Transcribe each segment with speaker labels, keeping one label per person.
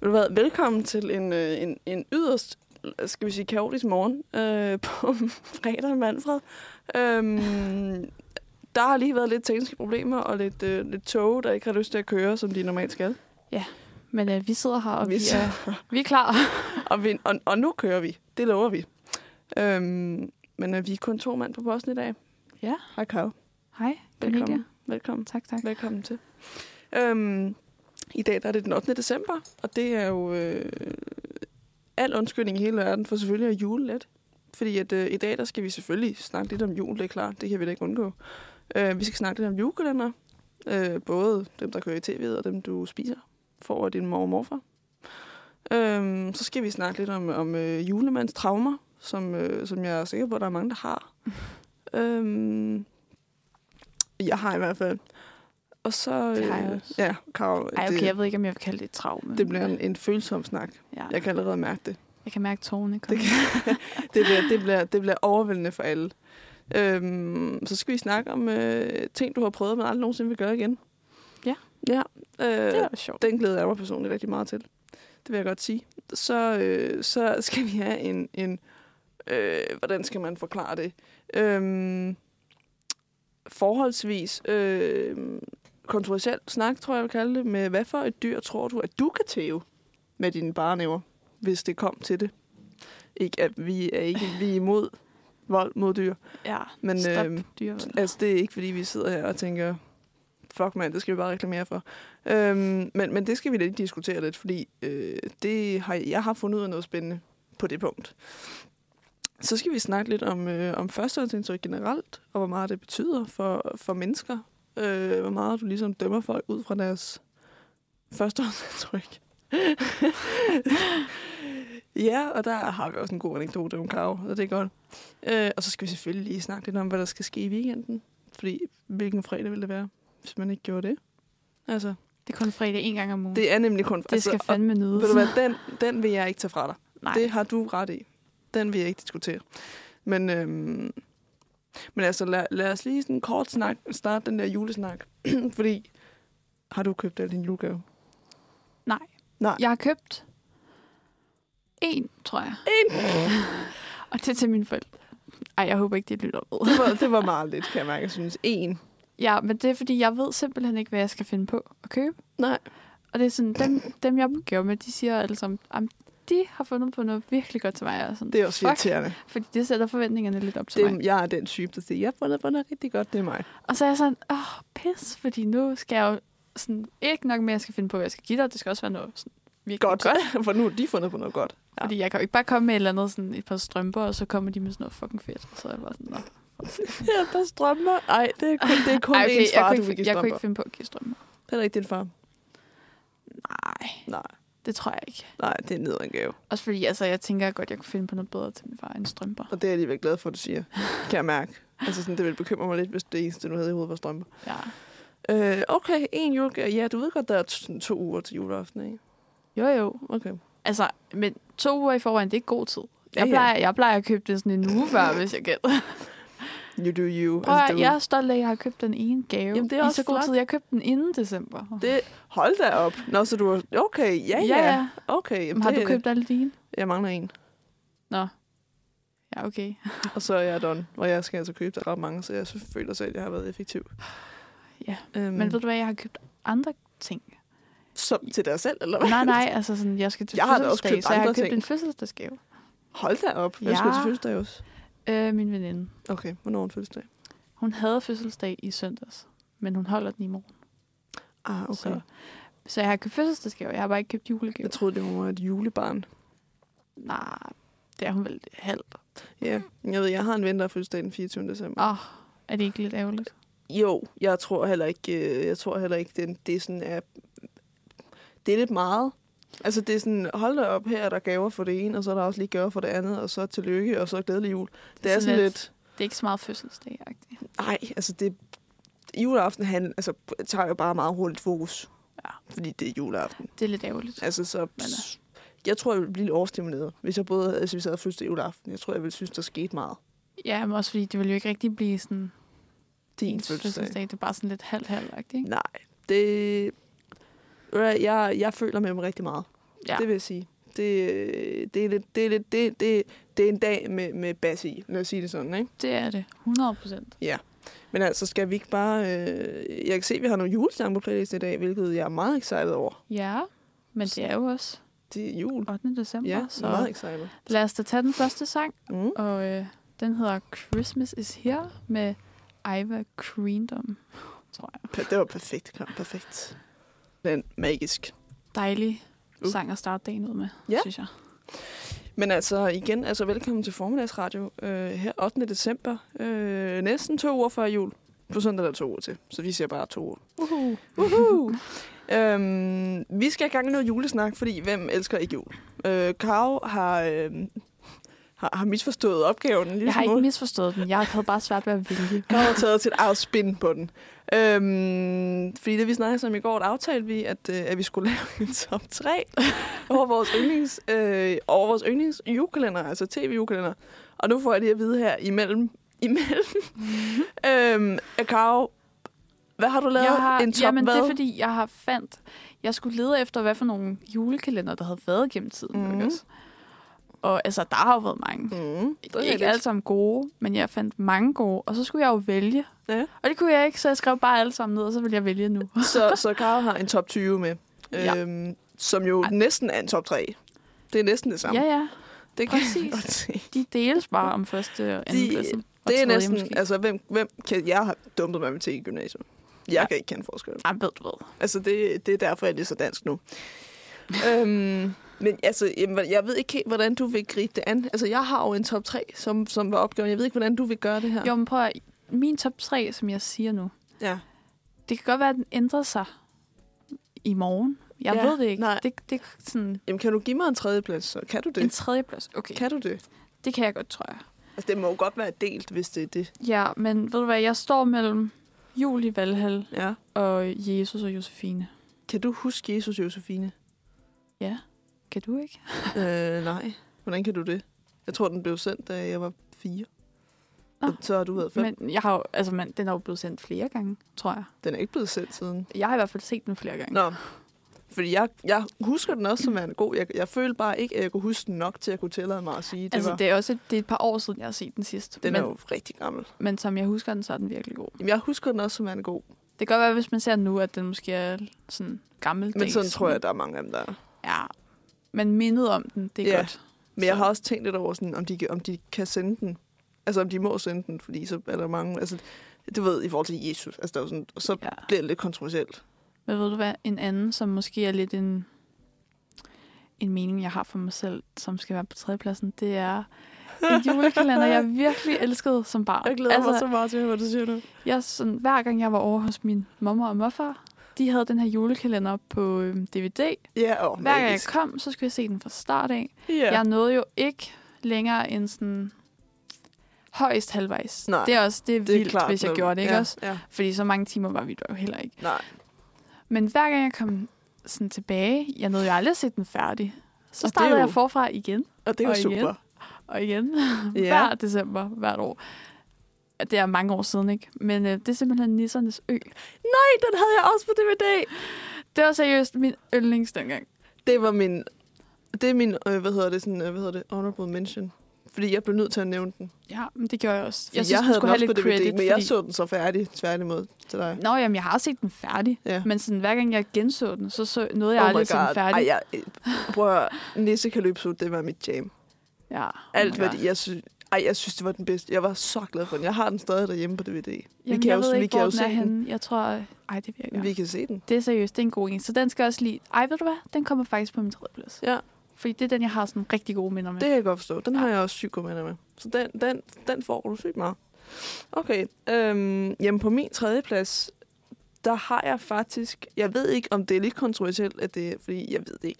Speaker 1: Vil du hvad, velkommen til en, øh, en, en yderst, skal vi sige, kaotisk morgen øh, på fredag, Manfred. Øhm, der har lige været lidt tekniske problemer og lidt, øh, lidt tog, der ikke har lyst til at køre, som de normalt skal.
Speaker 2: Men øh, vi sidder her, og vi,
Speaker 1: Vi
Speaker 2: vi, er, vi er klar.
Speaker 1: Og, vi, og, og nu kører vi. Det lover vi. Øhm, men øh, vi er kun to mand på posten i dag.
Speaker 2: Ja.
Speaker 1: Hej, Kav.
Speaker 2: Hej, Cornelia.
Speaker 1: Velkommen. Velkommen.
Speaker 2: Tak, tak.
Speaker 1: Velkommen til. Øhm, I dag der er det den 8. december, og det er jo øh, al undskyldning i hele verden for selvfølgelig at jule lidt. Fordi at, øh, i dag der skal vi selvfølgelig snakke lidt om jul, det er klart. Det kan vi da ikke undgå. Øh, vi skal snakke lidt om julekalender. Øh, både dem, der kører i tv'et, og dem, du spiser. Får af din mor og morfar. Øhm, så skal vi snakke lidt om, om øh, julemandens traumer, som, øh, som jeg er sikker på, at der er mange, der har. øhm, jeg har i hvert fald. Og så...
Speaker 2: Det har jeg
Speaker 1: øh,
Speaker 2: også.
Speaker 1: Ja, Karol,
Speaker 2: Ej,
Speaker 1: det,
Speaker 2: okay, jeg ved ikke, om jeg vil kalde det et traume.
Speaker 1: det bliver en, en følsom snak.
Speaker 2: Ja.
Speaker 1: Jeg kan allerede mærke det.
Speaker 2: Jeg kan mærke tårerne
Speaker 1: Det,
Speaker 2: komme.
Speaker 1: kan, det, bliver, det, bliver, det bliver overvældende for alle. Øhm, så skal vi snakke om øh, ting, du har prøvet, men aldrig nogensinde vil gøre igen.
Speaker 2: Ja.
Speaker 1: ja øh,
Speaker 2: Det er sjovt.
Speaker 1: den glæder jeg mig personligt rigtig meget til. Det vil jeg godt sige. Så, øh, så skal vi have en... en øh, hvordan skal man forklare det? Øhm, forholdsvis øh, kontroversiel snak, tror jeg, jeg vil kalde det, med hvad for et dyr tror du, at du kan tæve med dine barnæver, hvis det kom til det? Ikke at vi er ikke vi er imod vold mod dyr,
Speaker 2: Ja,
Speaker 1: men,
Speaker 2: men, stop
Speaker 1: øhm,
Speaker 2: øhm,
Speaker 1: Altså, det er ikke, fordi vi sidder her og tænker, fuck mand, det skal vi bare reklamere for. Øhm, men, men det skal vi lige diskutere lidt, fordi øh, det har, jeg har fundet ud af noget spændende på det punkt. Så skal vi snakke lidt om, øh, om førstehåndsindtryk generelt, og hvor meget det betyder for, for mennesker. Øh, hvor meget du ligesom dømmer folk ud fra deres førstehåndsindtryk. ja, og der har vi også en god anekdote om Karo, og det er godt. Øh, og så skal vi selvfølgelig lige snakke lidt om, hvad der skal ske i weekenden. Fordi hvilken fredag vil det være, hvis man ikke gjorde det? Altså,
Speaker 2: Det er kun fredag en gang om ugen. Det,
Speaker 1: det er nemlig kun...
Speaker 2: det skal
Speaker 1: altså,
Speaker 2: fandme nydes.
Speaker 1: og, ved du hvad, den, den vil jeg ikke tage fra dig.
Speaker 2: Nej,
Speaker 1: Det har du ret i. Den vil jeg ikke diskutere. Men, øhm, men altså, lad, lad os lige sådan kort snak, starte den der julesnak. Fordi, har du købt al din julegave?
Speaker 2: nej.
Speaker 1: Nej.
Speaker 2: Jeg har købt en, tror jeg.
Speaker 1: En!
Speaker 2: Og det er til mine forældre. Ej, jeg håber ikke, de lytter med.
Speaker 1: Det var, det var meget lidt, kan jeg mærke, jeg synes. En.
Speaker 2: Ja, men det er, fordi jeg ved simpelthen ikke, hvad jeg skal finde på at købe.
Speaker 1: Nej.
Speaker 2: Og det er sådan, dem, dem jeg gør med, de siger alle sammen, "Am, de har fundet på noget virkelig godt til mig. Og sådan,
Speaker 1: Det er også
Speaker 2: "Fuck,"
Speaker 1: irriterende.
Speaker 2: Fordi det sætter forventningerne lidt op til mig.
Speaker 1: Det, jeg er den type, der siger, jeg har fundet på noget rigtig godt, det er mig.
Speaker 2: Og så er jeg sådan, åh, pis, fordi nu skal jeg jo sådan, ikke nok mere, jeg skal finde på, hvad jeg skal give dig. Det skal også være noget sådan, virkelig
Speaker 1: Godt.
Speaker 2: godt. godt.
Speaker 1: For nu har de fundet på noget godt. Ja.
Speaker 2: Fordi jeg kan jo ikke bare komme med et eller andet, sådan et par strømper, og så kommer de med sådan noget fucking fedt. Og så er jeg bare sådan, Nå.
Speaker 1: Ja, der strømmer. Nej, det er kun, det er kun
Speaker 2: Ej,
Speaker 1: ens
Speaker 2: jeg,
Speaker 1: far,
Speaker 2: kunne
Speaker 1: du
Speaker 2: ikke,
Speaker 1: vil give
Speaker 2: jeg kunne
Speaker 1: strømper.
Speaker 2: ikke finde på at give strømper.
Speaker 1: Det er ikke din far.
Speaker 2: Nej,
Speaker 1: Nej,
Speaker 2: det tror jeg ikke.
Speaker 1: nej, det er nederen gave.
Speaker 2: Også fordi, altså, jeg tænker godt, jeg kunne finde på noget bedre til min far end strømper.
Speaker 1: Og det er jeg alligevel glad for, at du siger. Kan jeg mærke. Altså sådan, det ville bekymre mig lidt, hvis det eneste, du havde i hovedet, var strømper.
Speaker 2: Ja.
Speaker 1: Øh, okay, en julegave. Ja, du ved godt, der er sådan to uger til juleaften, ikke?
Speaker 2: Jo, jo.
Speaker 1: Okay.
Speaker 2: Altså, men to uger i forvejen, det er god tid.
Speaker 1: Ja,
Speaker 2: Jeg,
Speaker 1: ja.
Speaker 2: plejer, jeg plejer at købe det sådan en uge før, hvis jeg kan.
Speaker 1: You do you. Altså,
Speaker 2: Prøv, at-
Speaker 1: det,
Speaker 2: jeg er stolt af, at jeg har købt den ene gave.
Speaker 1: Jamen, det er
Speaker 2: I
Speaker 1: også
Speaker 2: så god
Speaker 1: flot.
Speaker 2: tid. Jeg købte den inden december.
Speaker 1: det, hold da op. Nå, så du har... Okay, ja, ja. ja. Okay,
Speaker 2: Jamen,
Speaker 1: jamen,
Speaker 2: har
Speaker 1: det,
Speaker 2: du købt alle dine?
Speaker 1: Jeg mangler en.
Speaker 2: Ja, okay.
Speaker 1: Og så er jeg done. Og jeg skal altså købe der ret mange, så jeg føler selv, at jeg har været effektiv.
Speaker 2: Ja.
Speaker 1: Øhm,
Speaker 2: Men ved du hvad, jeg har købt andre ting.
Speaker 1: som til dig selv, eller hvad?
Speaker 2: Nej, nej, altså sådan, jeg skal til
Speaker 1: Jeg har da også
Speaker 2: fødselsdag,
Speaker 1: købt
Speaker 2: så jeg har
Speaker 1: andre
Speaker 2: købt
Speaker 1: ting.
Speaker 2: en fødselsdagsgave.
Speaker 1: Hold da op. Jeg
Speaker 2: Ja.
Speaker 1: skulle til fødselsdag også.
Speaker 2: Øh, min veninde.
Speaker 1: Okay, hvornår er en fødselsdag?
Speaker 2: Hun havde fødselsdag i søndags, men hun holder den i morgen.
Speaker 1: Ah, okay.
Speaker 2: Så, så jeg har købt fødselsdagsgave, jeg har bare ikke købt julegave.
Speaker 1: Jeg troede, det var et julebarn.
Speaker 2: Nej, det er hun vel halvt.
Speaker 1: Ja, jeg ved, jeg har en ven, der har fødselsdag den 24. december.
Speaker 2: Åh, oh, er det ikke lidt ærgerligt?
Speaker 1: Jo, jeg tror heller ikke, øh, jeg tror heller ikke den, det er sådan er, det er lidt meget. Altså det er sådan, hold da op, her er der gaver for det ene, og så er der også lige gaver for det andet, og så tillykke, og så glædelig jul. Det er sådan lidt,
Speaker 2: Det er ikke så meget fødselsdag-agtigt.
Speaker 1: nej, altså det, juleaften han, altså, tager jo bare meget hurtigt fokus.
Speaker 2: Ja.
Speaker 1: Fordi det er juleaften.
Speaker 2: Det er lidt ærgerligt.
Speaker 1: Altså så,
Speaker 2: øh.
Speaker 1: jeg tror, jeg ville blive lidt overstimuleret, hvis jeg både, altså hvis jeg havde fødselsdag juleaften. Jeg tror, jeg ville synes, der skete meget.
Speaker 2: Ja, men også fordi det ville jo ikke rigtig blive sådan
Speaker 1: Din
Speaker 2: ens fødselsdag.
Speaker 1: fødselsdag.
Speaker 2: fødselsdag. Det er bare sådan lidt halvt halvt ikke?
Speaker 1: Nej, det... Ved du hvad, Jeg, jeg føler med dem rigtig meget.
Speaker 2: Ja.
Speaker 1: Det vil jeg sige. Det, øh, det, er, lidt, det, er, lidt, det, det, det er en dag med, med bas i, lad os sige det sådan, ikke?
Speaker 2: Det er det. 100 procent.
Speaker 1: Men altså, skal vi ikke bare... Øh, jeg kan se, at vi har nogle julesange på playlisten i dag, hvilket jeg er meget excited over.
Speaker 2: Ja, men det er jo også
Speaker 1: Det er jul.
Speaker 2: 8. december,
Speaker 1: Ja, så. meget
Speaker 2: så
Speaker 1: excited.
Speaker 2: lad os da tage den første sang,
Speaker 1: Mm.
Speaker 2: og øh, den hedder Christmas is Here med Iva Creendom, tror jeg.
Speaker 1: Per- Det var perfekt, Karen. Perfekt. Den magisk.
Speaker 2: Dejlig
Speaker 1: Uh.
Speaker 2: sang at starte dagen ud med,
Speaker 1: Ja.
Speaker 2: synes jeg.
Speaker 1: Men altså igen, altså velkommen til formiddagsradio øh, her 8. december. Øh, næsten to uger før jul. På søndag er der to uger til, så vi siger bare to uger.
Speaker 2: Uhu.
Speaker 1: Uhu. øhm, vi skal i gang i noget julesnak, fordi hvem elsker ikke jul? Øh, Karo har, øh, har, har misforstået opgaven en lille
Speaker 2: Jeg har ikke
Speaker 1: smule.
Speaker 2: misforstået den. Jeg havde bare svært ved at vælge.
Speaker 1: Karo har taget sit eget spin på den. Øhm, fordi det vi snakkede om i går, der aftalte vi, at, øh, at vi skulle lave en top 3 over vores yndlings, øh, over vores yndlings julekalender, altså tv-julekalender. Og nu får jeg det at vide her imellem. imellem. øhm, Karo, hvad har du lavet?
Speaker 2: Jeg har,
Speaker 1: en top
Speaker 2: jamen,
Speaker 1: hvad?
Speaker 2: det er fordi, jeg har fandt... Jeg skulle lede efter, hvad for nogle julekalender, der havde været gennem tiden.
Speaker 1: Mhm.
Speaker 2: Mm. Også? Og altså, der har jo været mange.
Speaker 1: Mm, det er
Speaker 2: Ikke
Speaker 1: rigtigt.
Speaker 2: alle sammen gode, men jeg fandt mange gode. Og så skulle jeg jo vælge.
Speaker 1: Ja.
Speaker 2: Og det kunne jeg ikke, så jeg skrev bare alle sammen ned, og så vil jeg vælge nu.
Speaker 1: Så, så Karo har en top 20 med,
Speaker 2: Ja.
Speaker 1: øhm, som jo
Speaker 2: Ej.
Speaker 1: næsten er en top 3. Det er næsten det samme.
Speaker 2: Ja, ja.
Speaker 1: det kan jeg
Speaker 2: præcis.
Speaker 1: godt se.
Speaker 2: De deles bare om første og anden pladsen. Og
Speaker 1: Det er
Speaker 2: tredje
Speaker 1: næsten,
Speaker 2: Måske.
Speaker 1: altså hvem, hvem kan, jeg har dumpet matematik i gymnasiet. Jeg ja.
Speaker 2: Ja.
Speaker 1: kan ikke kende forskel.
Speaker 2: Ej, ved du hvad.
Speaker 1: Altså det, det er derfor, jeg er så dansk nu. øhm, men altså, jamen, jeg ved ikke helt, hvordan du vil gribe det an. Altså jeg har jo en top 3, som, som var opgaven. Jeg ved ikke, hvordan du vil gøre det her.
Speaker 2: Jo, men prøv at, Min top 3, som jeg siger nu,
Speaker 1: Ja.
Speaker 2: det kan godt være, at den ændrer sig i morgen. Jeg
Speaker 1: Ja,
Speaker 2: ja, ved det ikke.
Speaker 1: nej.
Speaker 2: Det, det er sådan
Speaker 1: Jamen kan du give mig en tredjeplads, så kan du det?
Speaker 2: en tredjeplads. Okay,
Speaker 1: Kan du det?
Speaker 2: det kan jeg godt, tror jeg.
Speaker 1: Altså det må jo godt være delt, hvis det er det.
Speaker 2: Ja, men ved du hvad, jeg står mellem Julie Valhall
Speaker 1: Ja.
Speaker 2: og Jesus og Josefine.
Speaker 1: Kan du huske Jesus Josefine?
Speaker 2: Ja, kan du ikke?
Speaker 1: øh, nej. Hvordan kan du det? Jeg tror, den blev sendt, da jeg var fire.
Speaker 2: Nå,
Speaker 1: Og så har du været fem. Men...
Speaker 2: Men jeg har jo, altså, man, den er jo blevet sendt flere gange, tror jeg.
Speaker 1: Den er ikke blevet sendt siden.
Speaker 2: Jeg har i hvert fald set den flere gange.
Speaker 1: Nå. Fordi jeg, jeg husker den også som værende god. Jeg, jeg følte bare ikke, at jeg kunne huske den nok til at kunne tillade mig at sige, det
Speaker 2: altså,
Speaker 1: var...
Speaker 2: det er også et, det er et par år siden, jeg har set den sidst.
Speaker 1: Den
Speaker 2: men,
Speaker 1: er jo rigtig gammel.
Speaker 2: men som jeg husker den, så er den virkelig god.
Speaker 1: Jamen, jeg husker den også som værende god.
Speaker 2: Det kan godt være, hvis man ser den nu, at den måske er sådan gammeldags.
Speaker 1: Men sådan tror jeg, der er mange af dem, der er.
Speaker 2: Ja. Men mindet om den, det er
Speaker 1: Ja.
Speaker 2: ja. godt.
Speaker 1: Men jeg
Speaker 2: Så-
Speaker 1: har også tænkt lidt over, sådan, om, de, kan- om de kan sende den. Altså, om de må sende den, fordi så er der mange... Altså, du ved, i forhold til Jesus. Altså, der er jo sådan, så
Speaker 2: Ja.
Speaker 1: bliver det lidt kontroversielt.
Speaker 2: Men ved du hvad, en anden, som måske er lidt en, en mening, jeg har for mig selv, som skal være på tredjepladsen, det er en julekalender, jeg virkelig elskede som barn. Altså,
Speaker 1: meget til at høre, hvad du siger nu.
Speaker 2: Jeg, sådan, hver gang jeg var over hos min mamma og morfar, de havde den her julekalender på øhm, DVD.
Speaker 1: Ja, og
Speaker 2: Hver gang jeg kom, så skulle jeg se den fra start af.
Speaker 1: Ja.
Speaker 2: Ja. Jeg nåede jo ikke længere end sådan højst halvvejs.
Speaker 1: Nej,
Speaker 2: det er også det er vildt, det er klart, hvis jeg
Speaker 1: når-
Speaker 2: gjorde det, ikke
Speaker 1: ja,
Speaker 2: også?
Speaker 1: Ja.
Speaker 2: Fordi så mange timer var vi der jo heller ikke.
Speaker 1: Nej.
Speaker 2: Men hver gang jeg kom sådan tilbage, jeg nåede jo aldrig at se den færdig.
Speaker 1: Og det er
Speaker 2: Så startede
Speaker 1: jo-
Speaker 2: jeg forfra igen
Speaker 1: Og det er jo
Speaker 2: Og igen.
Speaker 1: super.
Speaker 2: og igen.
Speaker 1: Ja.
Speaker 2: Ja. Hver december, hvert år. Det er mange år siden, ikke? Men øh, det er simpelthen Nissernes Ø.
Speaker 1: Nej, den havde jeg også på DVD.
Speaker 2: Det var seriøst min yndlings dengang.
Speaker 1: Det var min... Det er min, øh, hvad hedder det, sådan, øh, hvad hedder det, honorable mention. Fordi jeg blev nødt til at nævne den.
Speaker 2: Ja, men det gjorde jeg også.
Speaker 1: Jeg, jeg havde den også på DVD, credit, men
Speaker 2: fordi...
Speaker 1: jeg så den så færdig, tværtimod, til dig.
Speaker 2: Nå, jamen, jeg har set den færdig.
Speaker 1: Ja. Oh
Speaker 2: Men sådan, hver gang jeg genså den, så, så nåede jeg aldrig at se den færdig.
Speaker 1: Ej, jeg, øh, prøv at høre. Nisse Kalypso, det var mit jam.
Speaker 2: ja. oh
Speaker 1: Alt,
Speaker 2: my
Speaker 1: hvad
Speaker 2: God.
Speaker 1: de, jeg synes... Ej, jeg synes, det var den bedste. Jeg var så glad for den. Jeg har den stadig derhjemme på DVD. Vi
Speaker 2: Jamen,
Speaker 1: kan
Speaker 2: jeg
Speaker 1: jo-
Speaker 2: ved
Speaker 1: vi
Speaker 2: ikke,
Speaker 1: kan
Speaker 2: hvor
Speaker 1: jo
Speaker 2: den
Speaker 1: se
Speaker 2: er
Speaker 1: den.
Speaker 2: henne. Jeg tror... øh, Ej, det virker.
Speaker 1: Vi kan se den.
Speaker 2: Det er seriøst, det er en god en. Så den skal jeg også lige... Ej, ved du hvad? Den kommer faktisk på min tredje plads.
Speaker 1: Ja.
Speaker 2: Fordi det er den, jeg har sådan rigtig gode minder med.
Speaker 1: Det kan jeg godt forstå. Den har jeg også sygt gode venner med. Så den, den, den får du sygt meget. Okay. Øhm, jamen på min tredje plads, der har jeg faktisk... Jeg ved ikke, om det er lidt kontroversielt, at det, fordi jeg ved det ikke.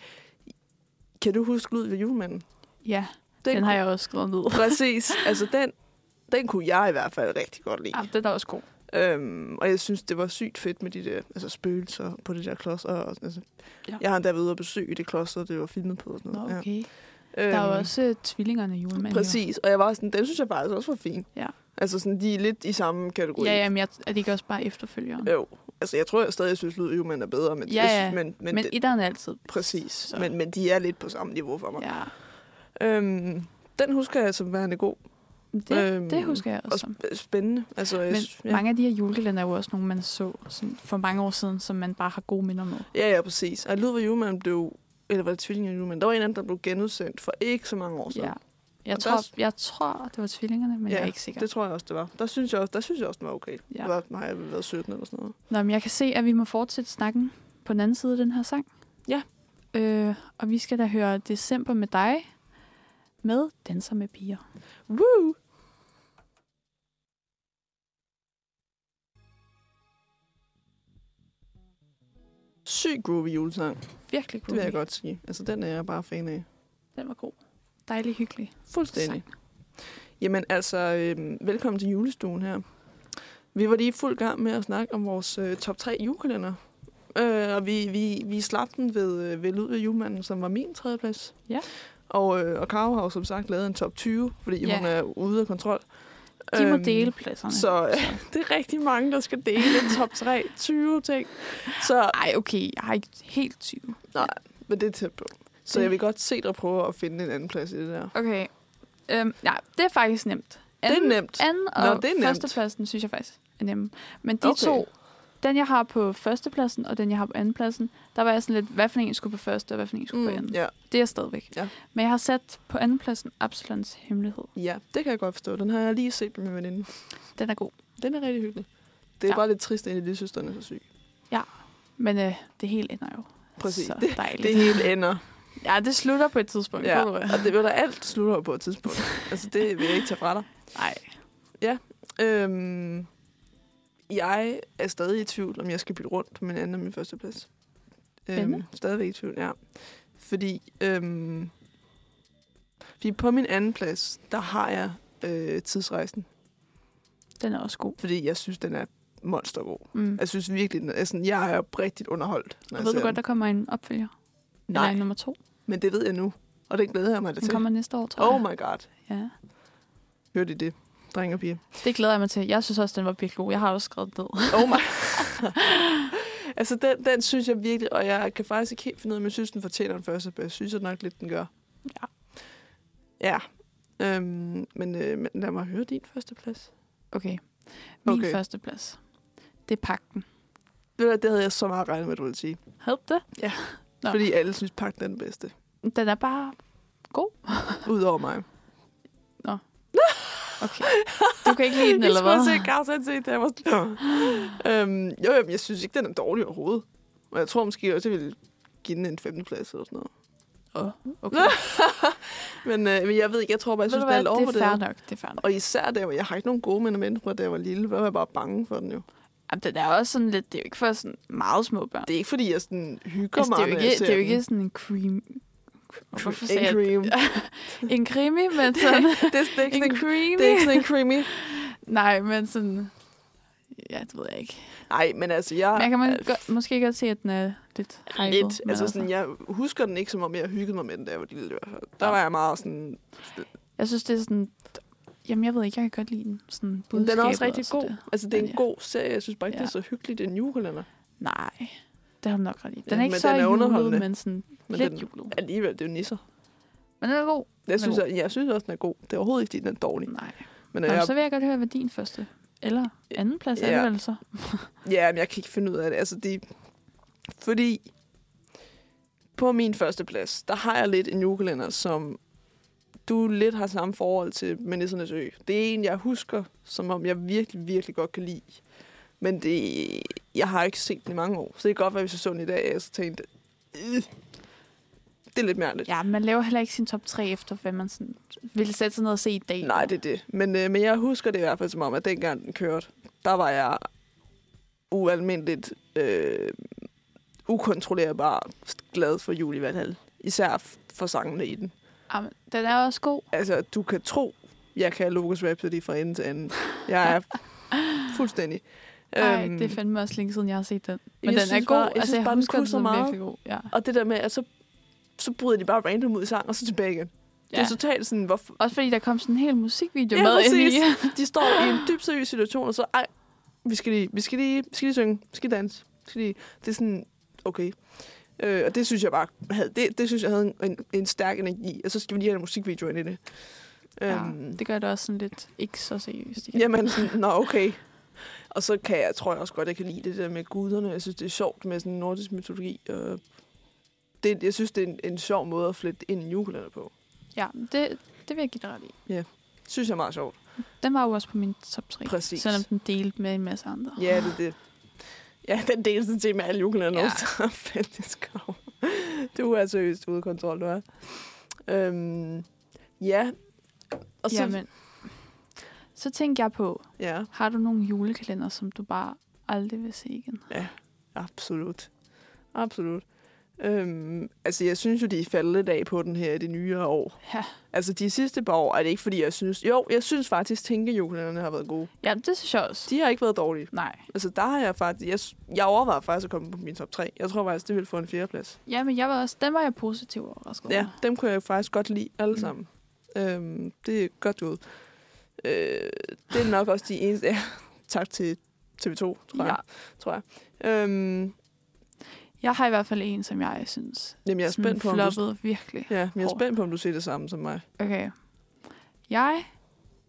Speaker 1: Kan du huske Lyd ved julemanden?
Speaker 2: Ja, den, den har jeg også skrevet ned.
Speaker 1: Præcis. Altså den, den kunne jeg i hvert fald rigtig godt lide.
Speaker 2: Ja, den er også god.
Speaker 1: Øhm, og jeg synes, det var sygt fedt med de der altså, spøgelser på det der kloster. Og, altså, ja.
Speaker 2: Ja.
Speaker 1: Jeg har endda været ude og besøge det kloster, det var filmet på. Og sådan
Speaker 2: Nå,
Speaker 1: noget.
Speaker 2: okay.
Speaker 1: ja.
Speaker 2: Der er jo
Speaker 1: Øhm,
Speaker 2: også øh, tvillingerne i julemanden. jo.
Speaker 1: Præcis, og jeg var sådan, den synes jeg faktisk også var fin.
Speaker 2: Ja.
Speaker 1: Altså sådan, de er lidt i samme kategori.
Speaker 2: Ja, jamen, jeg, er det ikke også bare efterfølgeren?
Speaker 1: Jo, Altså, jeg tror jeg stadig, synes, at lydøvmænd er bedre, men,
Speaker 2: Ja,
Speaker 1: jeg
Speaker 2: ja.
Speaker 1: synes, men, men,
Speaker 2: Men, men
Speaker 1: men det,
Speaker 2: etteren er altid.
Speaker 1: præcis.
Speaker 2: så-
Speaker 1: Men, men de er lidt på samme niveau for mig.
Speaker 2: Ja.
Speaker 1: Øhm, den husker jeg som værende god
Speaker 2: Det,
Speaker 1: Øhm,
Speaker 2: øhm, det husker jeg
Speaker 1: og
Speaker 2: også.
Speaker 1: sp- spændende. Altså, jeg,
Speaker 2: Men
Speaker 1: synes- ja.
Speaker 2: mange af de her julekalender er jo også nogle, man så sådan, for mange år siden, som man bare har gode minder med.
Speaker 1: ja, ja, præcis. Og Ludvig Juhlmann blev, eller var det tvillinger Juhlmann? Der var en anden, der blev genudsendt for ikke så mange år siden.
Speaker 2: Ja. Jeg
Speaker 1: Og
Speaker 2: tror,
Speaker 1: der er s-
Speaker 2: jeg tror, det var tvillingerne, men
Speaker 1: Ja,
Speaker 2: jeg er ikke sikker.
Speaker 1: Det tror jeg også, det var. Der synes jeg også, der synes jeg også den var okay.
Speaker 2: Ja.
Speaker 1: Ja. Der var, har jeg vel været 17 eller sådan noget.
Speaker 2: Nå, men jeg kan se, at vi må fortsætte snakken på den anden side af den her sang.
Speaker 1: Ja.
Speaker 2: Øh, og vi skal da høre December med dig med Danser med piger.
Speaker 1: Woo! Syg groovy julesang,
Speaker 2: Virkelig
Speaker 1: det
Speaker 2: god.
Speaker 1: vil jeg godt sige. Altså, den er jeg bare fan af.
Speaker 2: Den var god. Dejlig hyggelig.
Speaker 1: Fuldstændig. Jamen altså, øh, velkommen til julestuen her. Vi var lige i fuld gang med at snakke om vores øh, top 3 julekalender. Øh, og vi, vi, vi slap den ved, øh, ved Ludvig Julemanden, som var min tredjeplads.
Speaker 2: Ja.
Speaker 1: Og, øh, og Karo har jo som sagt lavet en top 20, fordi
Speaker 2: Ja.
Speaker 1: ja. hun er ude af kontrol.
Speaker 2: De må
Speaker 1: Øhm,
Speaker 2: dele pladserne.
Speaker 1: Så øh, det er rigtig mange, der skal dele en top 3 20 ting. Så
Speaker 2: Ej, okay, jeg har ikke helt 20.
Speaker 1: nej, men det er tæt på. Så
Speaker 2: Det-
Speaker 1: jeg vil godt se dig prøve at finde en anden plads i det der.
Speaker 2: Okay. Øhm, nej, det er faktisk nemt.
Speaker 1: er nemt.
Speaker 2: Anden og
Speaker 1: Nå,
Speaker 2: Nå,
Speaker 1: det er nemt.
Speaker 2: førstepladsen synes jeg faktisk er nemme. Men de okay.
Speaker 1: Okay.
Speaker 2: to, den jeg har på førstepladsen og den jeg har på andenpladsen, der var jeg sådan lidt, hvad for en skulle på første og hvad for en skulle mm, på anden.
Speaker 1: ja.
Speaker 2: Det er jeg stadigvæk.
Speaker 1: Ja.
Speaker 2: Men jeg har sat på andenpladsen Absalons Hemmelighed.
Speaker 1: ja, det kan jeg godt forstå. Den har jeg lige set med min veninde.
Speaker 2: Den er god.
Speaker 1: Den er rigtig hyggelig. Det er
Speaker 2: Ja.
Speaker 1: ja. bare lidt trist, at en af de søstrene er så syg.
Speaker 2: Men øh, det hele ender jo.
Speaker 1: Præcis.
Speaker 2: Så
Speaker 1: Det-
Speaker 2: dejligt.
Speaker 1: Det hele ender.
Speaker 2: Ja, det slutter på et tidspunkt.
Speaker 1: Ja.
Speaker 2: Ja.
Speaker 1: Og det vil der alt slutter jo på et tidspunkt. altså, det vil jeg ikke tage fra dig.
Speaker 2: Nej.
Speaker 1: Øhm, jeg er stadig i tvivl, om jeg skal bytte rundt på min anden og min første plads.
Speaker 2: Spændende.
Speaker 1: Øhm, stadigvæk i tvivl, ja. Fordi, øhm, fordi på min anden plads, der har jeg øh, tidsrejsen.
Speaker 2: Den er også god.
Speaker 1: Fordi jeg synes, den er monstergod.
Speaker 2: Mm.
Speaker 1: Jeg synes virkelig, den er sådan, jeg er oprigtigt underholdt. Når
Speaker 2: Og
Speaker 1: jeg
Speaker 2: ved du
Speaker 1: ser
Speaker 2: godt, der
Speaker 1: den.
Speaker 2: kommer en opfølger? Eller
Speaker 1: Nej,
Speaker 2: en nummer to?
Speaker 1: men det ved jeg nu. Og det glæder jeg mig da
Speaker 2: Den
Speaker 1: til.
Speaker 2: kommer næste år, tror
Speaker 1: Oh
Speaker 2: jeg.
Speaker 1: my god.
Speaker 2: Ja.
Speaker 1: Hørte I det? Drenge og piger.
Speaker 2: Det glæder jeg mig til. Jeg synes også, den var virkelig god. Jeg har også skrevet den ned.
Speaker 1: Oh my. altså, den, den synes jeg virkelig, og jeg kan faktisk ikke helt finde ud af, om jeg synes, den fortjener en første, men jeg synes at nok lidt, den gør.
Speaker 2: Ja.
Speaker 1: Ja. Øhm, men, øh, men lad mig høre din første plads.
Speaker 2: Okay. Min okay.
Speaker 1: Okay.
Speaker 2: første plads. Det er pakken.
Speaker 1: Ved du hvad, Det havde jeg så meget regnet med, du ville sige.
Speaker 2: Hed det? Nå.
Speaker 1: Nå. Fordi alle synes, pakken er den bedste.
Speaker 2: Den er bare...
Speaker 1: Udover mig.
Speaker 2: Okay. Du kan ikke lide den, eller
Speaker 1: Jeg
Speaker 2: hvad?
Speaker 1: skulle se Kars ansigt, da jeg var sådan... "Nå." øhm, jo, jo, men jeg synes ikke, den er dårlig overhovedet. Og jeg tror måske også, jeg ville give den en femteplads eller sådan noget.
Speaker 2: Åh, okay.
Speaker 1: Men, øh, men jeg ved ikke, jeg tror bare, jeg
Speaker 2: Ved
Speaker 1: synes,
Speaker 2: du
Speaker 1: den er
Speaker 2: hvad?
Speaker 1: lidt
Speaker 2: Det er
Speaker 1: overvurderet.
Speaker 2: fair nok. Det er fair nok.
Speaker 1: Og især der, hvor jeg har ikke nogen gode minder fra, da jeg var lille. Der var jeg bare bange for den jo.
Speaker 2: Jamen, den er også sådan lidt... Det er jo ikke for sådan meget små børn.
Speaker 1: Det er ikke, fordi jeg sådan hygger
Speaker 2: Altså,
Speaker 1: mig,
Speaker 2: det, er jo
Speaker 1: når jeg
Speaker 2: ikke,
Speaker 1: ser
Speaker 2: det er jo
Speaker 1: den.
Speaker 2: ikke sådan en cream... Hvorfor
Speaker 1: en
Speaker 2: sagde jeg
Speaker 1: cream.
Speaker 2: en creamy, men sådan...
Speaker 1: det, er, det, er ikke sådan
Speaker 2: en
Speaker 1: en,
Speaker 2: creamy?
Speaker 1: det er ikke sådan en creamy.
Speaker 2: Nej, men sådan... Ja, det ved jeg ikke.
Speaker 1: Nej, men altså, jeg...
Speaker 2: Men jeg kan man
Speaker 1: er
Speaker 2: godt, måske godt se, at den er lidt hyped.
Speaker 1: Lidt.
Speaker 2: men
Speaker 1: Altså, sådan, jeg husker den ikke, som om jeg hyggede mig med den, da jeg var lille. i hvert fald. Der
Speaker 2: Ja.
Speaker 1: var jeg meget sådan...
Speaker 2: Jeg synes, det er sådan... Jamen, jeg ved ikke, jeg kan godt lide den. Sådan
Speaker 1: Den er
Speaker 2: budskabet
Speaker 1: også rigtig
Speaker 2: og
Speaker 1: god.
Speaker 2: sådan
Speaker 1: Altså, det er
Speaker 2: Ja.
Speaker 1: en god serie. Jeg synes bare ikke,
Speaker 2: Ja.
Speaker 1: det er så hyggeligt. Det er en julekalender.
Speaker 2: Nej, det har du nok ret i. Den er
Speaker 1: Ja,
Speaker 2: ikke
Speaker 1: men
Speaker 2: så
Speaker 1: den er
Speaker 2: julet,
Speaker 1: underholdende.
Speaker 2: men sådan men
Speaker 1: Men
Speaker 2: lidt
Speaker 1: den-
Speaker 2: julet.
Speaker 1: Alligevel, det er jo nisser.
Speaker 2: Men den er god.
Speaker 1: Jeg
Speaker 2: Den er
Speaker 1: synes, jeg, jeg synes også, den er god. Det er overhovedet ikke, fordi den er dårlig.
Speaker 2: Nej.
Speaker 1: Men
Speaker 2: Nå,
Speaker 1: jeg,
Speaker 2: men så vil jeg godt høre, hvad din første eller anden plads er
Speaker 1: Ja.
Speaker 2: det vel så?
Speaker 1: Ja, men jeg kan ikke finde ud af det. Altså, det fordi på min første plads, der har jeg lidt en julekalender, som du lidt har samme forhold til med Nissernes Ø. Det er en, jeg husker, som om jeg virkelig, virkelig godt kan lide. Men det, jeg har ikke set den i mange år. Så det kan godt være, hvis jeg så den i dag, at jeg så tænkte, "Øh, det er lidt mærkeligt.
Speaker 2: Ja, man laver heller ikke sin top 3 efter, hvad man sådan ville sætte sig ned og se i dag.
Speaker 1: Nej, det er det. Men, øh, men jeg husker det i hvert fald som om, at dengang den kørte, der var jeg ualmindeligt øh, ukontrollerbar glad for jul i Valhall. Især f- for sangene i den.
Speaker 2: Jamen, den er også god.
Speaker 1: Altså, du kan tro, jeg kan Logos Rhapsody fra ende til anden. Jeg er fuldstændig.
Speaker 2: Ej,
Speaker 1: Øhm,
Speaker 2: det er fandme også længe siden, jeg har set den. Men
Speaker 1: jeg
Speaker 2: den er
Speaker 1: synes
Speaker 2: god.
Speaker 1: bare- jeg
Speaker 2: altså,
Speaker 1: synes
Speaker 2: jeg
Speaker 1: bare, den
Speaker 2: husker den
Speaker 1: kunne så
Speaker 2: som
Speaker 1: meget.
Speaker 2: virkelig god. Ja.
Speaker 1: og det der med, at så, så bryder de bare random ud i sang, og så tilbage igen. Ja. Det
Speaker 2: ja.
Speaker 1: er totalt sådan, hvorfor...
Speaker 2: Også fordi der kom sådan en hel musikvideo
Speaker 1: Ja,
Speaker 2: med ind i.
Speaker 1: præcis. De står i en dybt seriøs situation, og så, ej, vi skal lige, vi skal lige, vi skal lige synge, vi skal danse. Vi skal lige. Det er sådan, okay. Øh, og det synes jeg bare havde, det, det synes jeg havde en, en, en stærk energi. Og så skal vi lige have en musikvideo ind i det.
Speaker 2: Ja,
Speaker 1: Øhm,
Speaker 2: det gør det også sådan lidt ikke så seriøst. igen.
Speaker 1: Jamen, sådan, nå okay. Og så kan jeg, tror jeg også godt, jeg kan lide det der med guderne. Jeg synes, det er sjovt med sådan nordisk mytologi. Og det, jeg synes, det er en, en sjov måde at flette ind i julekalender på.
Speaker 2: Ja, det, det vil jeg give dig ret i.
Speaker 1: Synes jeg er meget sjovt.
Speaker 2: Den var jo også på min top 3.
Speaker 1: Præcis.
Speaker 2: Selvom den delte med en masse andre.
Speaker 1: Ja, det er det. Ja, den deles sådan set med alle julekalender.
Speaker 2: Ja.
Speaker 1: Ja. Så fandtes krav. Du er seriøst ude af kontrol, du er. Øhm, ja. Og så,
Speaker 2: Jamen, så tænkte jeg på,
Speaker 1: ja,
Speaker 2: har du nogle julekalender, som du bare aldrig vil se igen?
Speaker 1: absolut. Absolut. Øhm, altså, jeg synes jo, de er faldet lidt af på den her i det nyere år.
Speaker 2: Ja,
Speaker 1: Altså de sidste par år er det ikke, fordi jeg synes... Jo, jeg synes faktisk, tænkejulekalenderne har været gode.
Speaker 2: ja det synes jeg også.
Speaker 1: De har ikke været dårlige.
Speaker 2: Nej.
Speaker 1: Altså der har jeg faktisk... Jeg, s- jeg overvejer faktisk at komme på min top 3. Jeg tror faktisk, det ville få en fjerdeplads.
Speaker 2: Ja, men jeg var også, den var jeg positiv overrasket over.
Speaker 1: Ja, dem kunne jeg faktisk godt lide alle
Speaker 2: Mm.
Speaker 1: mm. sammen. Øhm, det er godt ud. Øh, det er nok også de eneste... Ja, tak til TV2, tror
Speaker 2: Ja.
Speaker 1: jeg. Tror jeg. Øhm,
Speaker 2: Jeg har i hvert fald en, som jeg synes
Speaker 1: jamen, jeg er
Speaker 2: sådan
Speaker 1: spændt på, om du,
Speaker 2: floppede virkelig.
Speaker 1: ja, jeg er
Speaker 2: hårdt.
Speaker 1: spændt på, om du ser det samme som mig.
Speaker 2: Okay. Jeg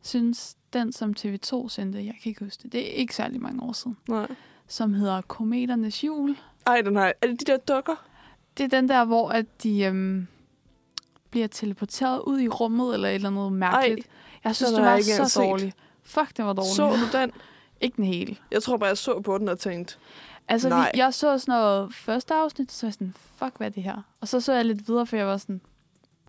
Speaker 2: synes, den som TV2 sendte, jeg kan ikke huske det, det er ikke særlig mange år siden,
Speaker 1: Nej.
Speaker 2: som hedder Kometernes Jul.
Speaker 1: Ej, den har... Er det de der dukker?
Speaker 2: Det er den der, hvor at de øhm, bliver teleporteret ud i rummet, eller et eller andet mærkeligt. Ej, jeg synes,
Speaker 1: den
Speaker 2: det
Speaker 1: har
Speaker 2: var
Speaker 1: jeg ikke engang
Speaker 2: så
Speaker 1: set.
Speaker 2: dårlig. Fuck, det var dårlig.
Speaker 1: Så du den?
Speaker 2: Ikke den hele.
Speaker 1: Jeg tror bare, jeg så på den og tænkte...
Speaker 2: Altså,
Speaker 1: Nej.
Speaker 2: vi, jeg så sådan noget første afsnit, så var jeg sådan, fuck, hvad er det her? Og så så jeg lidt videre, for jeg var sådan,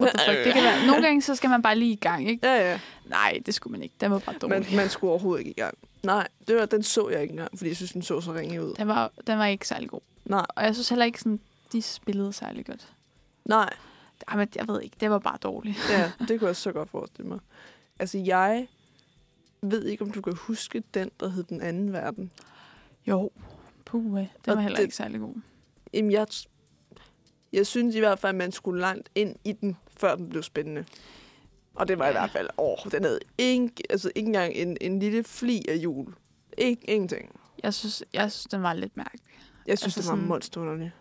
Speaker 2: what the fuck, det kan være. Nogle gange, så skal man bare lige i gang, ikke?
Speaker 1: Ja, ja.
Speaker 2: Nej, det skulle man ikke. Den var bare dårlig.
Speaker 1: Man, man skulle overhovedet ikke i gang. Nej, det var, den så jeg ikke engang, fordi jeg synes, den så så ringe ud.
Speaker 2: Den, var, den var ikke særlig god.
Speaker 1: Nej,
Speaker 2: Og jeg synes heller ikke, sådan, de spillede særlig godt.
Speaker 1: nej,
Speaker 2: Ej, men jeg ved ikke, det var bare dårligt.
Speaker 1: ja, det kunne jeg så godt forestille mig. Altså, jeg ved ikke, om du kan huske den, der hed Den Anden Verden.
Speaker 2: Jo, puh, den
Speaker 1: Og
Speaker 2: var heller
Speaker 1: det-
Speaker 2: ikke særlig god.
Speaker 1: Jamen, jeg, t- jeg synes i hvert fald, at man skulle langt ind i den, før den blev spændende. Og det var i
Speaker 2: Ja.
Speaker 1: hvert fald, åh, den havde ikke, altså, ikke engang en, en lille fli af jul. Ikke, ingenting.
Speaker 2: Jeg synes, jeg synes den var lidt mærkelig.
Speaker 1: Jeg synes, altså,
Speaker 2: Altså
Speaker 1: det var
Speaker 2: sådan-
Speaker 1: sådan... monsterunderlig.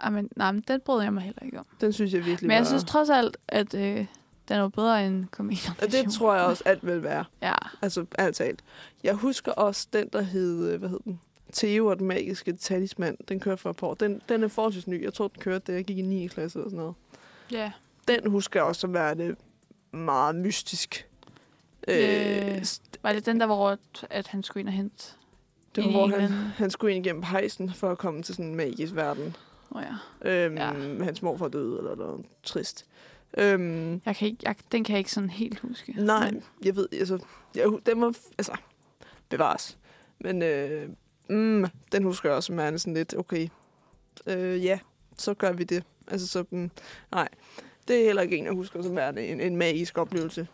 Speaker 2: Ej, men, nej, men den brød jeg mig heller ikke om.
Speaker 1: Den synes jeg virkelig
Speaker 2: Men jeg
Speaker 1: var...
Speaker 2: synes trods alt, at øh, den var bedre end Kometer.
Speaker 1: og det tror jeg også alt vil være.
Speaker 2: Ja,
Speaker 1: Altså, alt talt. Jeg husker også den, der hed, øh, hvad hed den? Theo og den magiske talisman. Den kørte for et par år. Den, den er forholdsvis ny. Jeg tror, den kørte, da jeg gik i 9. klasse eller sådan noget.
Speaker 2: ja.
Speaker 1: Den husker jeg også at være det meget mystisk.
Speaker 2: Øh,
Speaker 1: Øh, s-
Speaker 2: Var det den der, hvor at- at han skulle ind og hente?
Speaker 1: det
Speaker 2: i
Speaker 1: var, hvor han,
Speaker 2: England?
Speaker 1: han skulle ind igennem pejsen for at komme til sådan en magisk verden.
Speaker 2: Oh, ja.
Speaker 1: Øhm,
Speaker 2: Ja.
Speaker 1: Hans morfar døde, eller noget trist. Øhm,
Speaker 2: jeg kan ikke, jeg, den kan jeg ikke sådan helt huske.
Speaker 1: Nej,
Speaker 2: Men,
Speaker 1: jeg ved, altså, jeg, hu- den var, altså, bevares. Men øh, mm, den husker jeg også, som er sådan lidt, okay, øh, ja, så gør vi det. Altså, så, mm, nej, det er heller ikke en, jeg husker som værende en, en magisk oplevelse.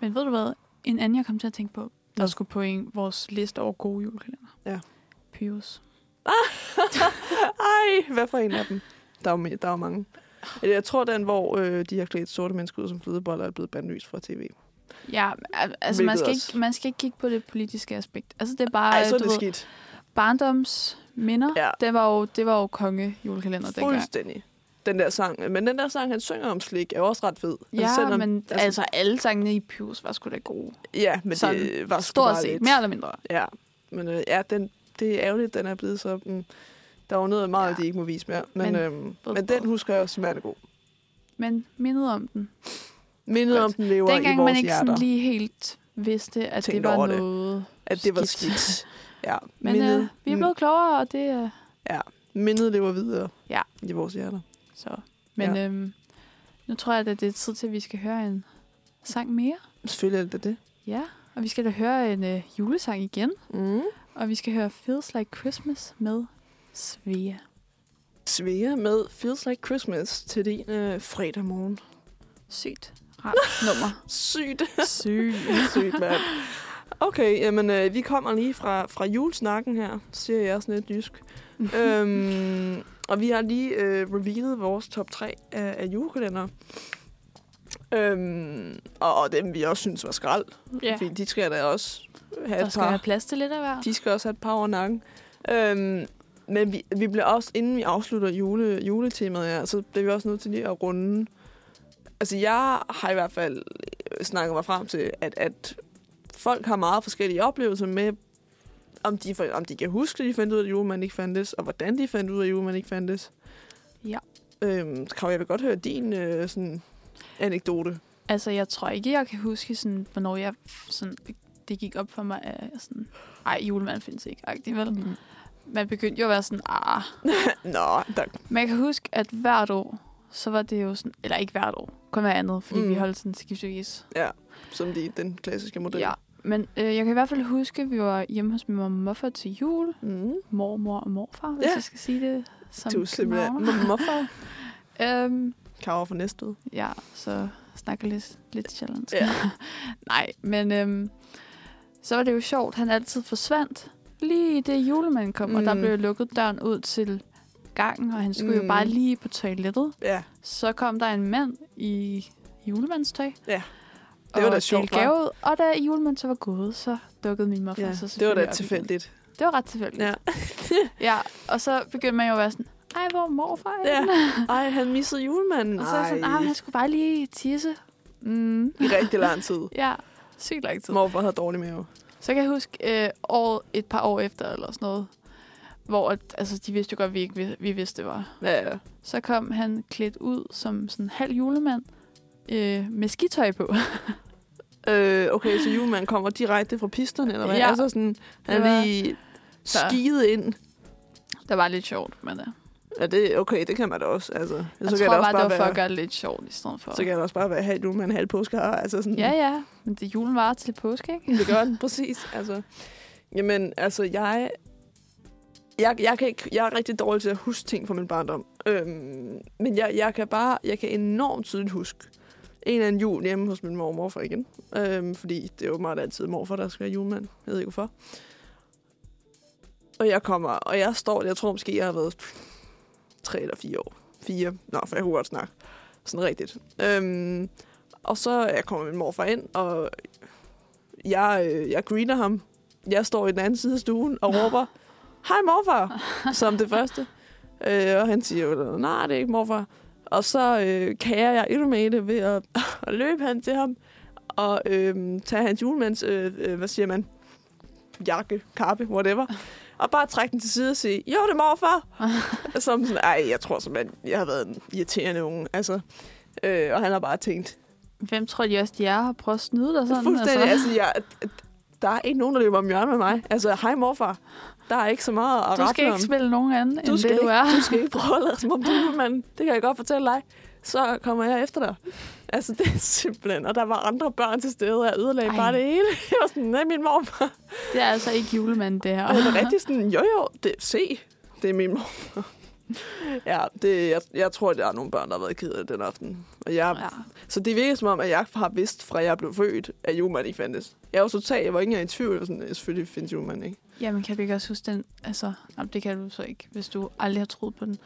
Speaker 2: men ved du hvad? En anden, jeg kom til at tænke på, der
Speaker 1: Nå.
Speaker 2: skulle på en, vores liste over gode julekalender.
Speaker 1: Ja.
Speaker 2: Pyrus.
Speaker 1: Ej, hvad for en af dem? Der er jo, me- der er jo mange. Eller jeg tror, den, hvor øh, de har klædt sorte mennesker ud som flødeboller, er blevet bandlyst fra tv.
Speaker 2: Ja, al- altså man
Speaker 1: Hvilket
Speaker 2: skal,
Speaker 1: også-
Speaker 2: ikke, man skal ikke kigge på det politiske aspekt. Altså det er bare,
Speaker 1: Ej, så er
Speaker 2: du
Speaker 1: det
Speaker 2: ved,
Speaker 1: skidt.
Speaker 2: barndomsminder.
Speaker 1: Ja.
Speaker 2: Det var jo, det var jo konge julekalender dengang.
Speaker 1: Fuldstændig. Den der sang. Men den der sang, han synger om slik, er jo også ret fed.
Speaker 2: Ja,
Speaker 1: altså, selvom-
Speaker 2: men altså, altså alle sangene i Pius var sgu da gode.
Speaker 1: Ja, men
Speaker 2: Sådan,
Speaker 1: det var sgu
Speaker 2: Stort
Speaker 1: bare
Speaker 2: set,
Speaker 1: lidt.
Speaker 2: mere eller mindre.
Speaker 1: Ja, men øh, ja, den, det er ærgerligt, den er blevet så... Mm, der er jo noget meget,
Speaker 2: Ja.
Speaker 1: ja. de ikke må vise mere. Men,
Speaker 2: Men-
Speaker 1: men, øhm, men den husker jeg også som er god.
Speaker 2: Men mindet om den.
Speaker 1: Mindet
Speaker 2: Godt.
Speaker 1: om den lever i
Speaker 2: Dengang
Speaker 1: vores
Speaker 2: man ikke
Speaker 1: hjerter.
Speaker 2: sådan lige helt vidste, at
Speaker 1: Tænkte
Speaker 2: det var
Speaker 1: over det.
Speaker 2: noget.
Speaker 1: at det var
Speaker 2: skidt.
Speaker 1: skidt. Ja,
Speaker 2: Men
Speaker 1: mindet,
Speaker 2: øh, vi er blevet klogere, og det er... Øh,
Speaker 1: mm, mindet lever videre
Speaker 2: Ja.
Speaker 1: i vores hjerter.
Speaker 2: så. Men
Speaker 1: Ja.
Speaker 2: øhm, nu tror jeg, at det er tid til, at vi skal høre en sang mere.
Speaker 1: Selvfølgelig er det da det.
Speaker 2: Ja, og vi skal da høre en øh, julesang igen.
Speaker 1: Mm.
Speaker 2: Og vi skal høre Feels Like Christmas med Svea.
Speaker 1: Svea med Feels Like Christmas til din øh, fredag morgen.
Speaker 2: Sygt rart nummer.
Speaker 1: Sygt.
Speaker 2: Sygt.
Speaker 1: Sygt, mand. Okay, jamen, øh, vi kommer lige fra, fra julesnakken her, siger jeg sådan lidt jysk. øhm, og vi har lige øh, revealet vores top 3 af, af julekalender. Øhm, og, og dem, vi også synes var skrald.
Speaker 2: Ja.
Speaker 1: Fordi de skal da også have
Speaker 2: Der
Speaker 1: et
Speaker 2: skal
Speaker 1: par.
Speaker 2: have plads til lidt af hver.
Speaker 1: De skal også have et par over nakken. Øhm, men vi, vi bliver også, inden vi afslutter jule, juletemaet her, så bliver vi også nødt til lige at runde. Altså, jeg har i hvert fald øh, snakket mig frem til, at, at folk har meget forskellige oplevelser med, om de, for- om de kan huske, at de fandt ud af, at julemanden ikke fandtes, og hvordan de fandt ud af, at julemanden ikke fandtes.
Speaker 2: Ja.
Speaker 1: Øhm, Krav, jeg vil godt høre din øh, sådan, anekdote.
Speaker 2: Altså, jeg tror ikke, jeg kan huske, sådan, hvornår jeg sådan, det gik op for mig, at jeg sådan, ej, julemanden findes ikke, agtig, vel?
Speaker 1: Mm.
Speaker 2: Man begyndte jo at være sådan, ah.
Speaker 1: Nå, der,
Speaker 2: Men jeg kan huske, at hvert år, så var det jo sådan, eller ikke hvert år, kun hver andet, fordi
Speaker 1: Mm.
Speaker 2: mm. vi holdt sådan skiftevis.
Speaker 1: som de, den klassiske model.
Speaker 2: Ja, men øh, jeg kan i hvert fald huske, at vi var hjemme hos min mor og morfar til jul.
Speaker 1: Mm.
Speaker 2: Mormor og morfar, hvis
Speaker 1: Ja.
Speaker 2: jeg skal sige det. Som
Speaker 1: Du er simpelthen
Speaker 2: københavner.
Speaker 1: morfar.
Speaker 2: Øhm,
Speaker 1: Kara fra Næstved.
Speaker 2: ja, så snakker lidt, lidt sjældent.
Speaker 1: Ja.
Speaker 2: Nej, men øhm, så var det jo sjovt. Han altid forsvandt lige det julemanden kom, mm. og der
Speaker 1: Mm.
Speaker 2: blev lukket døren ud til gangen, og han skulle mm.
Speaker 1: Mm.
Speaker 2: jo bare lige på toilettet.
Speaker 1: Ja,
Speaker 2: Så kom der en mand i julemandstøj.
Speaker 1: Ja. Det var da sjovt, hva'?
Speaker 2: Gave, ud, og da julemanden så var gået, så dukkede min morfar
Speaker 1: ja.
Speaker 2: så
Speaker 1: det var
Speaker 2: selvfølgelig op
Speaker 1: da
Speaker 2: igen.
Speaker 1: tilfældigt.
Speaker 2: Det var ret tilfældigt.
Speaker 1: Ja.
Speaker 2: ja, og så begyndte man jo at være sådan, ej, hvor er morfar
Speaker 1: Ja.
Speaker 2: ja.
Speaker 1: Ej, han missede julemanden.
Speaker 2: Og så er jeg sådan, ah, han skulle bare lige tisse. Mm.
Speaker 1: i rigtig lang tid.
Speaker 2: Ja, sygt lang tid.
Speaker 1: Morfar havde dårlig mave.
Speaker 2: Så kan jeg huske øh, året, et par år efter eller sådan noget, hvor at, altså, de vidste jo godt, vi ikke vi, vi vidste, det var.
Speaker 1: Ja, ja.
Speaker 2: Så kom han klædt ud som sådan en halv julemand øh, med skitøj på.
Speaker 1: Øh, okay, så julemanden kommer direkte fra pisterne, eller hvad?
Speaker 2: Ja.
Speaker 1: Altså sådan, han
Speaker 2: Det
Speaker 1: er
Speaker 2: var-
Speaker 1: lige
Speaker 2: Så-
Speaker 1: skidet ind.
Speaker 2: Det var lidt sjovt, men øh,
Speaker 1: Ja, det, okay, det kan man da også. Altså, så
Speaker 2: jeg
Speaker 1: kan
Speaker 2: tror
Speaker 1: da
Speaker 2: bare,
Speaker 1: også
Speaker 2: det var for at
Speaker 1: være,
Speaker 2: gøre det lidt sjovt i stedet for.
Speaker 1: så kan det også bare være halv julemand, halv påskehar. Altså sådan,
Speaker 2: Ja, ja, men det julen var til påske, ikke?
Speaker 1: Det gør den, præcis. Altså, jamen, altså, jeg... Jeg, jeg, kan ikke, jeg er rigtig dårlig til at huske ting fra min barndom. Øhm, men jeg, jeg kan bare... Jeg kan enormt tydeligt huske en eller anden jul hjemme hos min mor og morfar igen. Øhm, fordi det er jo meget altid morfar, der skal være julemand. Jeg ved ikke hvorfor. Og jeg kommer, og jeg står... Jeg tror måske, jeg har været tre eller fire år. Fire. Nå, for jeg kunne godt snakke. Sådan rigtigt. Øhm, og så jeg kommer min morfar ind, og jeg, øh, jeg greener ham. Jeg står i den anden side af stuen og råber, hej morfar, som det første. Øh, og han siger jo, nej, det er ikke morfar. Og så øh, kager jeg endnu med det ved at, at løbe hen til ham og øh, tage hans julemands, øh, øh, hvad siger man, jakke, kappe, whatever. Og bare trække den til side og sige, jo, det er morfar. som sådan, ej, jeg tror simpelthen, jeg har været en irriterende unge. Altså, øh, og han har bare tænkt,
Speaker 2: Hvem tror de også, de er og prøver at snyde dig sådan?
Speaker 1: Fuldstændig. Altså, jeg, der er ikke nogen, der løber om hjørnet med mig. Altså, hej morfar. Der er ikke så meget at
Speaker 2: Du
Speaker 1: rafle
Speaker 2: skal
Speaker 1: om.
Speaker 2: ikke spille nogen anden, end
Speaker 1: du skal,
Speaker 2: det, du
Speaker 1: ikke,
Speaker 2: er.
Speaker 1: du skal ikke prøve at lade som om du er mand. Det kan jeg godt fortælle dig. Så kommer jeg efter dig. Altså, det er simpelthen... Og der var andre børn til stede, og jeg ødelagde
Speaker 2: Ej.
Speaker 1: bare det hele. Jeg var sådan, nej, min morfar.
Speaker 2: Det er altså ikke julemanden, det her.
Speaker 1: Og jeg var rigtig sådan, jo jo, det, se, det er min morfar. Ja, det, jeg, jeg tror, der er nogle børn, der har været ked af det den aften. Og jeg,
Speaker 2: Ja.
Speaker 1: så det virker som om, at jeg har vidst fra jeg blev født, at Juman ikke fandtes. Jeg var totalt, jeg var ikke engang i tvivl. Jeg var sådan, selvfølgelig findes Juman ikke.
Speaker 2: Jamen, kan du ikke også huske den? Altså, nej, det kan du så ikke, hvis du aldrig har troet på den.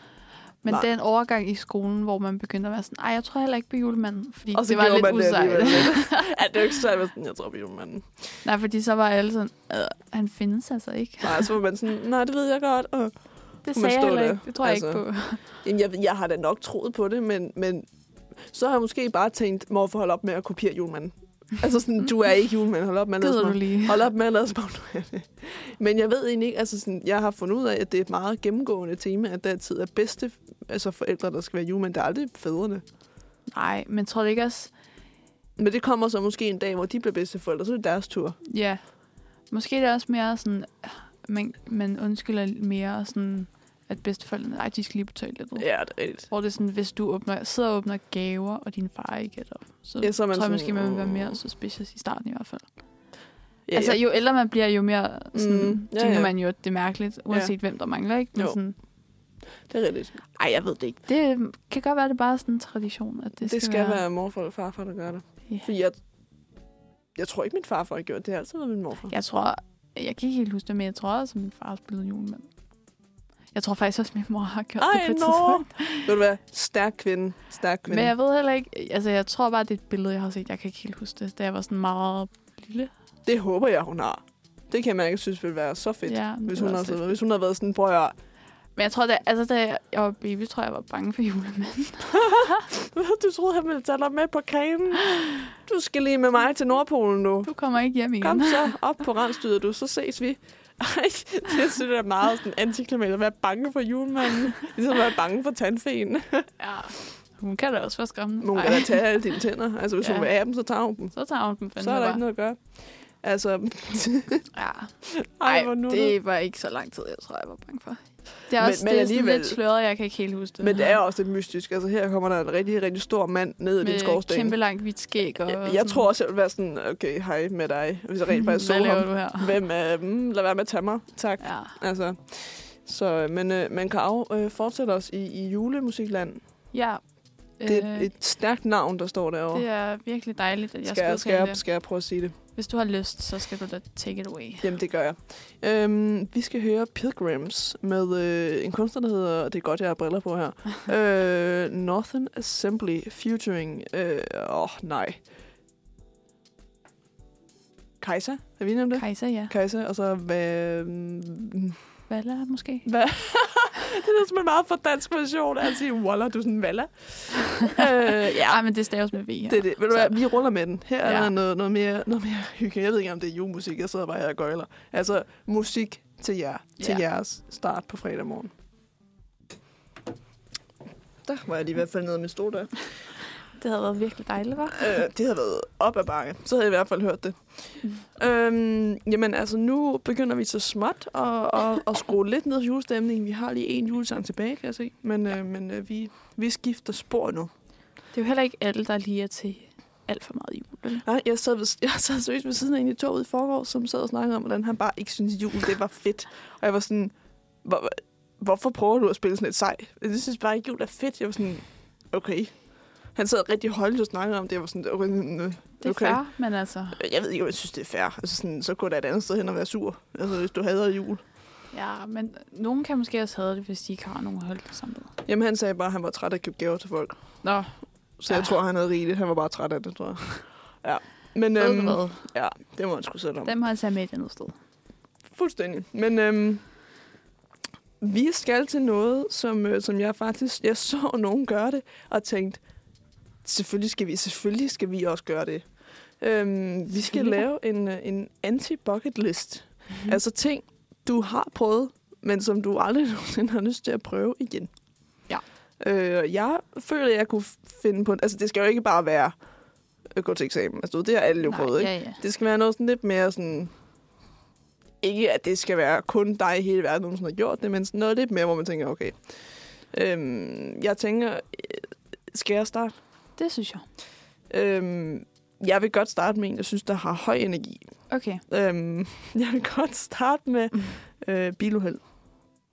Speaker 2: Men
Speaker 1: Nej.
Speaker 2: nej. den overgang i skolen, hvor man begynder at være sådan, ej, jeg tror heller ikke på julemanden, fordi
Speaker 1: Og så
Speaker 2: det var
Speaker 1: gjorde
Speaker 2: lidt
Speaker 1: man det
Speaker 2: usejt.
Speaker 1: alligevel. ja, det er jo ikke så, jeg var sådan, jeg tror på Juman.
Speaker 2: nej, fordi så var alle sådan, øh, han findes altså ikke.
Speaker 1: Nej, så var man sådan, nej, det ved jeg godt. Og,
Speaker 2: Det
Speaker 1: Kunne man
Speaker 2: sagde jeg
Speaker 1: stå
Speaker 2: heller
Speaker 1: der?
Speaker 2: ikke. Det tror jeg
Speaker 1: Altså.
Speaker 2: ikke på.
Speaker 1: jamen, jeg, jeg har da nok troet på det, men, men så har jeg måske bare tænkt, morfar, hold op med at kopiere Juman. Altså sådan, du er ikke Juman, hold op med at lade som
Speaker 2: Gider
Speaker 1: om-
Speaker 2: du lige?
Speaker 1: Hold op med at lade som om, du er det. Men jeg ved egentlig ikke, altså sådan, jeg har fundet ud af, at det er et meget gennemgående tema, at der altid er bedste altså forældre, der skal være julemænd. Det er aldrig fædrene.
Speaker 2: Nej, men tror du ikke også,
Speaker 1: Men det kommer så måske en dag, hvor de bliver bedste forældre, så er det deres tur.
Speaker 2: ja, måske er det er også mere sådan, øh, man, man undskylder mere sådan, at bedsteforældrene, ej, de skal lige på toilettet.
Speaker 1: Ja, det er rigtigt.
Speaker 2: Hvor det er sådan, hvis du åbner, sidder og åbner gaver, og din far ikke er der, så,
Speaker 1: Ja, så er man
Speaker 2: tror jeg
Speaker 1: sådan,
Speaker 2: måske, man vil være
Speaker 1: "Åh."
Speaker 2: mere suspicious i starten i hvert fald.
Speaker 1: Ja,
Speaker 2: altså,
Speaker 1: ja.
Speaker 2: jo ældre man bliver, jo mere sådan,
Speaker 1: Mm,
Speaker 2: mm,
Speaker 1: ja,
Speaker 2: tænker
Speaker 1: ja.
Speaker 2: man jo, at det er mærkeligt, uanset ja. hvem der mangler, ikke? Men
Speaker 1: Jo.
Speaker 2: sådan,
Speaker 1: det er rigtigt.
Speaker 2: ej, jeg ved det ikke. Det øh, kan godt være, at det bare er sådan en tradition, at det,
Speaker 1: Det skal, det skal være... være morfar og farfar, der gør det.
Speaker 2: Ja.
Speaker 1: Fordi jeg, jeg tror ikke, min farfar har gjort det. Det har altid været min morfar.
Speaker 2: Jeg tror, jeg kan ikke helt huske det, men jeg tror også, at min far spillede julemand. Jeg tror faktisk også, at min mor har gjort det
Speaker 1: Ej,
Speaker 2: på et
Speaker 1: nå.
Speaker 2: tidspunkt.
Speaker 1: Ved du hvad? Stærk kvinde. Stærk kvinde.
Speaker 2: Men jeg ved heller ikke, altså jeg tror bare, det er et billede, jeg har set. Jeg kan ikke helt huske det, da jeg var sådan meget lille.
Speaker 1: Det håber jeg, hun har. Det kan man ikke synes ville være så fedt.
Speaker 2: Ja, det
Speaker 1: hvis,
Speaker 2: var
Speaker 1: hun har
Speaker 2: også lidt
Speaker 1: siddet, hvis hun har været sådan, prøv at høre,
Speaker 2: Men jeg tror, da, altså, da jeg var baby, tror jeg, jeg var bange for julemanden.
Speaker 1: du troede, han ville tage dig med på kagen. Du skal lige med mig til Nordpolen nu.
Speaker 2: Du kommer ikke hjem igen.
Speaker 1: Kom så op på rensdyret, du, så ses vi. Ej, det synes jeg er meget sådan antiklimat at være bange for julemanden. Ligesom at være bange for tandfeen.
Speaker 2: Ja. Hun kan da også være skræmmende.
Speaker 1: Nogen kan
Speaker 2: Ej.
Speaker 1: da tage alle dine tænder. Altså, hvis ja.
Speaker 2: Ja.
Speaker 1: hun vil have dem, så tager hun dem.
Speaker 2: Så tager hun den
Speaker 1: Så
Speaker 2: fandme
Speaker 1: er der ikke
Speaker 2: bare.
Speaker 1: noget at gøre. Altså,
Speaker 2: Ja.
Speaker 1: ej, hvor
Speaker 2: Ej,
Speaker 1: nu.
Speaker 2: det var ikke så lang tid, jeg tror, jeg var bange for. Det er
Speaker 1: Men-
Speaker 2: også
Speaker 1: men
Speaker 2: men, det er sådan
Speaker 1: alligevel-
Speaker 2: lidt sløret, jeg kan ikke helt huske det.
Speaker 1: Men det er også lidt mystisk. Altså, her kommer der en rigtig, rigtig stor mand ned i din
Speaker 2: Med
Speaker 1: skorsten.
Speaker 2: kæmpe langt hvidt skæg. Og
Speaker 1: Jeg,
Speaker 2: sådan.
Speaker 1: jeg tror også, jeg ville være sådan, okay, hej med dig, hvis jeg rent faktisk så
Speaker 2: Hvad laver
Speaker 1: ham.
Speaker 2: du her?
Speaker 1: Hvem er, mm, lad være med at tage mig, tak.
Speaker 2: Ja.
Speaker 1: Altså, så, øh, men, øh, men Karo øh, fortsætter os i, i julemusikland.
Speaker 2: ja.
Speaker 1: Det er
Speaker 2: øh,
Speaker 1: et, et stærkt navn, der står derovre.
Speaker 2: det er virkelig dejligt, at jeg
Speaker 1: skal,
Speaker 2: skal,
Speaker 1: jeg, skal, jeg,
Speaker 2: det.
Speaker 1: skal jeg prøve at sige det?
Speaker 2: Hvis du har lyst, så skal du da take it away.
Speaker 1: Jamen, det gør jeg. Øhm, vi skal høre Pilgrims med øh, en kunstner, der hedder, det er godt, jeg har briller på her, øh, Northern Assembly featuring, åh øh, oh, nej, Kajsa, har vi enige om det?
Speaker 2: Kajsa, ja.
Speaker 1: Kajsa, og så hvad... mm,
Speaker 2: Valla, måske.
Speaker 1: hvad? det lyder som en meget for dansk version af at sige, Walla, du er sådan en Valla. øh, ja,
Speaker 2: Ej, men det staves med V her.
Speaker 1: det er det. Ved du
Speaker 2: Så-
Speaker 1: hvad, vi ruller med den. Her er
Speaker 2: Ja.
Speaker 1: der noget, noget, mere, noget mere hygge. Jeg ved ikke, om det er julemusik, jeg sidder bare her og gøjler. Altså, musik til jer. Til
Speaker 2: Ja.
Speaker 1: jeres start på fredag morgen. Der var jeg lige i hvert fald nede med stol der.
Speaker 2: Det havde været virkelig dejligt, var.
Speaker 1: Øh, det havde været op ad bakke. Så havde jeg i hvert fald hørt det. Øhm, jamen altså, nu begynder vi så småt at, at, at skrue lidt ned i julestemningen. Vi har lige en julesang tilbage, kan jeg se. Men, øh, men øh, vi, vi skifter spor nu.
Speaker 2: Det er jo heller ikke alle, der lige er til alt for meget jul. vel?
Speaker 1: Nej, jeg sad, ved, jeg sad seriøst ved siden af en i toget i forgårs, som sad og snakkede om, hvordan han bare ikke syntes, jul det var fedt. Og jeg var sådan, hvor, hvorfor prøver du at spille sådan et sej? Jeg synes bare ikke, jul er fedt. Jeg var sådan, okay. Han sad rigtig holdt og snakkede om det. Jeg var sådan, okay, øh,
Speaker 2: Det er
Speaker 1: Okay.
Speaker 2: okay. fair, men altså...
Speaker 1: Jeg ved ikke, om jeg synes, det er fair. Altså sådan, så gå da et andet sted hen og være sur, altså, hvis du hader jul.
Speaker 2: Ja, men nogen kan måske også have det, hvis de ikke har nogen at holde det sammen med.
Speaker 1: Jamen, han sagde bare, at han var træt af at købe gaver til folk.
Speaker 2: Nå,
Speaker 1: Så jeg
Speaker 2: Ah.
Speaker 1: tror, han havde rigeligt. Han var bare træt af det, tror jeg. Ja. Men
Speaker 2: ved du
Speaker 1: øhm,
Speaker 2: hvad?
Speaker 1: det må han sgu sætte om.
Speaker 2: Dem har jeg taget med et andet sted.
Speaker 1: Fuldstændig. Men øhm, vi skal til noget, som, øh, som jeg faktisk... Jeg så nogen gøre det, og tænkte, selvfølgelig skal vi, selvfølgelig skal vi også gøre det. Øhm, vi skal
Speaker 2: Selvfølgelig.
Speaker 1: lave en, øh, en anti-bucket list. Mm. Altså ting, du har prøvet, men som du aldrig nogensinde har lyst til at prøve igen.
Speaker 2: Ja.
Speaker 1: Øh, jeg føler, jeg kunne finde på... Altså, det skal jo ikke bare være at gå til eksamen. Altså, det har alle jo prøvet, ikke?
Speaker 2: Ja, ja.
Speaker 1: Det skal være noget sådan lidt mere sådan... Ikke at det skal være kun dig i hele verden, nogen sådan har gjort det, men sådan noget lidt mere, hvor man tænker, okay... Øhm, jeg tænker, øh, skal jeg starte?
Speaker 2: Det synes jeg.
Speaker 1: Øhm, jeg vil godt starte med en, jeg synes, der har høj energi.
Speaker 2: Okay.
Speaker 1: Øhm, jeg vil godt starte med øh, biluheld.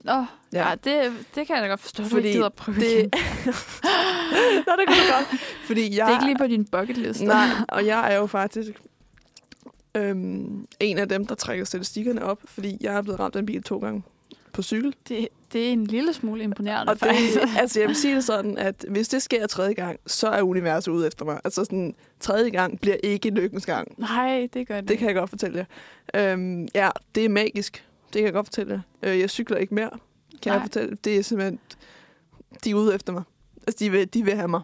Speaker 2: Nå,
Speaker 1: Ja.
Speaker 2: ja. ja det, det kan jeg da godt forstå, Fordi du
Speaker 1: Fordi
Speaker 2: ikke gider at prøve det,
Speaker 1: Det...
Speaker 2: igen.
Speaker 1: Nå, det kan du godt. Fordi jeg...
Speaker 2: Det er ikke lige på din bucket list.
Speaker 1: Nej, og jeg er jo faktisk øhm, en af dem, der trækker statistikkerne op, fordi jeg er blevet ramt af en bil to gange på cykel.
Speaker 2: Det, det er en lille smule imponerende,
Speaker 1: Og det,
Speaker 2: faktisk.
Speaker 1: altså, jeg vil sige det sådan, at hvis det sker tredje gang, så er universet ude efter mig. Altså sådan, tredje gang bliver ikke lykkens gang.
Speaker 2: Nej, det gør det.
Speaker 1: Det kan jeg godt fortælle jer. Øhm, ja, det er magisk. Det kan jeg godt fortælle jer. Øh, jeg cykler ikke mere, kan Nej. jeg
Speaker 2: Nej.
Speaker 1: fortælle. Det er simpelthen, de er ude efter mig. Altså, de vil, de vil have mig.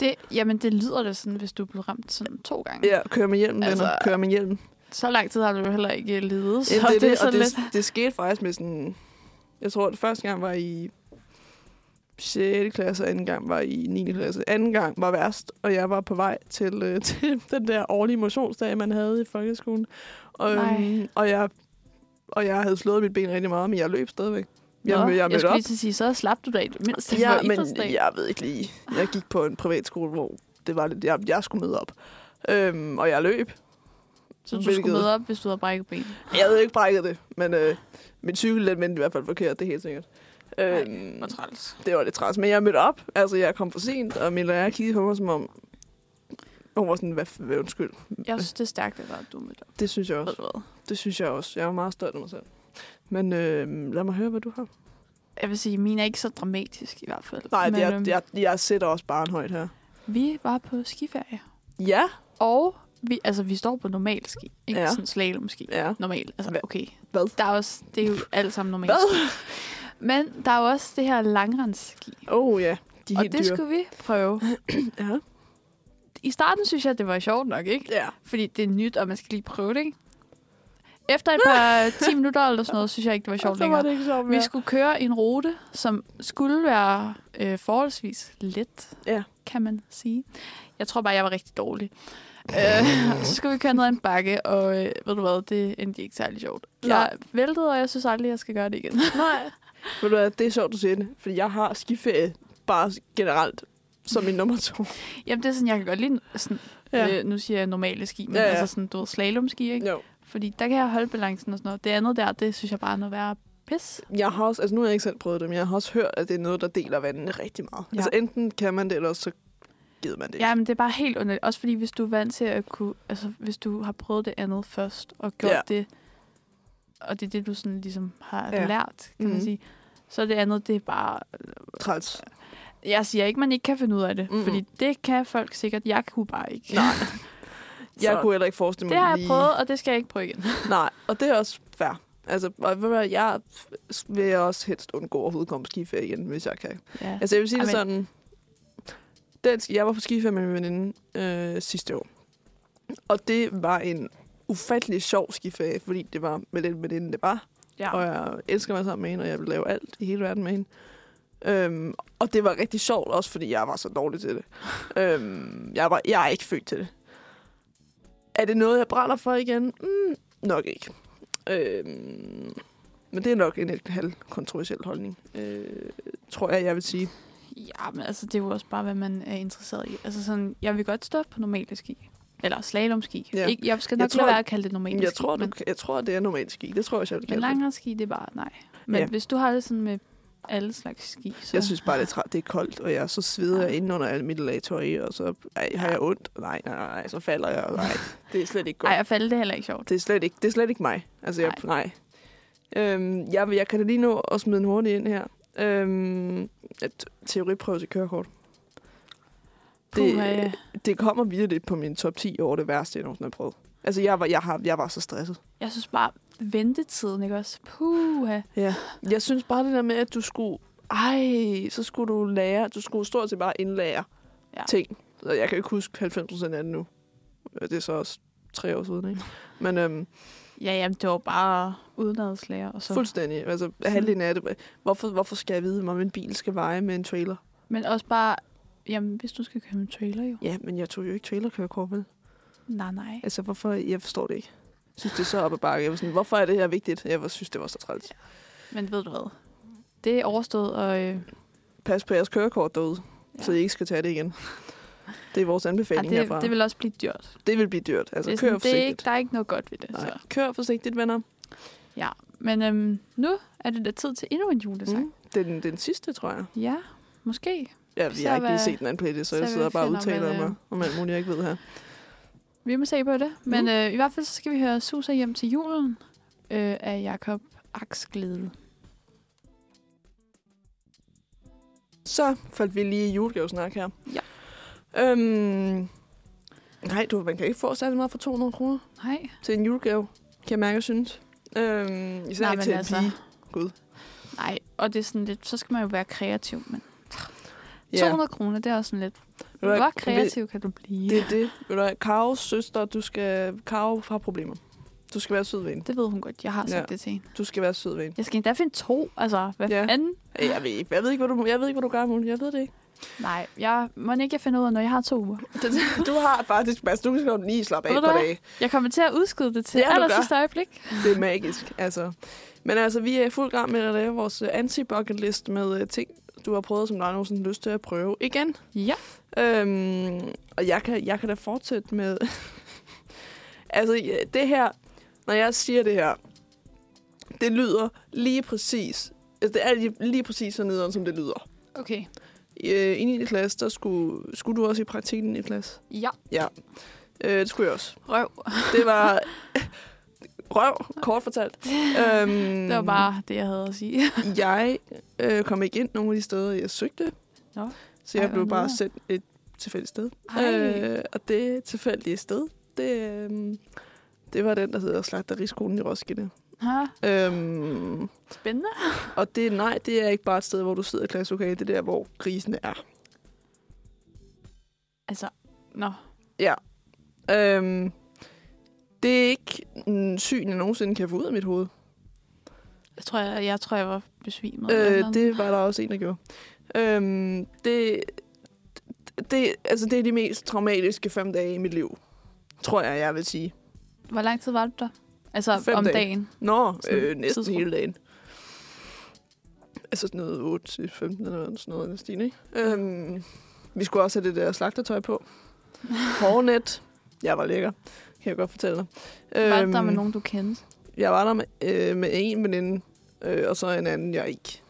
Speaker 2: det. Jamen, det lyder da sådan, hvis du blev ramt sådan to gange.
Speaker 1: Ja, kør med hjelmen, altså,
Speaker 2: Altså,
Speaker 1: venner. Kør med hjelmen.
Speaker 2: Så lang tid har du jo heller ikke ledet, så
Speaker 1: Ja, det, er det,
Speaker 2: så
Speaker 1: og det,
Speaker 2: lidt...
Speaker 1: det skete faktisk med sådan... Jeg tror, at første gang var i 6. klasse, og anden gang var i 9. klasse. Anden gang var værst, og jeg var på vej til, øh, til den der årlige motionsdag, man havde i folkeskolen. Og, øhm,
Speaker 2: Nej.
Speaker 1: og, jeg, og jeg havde slået mit ben rigtig meget, men jeg løb stadigvæk. Jeg,
Speaker 2: Nå,
Speaker 1: mød- jeg
Speaker 2: jeg
Speaker 1: mødte
Speaker 2: skulle
Speaker 1: op.
Speaker 2: lige til at sige, så slap du da i det mindste
Speaker 1: Ja,
Speaker 2: for idrætsdag.
Speaker 1: men jeg ved ikke lige. Jeg gik på en privatskole, hvor det var lidt, jeg, jeg skulle møde op. Øhm, og jeg løb.
Speaker 2: Så du
Speaker 1: hvilket-
Speaker 2: skulle med op, hvis du havde brækket ben.
Speaker 1: Jeg havde ikke brækket det, men øh, min cykel den vendte i hvert fald forkert, det er helt sikkert. Øhm,
Speaker 2: Hvor træls.
Speaker 1: det var lidt træls, men jeg mødte op. Altså, jeg kom for sent, og min lærer kiggede på mig som om... Hun var sådan, hvad, hvad undskyld.
Speaker 2: Jeg synes, det er stærkt, at der er du mødte op.
Speaker 1: Det synes jeg
Speaker 2: Ved
Speaker 1: også.
Speaker 2: du hvad?
Speaker 1: Det synes jeg også. Jeg var meget stolt af mig selv. Men øh, lad mig øhm, høre, hvad du har.
Speaker 2: Jeg vil sige, min er ikke så dramatisk i hvert fald.
Speaker 1: Nej, det er,
Speaker 2: øhm,
Speaker 1: det er, jeg sætter også barn højt her.
Speaker 2: Vi var på skiferie.
Speaker 1: Ja.
Speaker 2: Og vi, altså, vi står på normal ski. Ikke
Speaker 1: Ja.
Speaker 2: ja. sådan slalom ski.
Speaker 1: Ja.
Speaker 2: Normal. Altså,
Speaker 1: Hva-
Speaker 2: okay.
Speaker 1: Hvad?
Speaker 2: Der er også, det er jo alt sammen normalt.
Speaker 1: Hvad?
Speaker 2: Men der er jo også det her langrensski.
Speaker 1: Oh ja, de er
Speaker 2: Og
Speaker 1: helt
Speaker 2: det
Speaker 1: dyre.
Speaker 2: skulle vi prøve.
Speaker 1: Ja.
Speaker 2: I starten synes jeg, det var sjovt nok, ikke?
Speaker 1: ja.
Speaker 2: Fordi det er nyt, og man skal lige prøve det, ikke? Efter et par 10 minutter eller sådan noget, synes jeg ikke, det var sjovt
Speaker 1: så var
Speaker 2: længere.
Speaker 1: det ikke sjovt
Speaker 2: Vi
Speaker 1: mere.
Speaker 2: skulle køre en rute, som skulle være øh, forholdsvis let,
Speaker 1: Ja.
Speaker 2: kan man sige. Jeg tror bare, jeg var rigtig dårlig. Øh, så skulle vi køre ned ad en bakke, og øh, ved du hvad, det endte ikke særlig sjovt. Jeg væltede, og jeg synes aldrig, jeg skal gøre det igen.
Speaker 1: Nej. Ved du hvad, det er sjovt, du siger det. Fordi jeg har skiferie bare generelt som min nummer to.
Speaker 2: Jamen, det er sådan, jeg kan godt lide, sådan,
Speaker 1: Ja.
Speaker 2: ja. øh, nu siger jeg normale ski, men
Speaker 1: Ja,
Speaker 2: ja,
Speaker 1: ja.
Speaker 2: ja. altså sådan, du ved, slalomski, ikke?
Speaker 1: Jo.
Speaker 2: Fordi der kan jeg holde balancen og sådan noget. Det andet der, det synes jeg bare er noget værre pis.
Speaker 1: Jeg har også, altså nu har jeg ikke selv prøvet det, men jeg har også hørt, at det er noget, der deler vandene rigtig meget. Ja.
Speaker 2: Ja.
Speaker 1: Altså enten kan man det, eller også så gider man det ikke.
Speaker 2: Ja, men det er bare helt underligt. Også fordi, hvis du er vant til at kunne... Altså, hvis du har prøvet det andet først, og gjort
Speaker 1: Ja.
Speaker 2: ja. det, og det er det, du sådan ligesom har
Speaker 1: Ja.
Speaker 2: ja. lært, kan mm.
Speaker 1: Mhm.
Speaker 2: man sige, så det andet, det er bare...
Speaker 1: Træls.
Speaker 2: Jeg siger ikke, man ikke kan finde ud af det,
Speaker 1: Mhm.
Speaker 2: mm. fordi det kan folk sikkert. Jeg kunne bare ikke.
Speaker 1: Nej. Jeg
Speaker 2: Så
Speaker 1: kunne heller ikke forestille mig
Speaker 2: Det har jeg
Speaker 1: lige...
Speaker 2: prøvet, og det skal jeg ikke prøve igen.
Speaker 1: Nej, og det er også fair. Altså, og ved du hvad, jeg vil også helst undgå at overhovedet komme på skiferie igen, hvis jeg kan.
Speaker 2: Ja.
Speaker 1: Altså, jeg vil sige det sådan...
Speaker 2: Amen.
Speaker 1: Den, sk- jeg var på skiferie med min veninde øh, sidste år. Og det var en ufattelig sjov skiferie, fordi det var med den veninde, det var.
Speaker 2: Ja.
Speaker 1: Og jeg elsker mig sammen med hende, og jeg vil lave alt i hele verden med hende. Øhm, og det var rigtig sjovt, også fordi jeg var så dårlig til det. øhm, jeg, var, jeg er ikke født til det. Er det noget, jeg brænder for igen? Mm, nok ikke. Øhm, men det er nok en lidt halv kontroversiel holdning, øh, tror jeg, jeg vil sige.
Speaker 2: Ja, men altså, det er jo også bare, hvad man er interesseret i. Altså sådan, jeg vil godt stå på normale ski. Eller slalomski.
Speaker 1: Ja.
Speaker 2: Ja. Ikke, jeg skal
Speaker 1: Jeg
Speaker 2: nok
Speaker 1: tror-
Speaker 2: lade være at kalde det normale
Speaker 1: Jamen, jeg,
Speaker 2: ski.
Speaker 1: tror, du,
Speaker 2: men,
Speaker 1: jeg tror, det er normalt ski. Det tror jeg, også, jeg vil
Speaker 2: men
Speaker 1: kalde det.
Speaker 2: langrensski, det er bare nej. Men
Speaker 1: Ja.
Speaker 2: ja. hvis du har det sådan med alle slags ski, så...
Speaker 1: Jeg synes bare, det er, træt, det er koldt, og jeg så sveder jeg inde under alt mit lag tøj, og så ej, har jeg ondt. Nej, nej, nej, nej, så falder jeg. og Nej, det er slet ikke godt.
Speaker 2: Ej, at falde, det er heller ikke sjovt.
Speaker 1: Det er slet ikke, det er slet ikke mig. Altså, jeg, nej. Øhm, jeg, vil- jeg kan da lige nå at smide en hurtig ind her. Øhm, at teoriprøve til kørekort.
Speaker 2: Det,
Speaker 1: det-
Speaker 2: Puh, ja.
Speaker 1: Det kommer virkelig på min top 10 over det værste, jeg nogensinde har prøvet. Altså, jeg var, jeg, har, jeg var så stresset.
Speaker 2: Jeg synes bare, ventetiden, ikke også? Puh, ja.
Speaker 1: Jeg synes bare det der med, at du skulle... Ej, så skulle du lære... Du skulle stort set bare indlære ja.
Speaker 2: Ja.
Speaker 1: ting. Så jeg kan ikke huske 90 procent af det nu. Øh, Det er så også tre år siden, ikke? Men øhm,
Speaker 2: ja jamen, det var bare udenadslærer og så.
Speaker 1: fuldstændig. Altså, halvdelen af det. Hvorfor, hvorfor skal jeg vide, hvor min bil skal veje med en trailer?
Speaker 2: Men også bare, jamen, hvis du skal købe en trailer jo.
Speaker 1: Ja, men jeg tog jo ikke trailerkørekort med.
Speaker 2: Nej, nej.
Speaker 1: Altså, hvorfor? Jeg forstår det ikke. Jeg synes, det er så op ad bakke. Jeg var sådan, hvorfor er det her vigtigt? Jeg var, synes, det var så træls.
Speaker 2: Men ved du hvad? Det er overstået, og øh,
Speaker 1: Pas på jeres kørekort derude, ja. så I
Speaker 2: ja.
Speaker 1: ikke skal tage det igen. Det er vores
Speaker 2: Ej,
Speaker 1: anbefaling herfra.
Speaker 2: det, det vil også blive dyrt.
Speaker 1: det vil blive dyrt. Altså,
Speaker 2: det er
Speaker 1: kør
Speaker 2: sådan, det er ikke,
Speaker 1: forsigtigt.
Speaker 2: der er ikke noget godt ved det. Så.
Speaker 1: Nej. Kør forsigtigt, venner.
Speaker 2: Ja. Men øhm, nu er det da tid til endnu en julesang.
Speaker 1: Mm. Det er den, den sidste, tror jeg.
Speaker 2: Mm. Ja, måske.
Speaker 1: Ja, vi
Speaker 2: Så
Speaker 1: har ikke lige
Speaker 2: hvad-
Speaker 1: set den anden playlist, så,
Speaker 2: så
Speaker 1: jeg
Speaker 2: vi
Speaker 1: sidder bare og
Speaker 2: finder,
Speaker 1: udtaler
Speaker 2: hvad, øh,
Speaker 1: mig om alt muligt, jeg ikke ved her.
Speaker 2: Vi må se på det. Men
Speaker 1: Mm.
Speaker 2: øh, i hvert fald så skal vi høre Suser hjem til julen øh, af Jakob Aksglede.
Speaker 1: Så faldt vi lige i julegavesnak her.
Speaker 2: Ja.
Speaker 1: Øhm, nej, du, man kan ikke få særlig meget for 200 kroner.
Speaker 2: Nej.
Speaker 1: til en julegave, kan jeg mærke, jeg synes. Øhm, især Nej,
Speaker 2: Nej,
Speaker 1: ikke
Speaker 2: men
Speaker 1: til en
Speaker 2: altså-
Speaker 1: pige. Gud.
Speaker 2: Nej, og det er sådan lidt, så skal man jo være kreativ, men
Speaker 1: Ja.
Speaker 2: 200 kroner, det er også sådan lidt,
Speaker 1: Ved du hvad,
Speaker 2: hvor kreativ kan du blive?
Speaker 1: Det, det er det. Ved du hvad, Karos søster, du skal... Karo har problemer. Du skal være sød ved hende.
Speaker 2: Det ved hun godt, jeg har sagt
Speaker 1: Ja.
Speaker 2: det til hende.
Speaker 1: Du skal være sød ved hende.
Speaker 2: Jeg skal endda finde to, altså, hvad
Speaker 1: Ja.
Speaker 2: ja. fanden?
Speaker 1: Jeg ved, ikke, jeg ved ikke, hvad du, jeg ved ikke, hvad du gør, Mune. Jeg ved det ikke.
Speaker 2: Nej, jeg må ikke jeg finder ud af, når jeg har to uger.
Speaker 1: Du har faktisk... Altså, du skal lige slappe af
Speaker 2: Ved
Speaker 1: et
Speaker 2: du
Speaker 1: par
Speaker 2: hvad?
Speaker 1: dage.
Speaker 2: Jeg kommer til at udskyde det til
Speaker 1: Ja, du
Speaker 2: ja,
Speaker 1: gør.
Speaker 2: aller sidste øjeblik.
Speaker 1: Det er magisk, altså. Men altså, vi er i fuld gang med at lave vores øh, anti-bucket list med øh, ting, du har prøvet, som du har nogensinde lyst til at prøve igen.
Speaker 2: Ja,
Speaker 1: Øhm, og jeg kan, jeg kan da fortsætte med... altså, ja, det her... Når jeg siger det her, det lyder lige præcis... Altså, det er lige, lige præcis så nederen, som det lyder.
Speaker 2: okay.
Speaker 1: Øh, I 9. klasse, der skulle, skulle du også i praktik i 9. klasse.
Speaker 2: Ja,
Speaker 1: Øh, det skulle jeg også.
Speaker 2: røv.
Speaker 1: Det var... røv, kort fortalt. øhm,
Speaker 2: Det var bare det, jeg havde at sige.
Speaker 1: Jeg øh, kom ikke ind nogen af de steder, jeg søgte.
Speaker 2: Nå.
Speaker 1: Så jeg
Speaker 2: Ej,
Speaker 1: blev
Speaker 2: hvor
Speaker 1: bare
Speaker 2: nederen.
Speaker 1: sendt et tilfældigt sted.
Speaker 2: Ej.
Speaker 1: Øh, og det tilfældige sted, det, øh, det var den, der hedder Slagteriskolen i Roskilde.
Speaker 2: Ha,
Speaker 1: Øhm,
Speaker 2: spændende.
Speaker 1: og det, nej, det er ikke bare et sted, hvor du sidder i klasselokalet. Det er der, hvor grisene er.
Speaker 2: Altså, nå.
Speaker 1: Øhm, det er ikke en syn, jeg nogensinde kan få ud af mit hoved.
Speaker 2: Jeg tror, jeg, jeg, tror, jeg var besvimet. eller
Speaker 1: Øh,
Speaker 2: sådan
Speaker 1: det var der også en, der gjorde. Øhm, det, det, altså, det er de mest traumatiske fem dage i mit liv, tror jeg, jeg vil sige.
Speaker 2: noget. Hvor lang tid var du der? Altså,
Speaker 1: Fem
Speaker 2: om
Speaker 1: dage.
Speaker 2: dagen.
Speaker 1: Nå,
Speaker 2: Sådan
Speaker 1: øh, næsten
Speaker 2: tidsrum.
Speaker 1: hele dagen. Altså sådan noget 8 til 15 eller sådan noget, i den stil, ikke? Øhm, vi skulle også have det der slagtertøj på. Hårnet. Jeg var lækker, kan jeg godt fortælle dig. Øhm,
Speaker 2: Var du der med nogen, du kendte?
Speaker 1: Jeg var der med, øh, med en veninde, øh, og så en anden, jeg ikke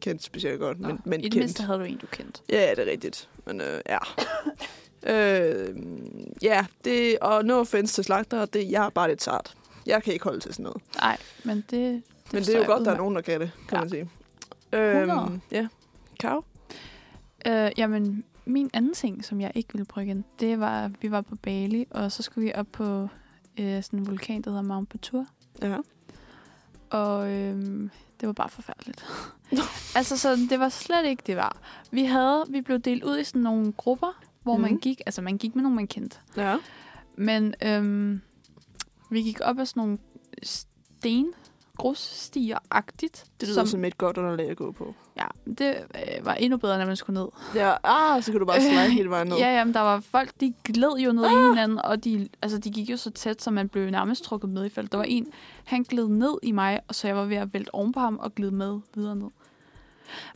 Speaker 1: kendte specielt godt,
Speaker 2: Nå,
Speaker 1: men, men
Speaker 2: I det
Speaker 1: kendte.
Speaker 2: mindste havde du en, du kendte.
Speaker 1: Ja, det er rigtigt. Men øh, ja. øh, ja, det, og no offense til slagter, det, jeg er bare lidt sart. Jeg kan ikke holde til sådan noget.
Speaker 2: Nej, men det... det
Speaker 1: Men det
Speaker 2: forstår
Speaker 1: er jo
Speaker 2: jeg
Speaker 1: godt, der er
Speaker 2: udmærket.
Speaker 1: nogen, der kan det, kan
Speaker 2: Ja.
Speaker 1: ja. man sige.
Speaker 2: 100.
Speaker 1: Øhm, ja. Kav?
Speaker 2: Øh, jamen, min anden ting, som jeg ikke ville brygge ind, det var, at vi var på Bali, og så skulle vi op på øh, sådan en vulkan, der hedder Mount Batur.
Speaker 1: Ja.
Speaker 2: Og øh, det var bare forfærdeligt. altså, så det var slet ikke det var. Vi havde, vi blev delt ud i sådan nogle grupper, hvor mm. man
Speaker 1: Mhm.
Speaker 2: gik, altså man gik med nogen, man kendte.
Speaker 1: Ja.
Speaker 2: Men øh, vi gik op ad sådan nogle sten, grusstier-agtigt.
Speaker 1: Det lyder som, som et godt underlag at gå på.
Speaker 2: ja, det øh, var endnu bedre, når man skulle ned.
Speaker 1: Ja, ah, så kan du bare slide hele vejen ned.
Speaker 2: Ja, ja, men der var folk, de gled jo ned ah. i hinanden, og de, altså, de gik jo så tæt, så man blev nærmest trukket med i fald. Der var en, han gled ned i mig, og så jeg var ved at vælte oven på ham og glide med videre ned.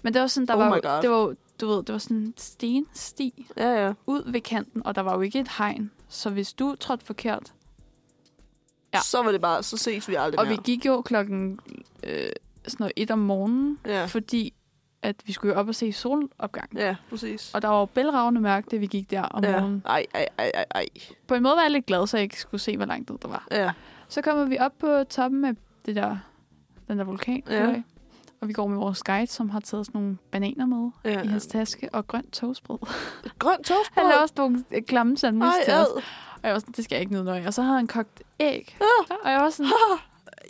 Speaker 2: Men det var sådan, der
Speaker 1: Oh
Speaker 2: var,
Speaker 1: my
Speaker 2: jo-
Speaker 1: God.
Speaker 2: det var, jo- du ved, det var sådan en stensti
Speaker 1: ja. ja.
Speaker 2: ud ved kanten, og der var jo ikke et hegn. Så hvis du trådte forkert, Ja.
Speaker 1: Så var det bare, så ses vi aldrig
Speaker 2: og
Speaker 1: mere.
Speaker 2: vi gik jo klokken øh, sådan noget et om morgenen,
Speaker 1: Ja.
Speaker 2: fordi at vi skulle jo op og se solopgang.
Speaker 1: Ja, præcis.
Speaker 2: Og der var jo bælragende mørkt, da vi gik der om
Speaker 1: ja.
Speaker 2: morgenen.
Speaker 1: Ej, ej, ej, ej, ej.
Speaker 2: På en måde var jeg lidt glad, så jeg ikke skulle se, hvor langt ned der var.
Speaker 1: Ja.
Speaker 2: Så kommer vi op på toppen af det der, den der vulkan.
Speaker 1: Ja.
Speaker 2: Ja. Og vi går med vores guide, som har taget sådan nogle bananer med
Speaker 1: ja.
Speaker 2: ja. i hans taske og grønt toastbrød.
Speaker 1: Grønt
Speaker 2: Han
Speaker 1: toastbrød.
Speaker 2: lavede også nogle øh, klamme sandwich
Speaker 1: Ej,
Speaker 2: til os.
Speaker 1: ad.
Speaker 2: Og jeg var sådan, det skal jeg ikke nyde noget af. Og så havde han kogt æg.
Speaker 1: Ah.
Speaker 2: Og jeg var sådan,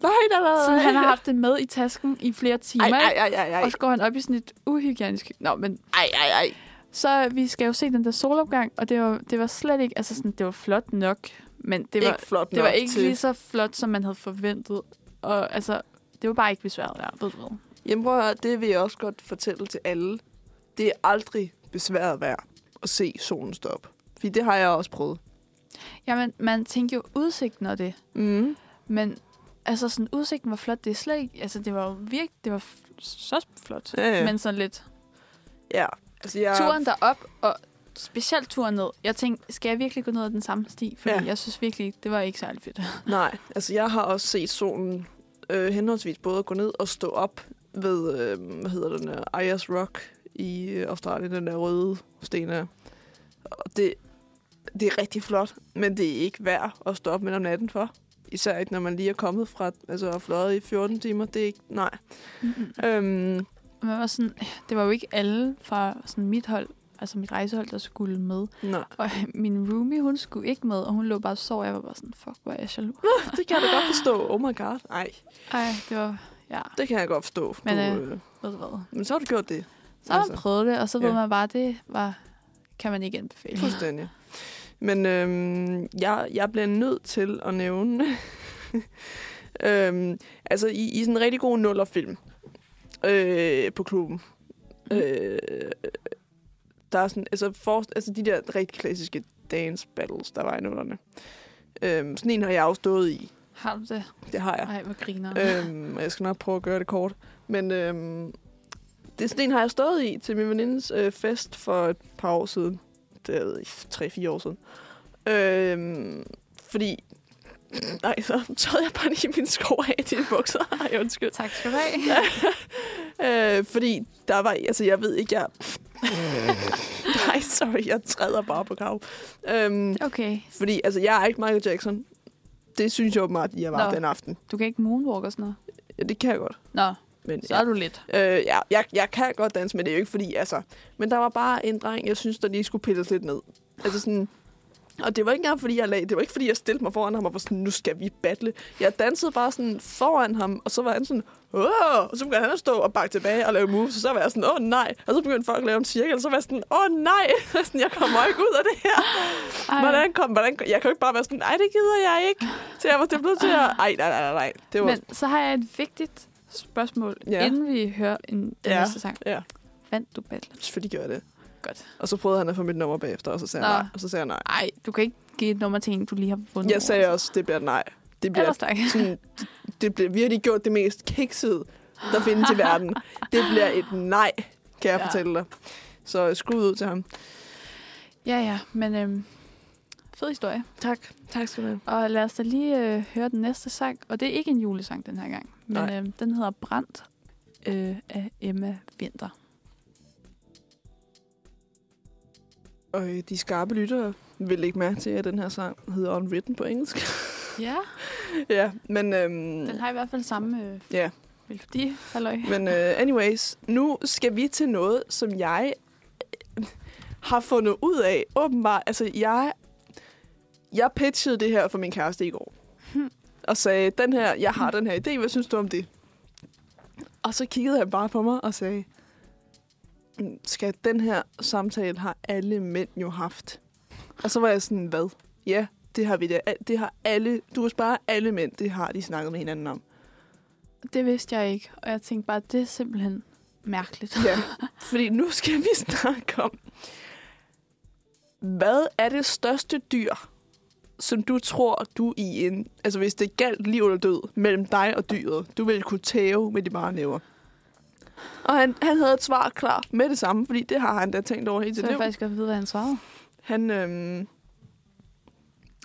Speaker 1: Nej, nej, nej.
Speaker 2: sådan,
Speaker 1: nej.
Speaker 2: han har haft det med i tasken i flere timer.
Speaker 1: Ej, ej,
Speaker 2: ikke?
Speaker 1: ej, ej, ej.
Speaker 2: Og så går han op i sådan et uhygiejnisk... Nå, men
Speaker 1: Ej, ej, ej.
Speaker 2: så øh, vi skal jo se den der solopgang, og det var, det var slet ikke... Altså sådan, det var flot nok, men det var,
Speaker 1: ikke flot
Speaker 2: Det
Speaker 1: nok
Speaker 2: var ikke
Speaker 1: til...
Speaker 2: lige så flot, som man havde forventet. Og altså, det var bare ikke besværet værd, ved du hvad.
Speaker 1: Jamen prøv at høre, det vil jeg også godt fortælle til alle. Det er aldrig besværet værd at se solen stå op. Fordi det har jeg også prøvet.
Speaker 2: Jamen, man tænkte jo udsigten og det.
Speaker 1: Mm.
Speaker 2: Men altså, sådan udsigten var flot. Det er slet ikke... Altså, det var jo virkelig... Det var f- så flot.
Speaker 1: Ja, ja.
Speaker 2: Men sådan lidt.
Speaker 1: Ja. Altså, jeg...
Speaker 2: Turen derop og specielt turen ned. Jeg tænkte, skal jeg virkelig gå ned ad den samme sti? Fordi
Speaker 1: Ja.
Speaker 2: jeg synes virkelig, det var ikke særlig fedt.
Speaker 1: Nej, altså jeg har også set solen øh, henholdsvis både gå ned og stå op ved, øh, hvad hedder den der, Ayers Rock i øh, Australien, den der røde sten der. Og det, det er rigtig flot, men det er ikke værd at stå op midt om natten for. Især ikke, når man lige er kommet fra, altså og fløjet i 14 timer. Det er ikke, nej.
Speaker 2: Mm-mm.
Speaker 1: Øhm,
Speaker 2: Og Man var sådan, det var jo ikke alle fra sådan mit hold, altså mit rejsehold, der skulle med.
Speaker 1: nej.
Speaker 2: Og min roomie, hun skulle ikke med, og hun lå bare og sov. og Jeg var bare sådan, fuck, hvor er jeg jaloux.
Speaker 1: Det kan jeg da godt forstå. Oh my god. Nej,
Speaker 2: Ej, det var... Ja,
Speaker 1: det kan jeg godt forstå.
Speaker 2: Men,
Speaker 1: du, øh,
Speaker 2: ved du hvad.
Speaker 1: men så har du gjort det.
Speaker 2: Så har man
Speaker 1: Altså,
Speaker 2: prøvet det, og så ved
Speaker 1: ja.
Speaker 2: man bare, det var, kan man ikke anbefale.
Speaker 1: Fuldstændig. Men øhm, jeg, jeg bliver nødt til at nævne... øhm, altså, i, i sådan en rigtig god nullerfilm øh, på klubben,
Speaker 2: Mm.
Speaker 1: mm. øh, der er sådan... Altså, for, altså, de der rigtig klassiske dance battles, der var i nullerne. Øhm, sådan en har jeg også stået i.
Speaker 2: Har du det?
Speaker 1: Det har jeg.
Speaker 2: Ej, hvor griner. Øh.
Speaker 1: Øhm, og jeg skal nok prøve at gøre det kort. Men øhm, det er sådan en, har jeg stået i til min venindes øh, fest for et par år siden. Det er jeg ved ikke, 3-4 år siden. Øhm, fordi... Nej, så tøjede jeg bare lige min sko af i dine bukser. Ej, undskyld.
Speaker 2: Tak skal du have.
Speaker 1: Øh, fordi der var... Altså, jeg ved ikke, jeg... Nej, sorry, jeg træder bare på kav. Øhm,
Speaker 2: Okay.
Speaker 1: fordi altså, jeg er ikke Michael Jackson. det synes jeg åbenbart, jeg var
Speaker 2: Nå.
Speaker 1: Nå. den aften.
Speaker 2: Du kan ikke moonwalk og sådan noget.
Speaker 1: Ja, det kan jeg godt.
Speaker 2: Nå,
Speaker 1: Men,
Speaker 2: så
Speaker 1: ja.
Speaker 2: er du lidt.
Speaker 1: Øh, ja, jeg, jeg kan godt danse, men det er jo ikke fordi, altså... Men der var bare en dreng, jeg synes, der lige skulle pilles lidt ned. Altså sådan... Og det var ikke engang, fordi jeg lag, det var ikke, fordi jeg stillede mig foran ham og var sådan, nu skal vi battle. Jeg dansede bare sådan foran ham, og så var han sådan, åh, og så begyndte han at stå og bakke tilbage og lave moves, og så var jeg sådan, åh nej, og så begyndte folk at lave en cirkel, og så var jeg sådan, åh nej, sådan, jeg kommer ikke ud af det her.
Speaker 2: Ej,
Speaker 1: Hvordan kom, hvordan kom? Jeg kan jo ikke bare være sådan, nej, det gider jeg ikke. Så jeg var simpelthen nødt til at, ej, nej, nej, nej, nej. Det var,
Speaker 2: Men så har jeg et vigtigt spørgsmål, ja.
Speaker 1: Ja.
Speaker 2: inden vi hører en, den ja.
Speaker 1: Ja.
Speaker 2: næste sang.
Speaker 1: ja,
Speaker 2: Vandt du battle?
Speaker 1: selvfølgelig gjorde jeg det.
Speaker 2: Godt.
Speaker 1: Og så prøvede han at få mit nummer bagefter, og så sagde
Speaker 2: Nå.
Speaker 1: jeg nej. Og så sagde jeg nej.
Speaker 2: Ej, du kan ikke give et nummer til en, du lige har vundet.
Speaker 1: Jeg sagde også, det bliver et nej. Det bliver,
Speaker 2: Ellers tak.
Speaker 1: sådan, det bliver virkelig gjort det mest kiksede, der findes i verden. Det bliver et nej, kan jeg
Speaker 2: Ja.
Speaker 1: ja. fortælle dig. Så skud ud til ham.
Speaker 2: Ja, ja, men øhm, fed historie.
Speaker 1: Tak. Tak skal du have.
Speaker 2: Og lad os da lige øh, høre den næste sang. Og det er ikke en julesang den her gang, men
Speaker 1: Nej.
Speaker 2: øhm, den hedder Brandt øh, af Emma Vinter.
Speaker 1: Og øh, de skarpe lyttere vil lægge mærke til, at den her sang hedder Unwritten på engelsk.
Speaker 2: Ja,
Speaker 1: ja, men... Øhm,
Speaker 2: den har i hvert fald samme øh,
Speaker 1: Ja.
Speaker 2: melodi. Halløj.
Speaker 1: Men uh, anyways, nu skal vi til noget, som jeg øh, har fundet ud af. Åbenbart, altså jeg, jeg pitchede det her for min kæreste i går. Og sagde, den her, jeg har den her idé, hvad synes du om det? Og så kiggede han bare på mig og sagde, "Mm, skal den her samtale har alle mænd jo haft. Og så var jeg sådan, hvad? Ja, det har vi da. Al- Det har alle, du kan spørge alle mænd, det har de snakket med hinanden om.
Speaker 2: Det vidste jeg ikke, og jeg tænkte bare, det er simpelthen mærkeligt.
Speaker 1: Ja, fordi nu skal vi snakke om, hvad er det største dyr, som du tror, du i en... Altså hvis det galt liv eller død mellem dig og dyret, du ville kunne tæve med de bare næver. Og han, han havde et svar klar med det samme, fordi det har han da tænkt over hele
Speaker 2: Så
Speaker 1: sit
Speaker 2: vil jeg
Speaker 1: liv.
Speaker 2: faktisk godt vide, hvad han svarede.
Speaker 1: Han, øhm,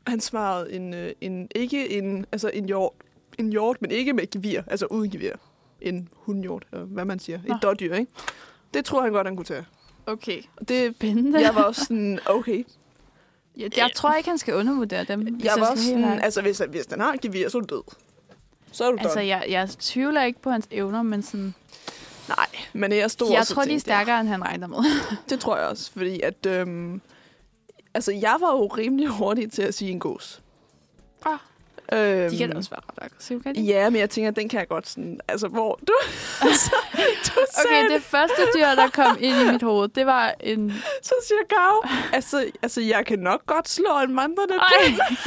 Speaker 1: han svarede en, øh, en, ikke en, altså en hjort, en hjort, men ikke med gevir, altså uden gevir. En hundhjort, eller hvad man siger.
Speaker 2: Nå.
Speaker 1: Et dårdyr, ikke? Det tror han godt, han kunne tage.
Speaker 2: Okay.
Speaker 1: Og det,
Speaker 2: Spændende.
Speaker 1: jeg var også sådan, okay.
Speaker 2: Jeg, jeg tror ikke, han skal undervurdere dem. hvis
Speaker 1: Jeg var
Speaker 2: skal
Speaker 1: også
Speaker 2: helt
Speaker 1: sådan,
Speaker 2: ærlig.
Speaker 1: altså hvis, hvis den har et gevir, så er du død. Så er du altså,
Speaker 2: altså
Speaker 1: død.
Speaker 2: jeg, jeg tvivler ikke på hans evner, men sådan,
Speaker 1: Nej, men jeg stod
Speaker 2: jeg
Speaker 1: også og
Speaker 2: tror, de er
Speaker 1: tænkte, ja.
Speaker 2: stærkere, end han regner med.
Speaker 1: Det tror jeg også, fordi at... Øhm, altså, jeg var jo rimelig hurtig til at sige en gås.
Speaker 2: Ah,
Speaker 1: Øhm,
Speaker 2: de kan da også være ret aggressive, kan de?
Speaker 1: Ja, men jeg tænker, den kan jeg godt sådan... Altså, hvor du... så, du
Speaker 2: Okay,
Speaker 1: sagde,
Speaker 2: det første dyr, der kom ind i mit hoved, det var en...
Speaker 1: så siger Gav, altså, altså, jeg kan nok godt slå en vandrende
Speaker 2: Ej.
Speaker 1: pind.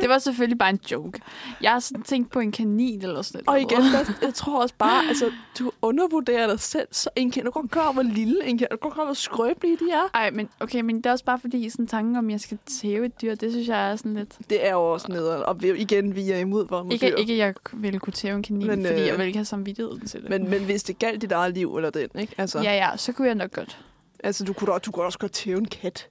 Speaker 2: Det var selvfølgelig bare en joke. Jeg har sådan tænkt på en kanin eller sådan
Speaker 1: Og
Speaker 2: noget.
Speaker 1: igen, der, jeg tror også bare, altså, du undervurderer dig selv, så en kan du godt klar, over, hvor lille en kan, du godt klar, over, hvor skrøbelige de er.
Speaker 2: Ej, men okay, men det er også bare fordi, sådan tanken om, at jeg skal tæve et dyr, det synes jeg er sådan lidt...
Speaker 1: Det er jo også nederen, og vi, igen, vi er imod vold
Speaker 2: Ikke, ikke, at jeg ville kunne tæve en kanin, men,
Speaker 1: Men,
Speaker 2: fordi
Speaker 1: øh,
Speaker 2: jeg ville ikke have samvittigheden til det.
Speaker 1: Men, men hvis det galt dit eget liv eller den, ikke? Altså, ja.
Speaker 2: ja, ja, så kunne jeg nok godt.
Speaker 1: altså du, kunne da, du kunne også godt tæve en kat.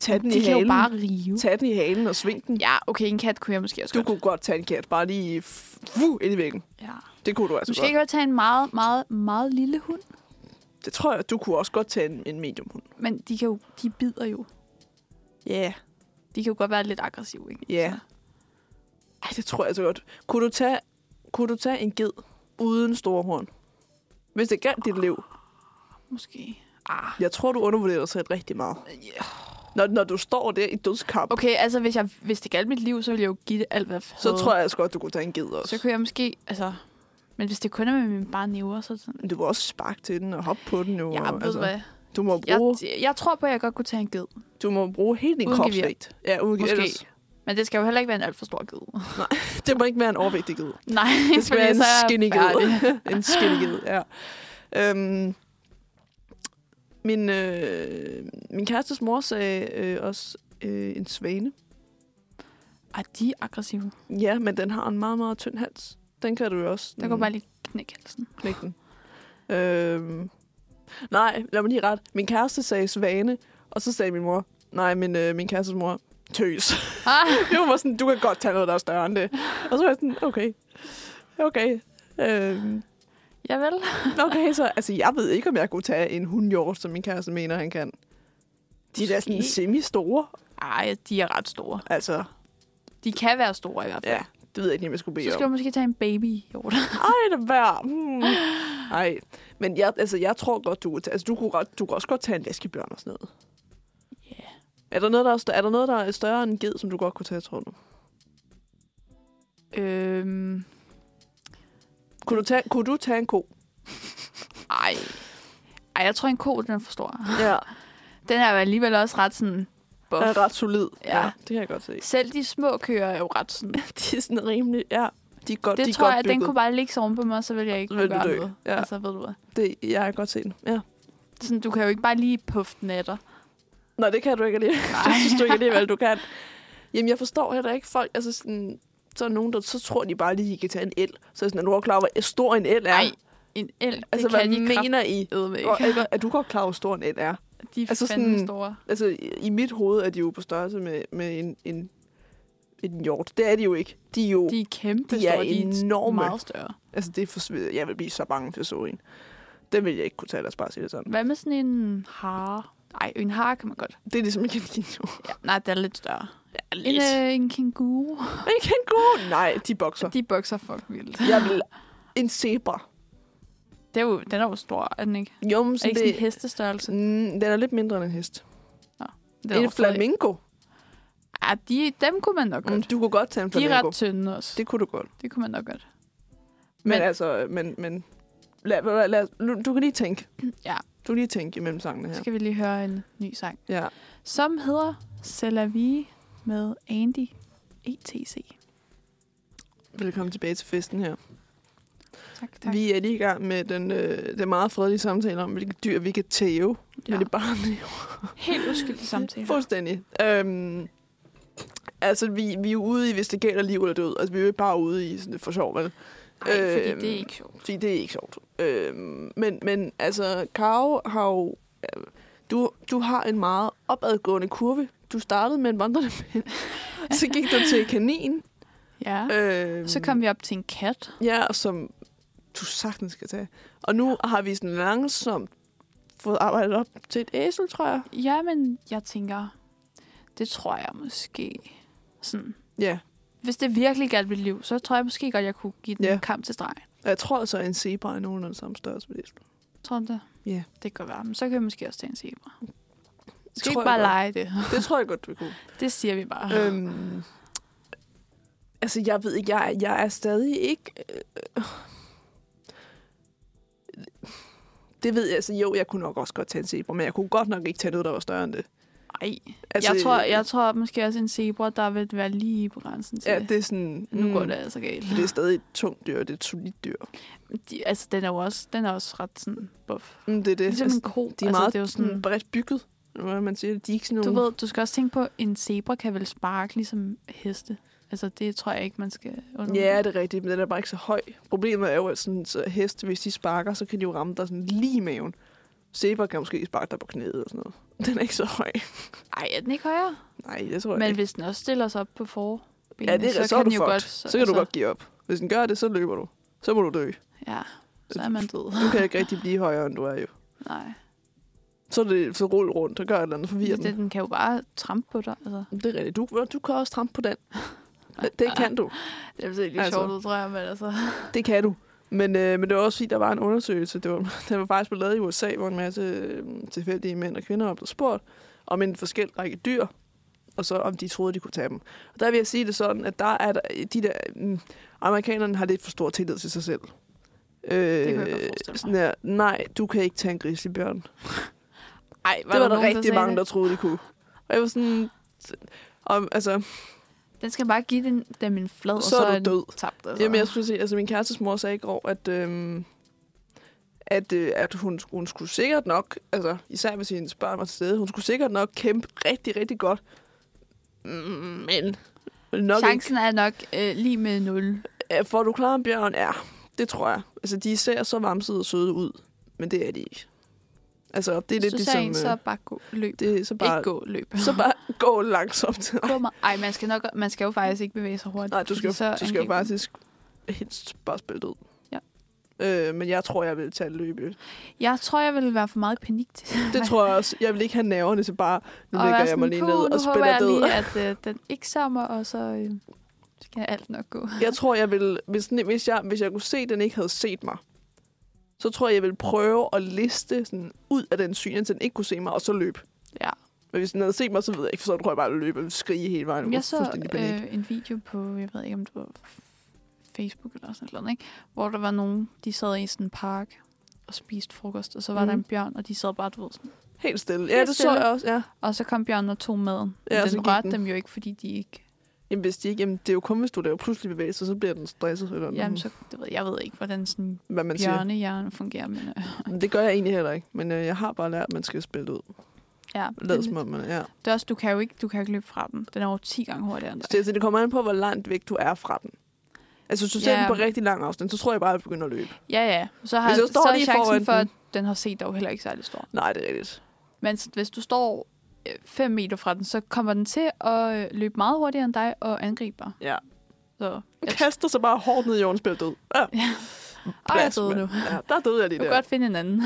Speaker 1: Tag den
Speaker 2: De
Speaker 1: i
Speaker 2: kan jo
Speaker 1: halen.
Speaker 2: bare rive.
Speaker 1: Tag den i halen og sving den.
Speaker 2: Ja, okay, en kat kunne jeg måske også
Speaker 1: Du
Speaker 2: godt.
Speaker 1: kunne godt tage en kat, bare lige f- fu, ind i væggen.
Speaker 2: Ja.
Speaker 1: Det kunne du altså
Speaker 2: Måske
Speaker 1: godt.
Speaker 2: kan jeg tage en meget, meget, meget lille hund,
Speaker 1: Det tror jeg, du kunne også godt tage en, en mediumhund.
Speaker 2: men de, kan jo, de bider jo.
Speaker 1: Ja. Yeah.
Speaker 2: De kan jo godt være lidt aggressive, ikke?
Speaker 1: Ja.
Speaker 2: Så-
Speaker 1: Ej, det tror jeg så godt. Kunne du tage, kunne du tage en ged uden store horn? Hvis det galt dit liv.
Speaker 2: Måske. Ah.
Speaker 1: Jeg tror, du undervurderer dig selv rigtig meget.
Speaker 2: ja.
Speaker 1: Når, når du står der i dødskamp, okay.
Speaker 2: Okay, altså hvis, jeg, hvis det galt mit liv, så ville jeg jo give det alt, hvad jeg
Speaker 1: så
Speaker 2: havde.
Speaker 1: tror jeg altså godt, du kunne tage en ged også.
Speaker 2: Så kunne jeg måske, altså... Men hvis det kun er med mine bare næver, så er det sådan...
Speaker 1: Men Du må også sparke til den og hoppe på den. Jo,
Speaker 2: Jeg
Speaker 1: og,
Speaker 2: ved hvad.
Speaker 1: Du må
Speaker 2: Jeg,
Speaker 1: bruge,
Speaker 2: jeg tror på, at jeg godt kunne tage en ged.
Speaker 1: du må bruge hele din
Speaker 2: Uden gevir.
Speaker 1: kropsvægt. Ja, uden gevir.
Speaker 2: Måske.
Speaker 1: Ellers,
Speaker 2: Men det skal jo heller ikke være en alt for stor ged.
Speaker 1: det må ikke være en overvægtig ged.
Speaker 2: Nej,
Speaker 1: Det skal
Speaker 2: fordi
Speaker 1: være en
Speaker 2: så er jeg
Speaker 1: skinny
Speaker 2: færdig.
Speaker 1: ged. en skinny ged, ja. Øhm, min, øh, min kærestes mor sagde øh, også øh, en svane.
Speaker 2: Ej, de er aggressive.
Speaker 1: Ja, men den har en meget, meget tynd hals. Den kan du jo også
Speaker 2: Der går bare lige knæk halsen.
Speaker 1: knække den. Øhm, nej, lad mig lige ret. Min kæreste sagde svane, og så sagde min mor, nej, min, øh, min kærestes mor, tøs.
Speaker 2: Ah,
Speaker 1: Det var sådan, du kan godt tage noget, der er større end det. Og så var jeg sådan, okay. Okay. Øhm,
Speaker 2: ja vel.
Speaker 1: okay, så altså, jeg ved ikke, om jeg kunne tage en hundhjort, som min kæreste mener, han kan. De er da sådan
Speaker 2: Måske.
Speaker 1: semi-store.
Speaker 2: Ej, de er ret store.
Speaker 1: Altså,
Speaker 2: De kan være store i hvert fald.
Speaker 1: Ja, det ved jeg ikke, om jeg skulle bede
Speaker 2: Så skal
Speaker 1: om.
Speaker 2: du måske tage en baby hjorter.
Speaker 1: Ej, det var. Hmm. Ej, men jeg, altså, jeg tror godt, du kunne tage, altså, du kunne, godt- du kunne også godt tage en vaskebjørn og sådan noget.
Speaker 2: Ja.
Speaker 1: Er der noget, der er, større, er der noget, der er større end en ged, som du godt kunne tage, tror du?
Speaker 2: Øhm,
Speaker 1: Kunne du, tage, kunne du tage en ko?
Speaker 2: ej. Ej, jeg tror, en ko, den er for stor.
Speaker 1: Ja.
Speaker 2: Den er jo alligevel også ret sådan... Buff.
Speaker 1: Den er ret solid.
Speaker 2: Ja.
Speaker 1: det kan jeg godt se.
Speaker 2: Selv de små køer er jo ret sådan...
Speaker 1: De er sådan rimelig, ja. De er godt,
Speaker 2: Det
Speaker 1: de er
Speaker 2: tror
Speaker 1: godt
Speaker 2: jeg, at den
Speaker 1: bygget.
Speaker 2: kunne bare ligge sig oven på mig, så vil jeg ikke
Speaker 1: Vil
Speaker 2: kunne
Speaker 1: du
Speaker 2: gøre
Speaker 1: dø?
Speaker 2: noget.
Speaker 1: Ja.
Speaker 2: Altså, ved du hvad?
Speaker 1: Det, jeg kan godt se den, ja.
Speaker 2: Sådan, du kan jo ikke bare lige puffe den af dig.
Speaker 1: Nå, det kan du ikke alligevel. Nej. det synes du ikke alligevel, du kan. Jamen, jeg forstår heller ikke folk, altså sådan, så er nogen, der så tror de bare lige, at I kan tage en el. Så er jeg sådan, er du godt klar over, hvor stor en el er?
Speaker 2: Nej, en el,
Speaker 1: altså,
Speaker 2: det
Speaker 1: hvad
Speaker 2: kan de
Speaker 1: mener I?
Speaker 2: kraftedeme
Speaker 1: Og,
Speaker 2: ikke.
Speaker 1: er, er du godt klar over, hvor stor en el er?
Speaker 2: De er
Speaker 1: altså
Speaker 2: altså fandme
Speaker 1: sådan-
Speaker 2: store.
Speaker 1: Altså, i, i mit hoved er de jo på størrelse med, med en, en, en hjort. Det er de jo ikke. De er jo...
Speaker 2: De er kæmpe
Speaker 1: de er
Speaker 2: store. De er
Speaker 1: enorme.
Speaker 2: meget større.
Speaker 1: Altså, det er forsvidet. Jeg vil blive så bange, hvis jeg så en. Den vil jeg ikke kunne tage, lad os bare sige det sådan.
Speaker 2: Hvad med sådan en hare? Nej, en hare kan man godt.
Speaker 1: Det er ligesom en kænguru.
Speaker 2: Ja, nej, den er lidt større.
Speaker 1: Ja,
Speaker 2: En, øh, en kænguru.
Speaker 1: øh, En kænguru? Nej, de bokser.
Speaker 2: De bokser fuck vildt.
Speaker 1: Jeg vil... En zebra.
Speaker 2: Det er jo, den er jo stor, er den ikke?
Speaker 1: Jo, men
Speaker 2: Er det
Speaker 1: sådan
Speaker 2: ikke sådan en
Speaker 1: det...
Speaker 2: hestestørrelse?
Speaker 1: Mm, den er lidt mindre end en hest.
Speaker 2: Den er
Speaker 1: En
Speaker 2: jo stadig-
Speaker 1: flamingo.
Speaker 2: Ja, de, dem kunne man nok
Speaker 1: Mm,
Speaker 2: godt.
Speaker 1: du kunne godt tage en
Speaker 2: De er
Speaker 1: flamingo.
Speaker 2: ret tynde også. Det,
Speaker 1: Det kunne du godt.
Speaker 2: det kunne man nok godt.
Speaker 1: Men, men
Speaker 2: Men-
Speaker 1: altså, men... men lad, lad, lad, lad, du kan lige tænke.
Speaker 2: Ja.
Speaker 1: Du kan lige tænke imellem sangene
Speaker 2: Så
Speaker 1: her.
Speaker 2: skal vi lige høre en ny sang,
Speaker 1: Ja.
Speaker 2: som hedder C'est la vie med Andy E ETC.
Speaker 1: Velkommen tilbage til festen her.
Speaker 2: Tak, tak.
Speaker 1: Tak. Vi er lige i gang med den, øh, den meget fredelige samtale om, hvilke dyr vi kan tæve. Ja.
Speaker 2: Ja.
Speaker 1: Men det er bare
Speaker 2: Helt uskyldig samtale.
Speaker 1: Fuldstændig. Øhm, altså, vi, vi er jo ude i, hvis det gælder liv eller død. Altså, vi er jo ikke bare ude i sådan det for sjov, vel?
Speaker 2: Nej, fordi
Speaker 1: Øhm,
Speaker 2: det er ikke sjovt.
Speaker 1: Fordi det er ikke sjovt. Øhm, men, men altså, Karo har jo... øh, Du, du har en meget opadgående kurve. Du startede med en vandrende pind. Så gik du til kanin.
Speaker 2: Ja.
Speaker 1: Øhm,
Speaker 2: Ah, Så kom vi op til en kat.
Speaker 1: Ja, som du sagtens skal tage. Og nu har vi sådan langsomt fået arbejdet op til et æsel, tror jeg.
Speaker 2: Ja, men jeg tænker, det tror jeg måske. Sådan.
Speaker 1: Ja,
Speaker 2: Hvis det virkelig galt mit liv, så tror jeg måske godt, jeg kunne give den
Speaker 1: Ja.
Speaker 2: en kamp til streg.
Speaker 1: og jeg tror altså, at en zebra er nogenlunde samme størrelse som et æsel.
Speaker 2: Tror du det?
Speaker 1: Ja.
Speaker 2: Det kan godt være. Men så kan jeg måske også tage en zebra. Skal
Speaker 1: Tror
Speaker 2: vi
Speaker 1: jeg
Speaker 2: ikke bare
Speaker 1: godt.
Speaker 2: lege det?
Speaker 1: Det tror jeg godt, vi kunne.
Speaker 2: Det siger vi bare.
Speaker 1: øhm, altså, jeg ved ikke, jeg, jeg er stadig ikke... Øh, øh. det ved jeg, altså jo, jeg kunne nok også godt tage en zebra, men jeg kunne godt nok ikke tage noget, der var større end det.
Speaker 2: Ej.
Speaker 1: Altså,
Speaker 2: jeg, tror, jeg tror måske også en zebra, der vil være lige på grænsen til.
Speaker 1: Ja, det er sådan...
Speaker 2: Nu går
Speaker 1: mm,
Speaker 2: det altså galt.
Speaker 1: Det er stadig et tungt dyr, det er et solidt dyr.
Speaker 2: De, altså, den er jo også, den er også ret sådan buff.
Speaker 1: Mm, det er det.
Speaker 2: Ligesom
Speaker 1: altså,
Speaker 2: en ko.
Speaker 1: de er
Speaker 2: altså,
Speaker 1: meget
Speaker 2: det er jo sådan,
Speaker 1: bredt bygget, eller hvad man siger. De er ikke sådan
Speaker 2: Du
Speaker 1: nogle...
Speaker 2: ved, du skal også tænke på, at en zebra kan vel sparke ligesom heste. Altså, det tror jeg ikke, man skal
Speaker 1: Ja, det er rigtigt, men den er bare ikke så høj. Problemet er jo, at sådan, så heste, hvis de sparker, så kan de jo ramme dig sådan lige i maven. Zebra kan måske sparke dig på knæet og sådan noget. Den er ikke så høj.
Speaker 2: Ej, er den ikke højere?
Speaker 1: Nej, det tror jeg
Speaker 2: Men
Speaker 1: ikke.
Speaker 2: hvis den også stiller sig op på forbenene,
Speaker 1: Ja, det er, så,
Speaker 2: så,
Speaker 1: så, er
Speaker 2: kan
Speaker 1: du
Speaker 2: den jo
Speaker 1: fucked.
Speaker 2: godt... altså,
Speaker 1: så kan du godt give op. Hvis den gør det, så løber du. Så må du dø.
Speaker 2: Ja, så er man død.
Speaker 1: Du kan ikke rigtig blive højere, end du er jo.
Speaker 2: Nej,
Speaker 1: Så er det så rulle rundt og gør et eller andet forvirrende.
Speaker 2: det, Altså, den kan jo bare trampe på dig. Altså.
Speaker 1: Det, det er rigtigt. Du, du kan også trampe på den. Det kan du.
Speaker 2: Det er virkelig
Speaker 1: Altså.
Speaker 2: altså. sjovt, ud, tror jeg, men altså...
Speaker 1: Det kan du. Men, øh, men det var også fordi, der var en undersøgelse, det var, den var faktisk blevet lavet i USA, hvor en masse øh, tilfældige mænd og kvinder var blevet spurgt om en forskellig række dyr, og så om de troede, de kunne tage dem. Og der vil jeg sige det sådan, at der er der, de der, mm, amerikanerne har lidt for stor tillid til sig selv. Øh, det
Speaker 2: kan jeg godt forestille mig.
Speaker 1: Sådan der, nej, du kan ikke tage en grizzlybjørn.
Speaker 2: Ej,
Speaker 1: Var det var der,
Speaker 2: nogen,
Speaker 1: rigtig
Speaker 2: sagde
Speaker 1: mange, der
Speaker 2: det?
Speaker 1: troede, de kunne. Og jeg var sådan, om, altså,
Speaker 2: Den skal bare give den, dem en flad, og
Speaker 1: Så
Speaker 2: så,
Speaker 1: er du
Speaker 2: den
Speaker 1: død.
Speaker 2: tabt. Altså.
Speaker 1: Jamen, jeg skulle sige, altså min kærestes mor sagde i går, at, øhm, at, øh, at hun, hun skulle sikkert nok, altså især hvis hendes børn var til stede, hun skulle sikkert nok kæmpe rigtig, rigtig godt. Mm, Men nok ikke.
Speaker 2: Chancen er nok øh, lige med 0.
Speaker 1: Ja, Får du klar en bjørn? Ja, det tror jeg. Altså, de ser så vamsede og søde ud, men det er de ikke. Altså, det er lidt
Speaker 2: Hvis du ser en,
Speaker 1: ligesom...
Speaker 2: så
Speaker 1: øh,
Speaker 2: bare gå løb.
Speaker 1: Det er så
Speaker 2: Bare...
Speaker 1: bare,
Speaker 2: Ikke gå løb.
Speaker 1: så bare gå langsomt.
Speaker 2: Gå meget- Ej, man skal, nok, man skal jo faktisk ikke bevæge sig hurtigt.
Speaker 1: Nej, du skal,
Speaker 2: fordi
Speaker 1: jo- du skal jo
Speaker 2: angriber den.
Speaker 1: faktisk helst bare spille død.
Speaker 2: Ja.
Speaker 1: Øh, men jeg tror, jeg vil tage et løbe.
Speaker 2: Jeg tror, jeg ville være for meget i panik til
Speaker 1: Det tror jeg også. Jeg vil ikke have nerverne til bare, nu
Speaker 2: Og
Speaker 1: lægger
Speaker 2: være
Speaker 1: jeg mig
Speaker 2: sådan,
Speaker 1: lige
Speaker 2: "Puh,
Speaker 1: ned
Speaker 2: nu
Speaker 1: og
Speaker 2: håber
Speaker 1: spiller
Speaker 2: jeg
Speaker 1: død.
Speaker 2: lige, at øh, den ikke sammer, og så øh, skal alt nok gå.
Speaker 1: Jeg tror, jeg vil, hvis, den- hvis, jeg, hvis jeg kunne se, at den ikke havde set mig, så tror jeg, jeg ville prøve at liste sådan ud af den syn, så den ikke kunne se mig, og så løbe.
Speaker 2: Ja.
Speaker 1: Men hvis den havde set mig, så ved jeg ikke, for så tror jeg bare, at jeg løb og skrige hele vejen.
Speaker 2: Jeg så
Speaker 1: fuldstændig panik.
Speaker 2: øh, en video på, jeg ved ikke om det var Facebook eller sådan noget, ikke? hvor der var nogen, de sad i sådan en park og spiste frokost, og så var mm. der
Speaker 1: Mhm.
Speaker 2: en bjørn, og de sad bare, du ved, sådan.
Speaker 1: Helt stille. Ja,
Speaker 2: helt
Speaker 1: det så
Speaker 2: stille.
Speaker 1: jeg også, ja.
Speaker 2: Og så kom bjørnen og tog maden.
Speaker 1: Ja,
Speaker 2: Ja,
Speaker 1: og
Speaker 2: den
Speaker 1: så gik
Speaker 2: rørte
Speaker 1: den.
Speaker 2: dem jo ikke, fordi de ikke...
Speaker 1: Jamen, hvis de ikke, jamen, det er jo kun, hvis du laver pludselig bevægelser, så bliver den stresset. Eller
Speaker 2: Mm. Jamen, så, det ved, jeg ved ikke, hvordan sådan en
Speaker 1: hvad man siger.
Speaker 2: bjørnehjerne fungerer, men øh,
Speaker 1: Det gør jeg egentlig heller ikke, men øh, jeg har bare lært, at man skal spille ud.
Speaker 2: ja.
Speaker 1: Lad
Speaker 2: det,
Speaker 1: som om man er. Ja.
Speaker 2: det er også, du kan jo ikke, du kan jo ikke løbe fra den. Den er over 10 gange hurtigere end
Speaker 1: Så
Speaker 2: dig.
Speaker 1: det, altså, det kommer an på, hvor langt væk du er fra den. Altså, hvis du ser
Speaker 2: Ja.
Speaker 1: den på rigtig lang afstand, så tror jeg bare, at jeg begynder at løbe.
Speaker 2: Ja, ja. Så har
Speaker 1: Hvis jeg
Speaker 2: så
Speaker 1: står
Speaker 2: er
Speaker 1: lige
Speaker 2: chancen
Speaker 1: foran
Speaker 2: for, at
Speaker 1: den.
Speaker 2: den har set dig jo heller ikke særlig stor.
Speaker 1: Nej, det er rigtigt.
Speaker 2: Men s- hvis du står 5 meter fra den, så kommer den til at øh, løbe meget hurtigere end dig og angriber.
Speaker 1: Ja.
Speaker 2: Så
Speaker 1: Den
Speaker 2: jeg,
Speaker 1: kaster sig bare hårdt ned i jorden, spiller død. Ja,
Speaker 2: og jeg
Speaker 1: plads,
Speaker 2: døde
Speaker 1: mand.
Speaker 2: nu.
Speaker 1: ja, der døde jeg lige
Speaker 2: Du kan
Speaker 1: der.
Speaker 2: godt finde en anden.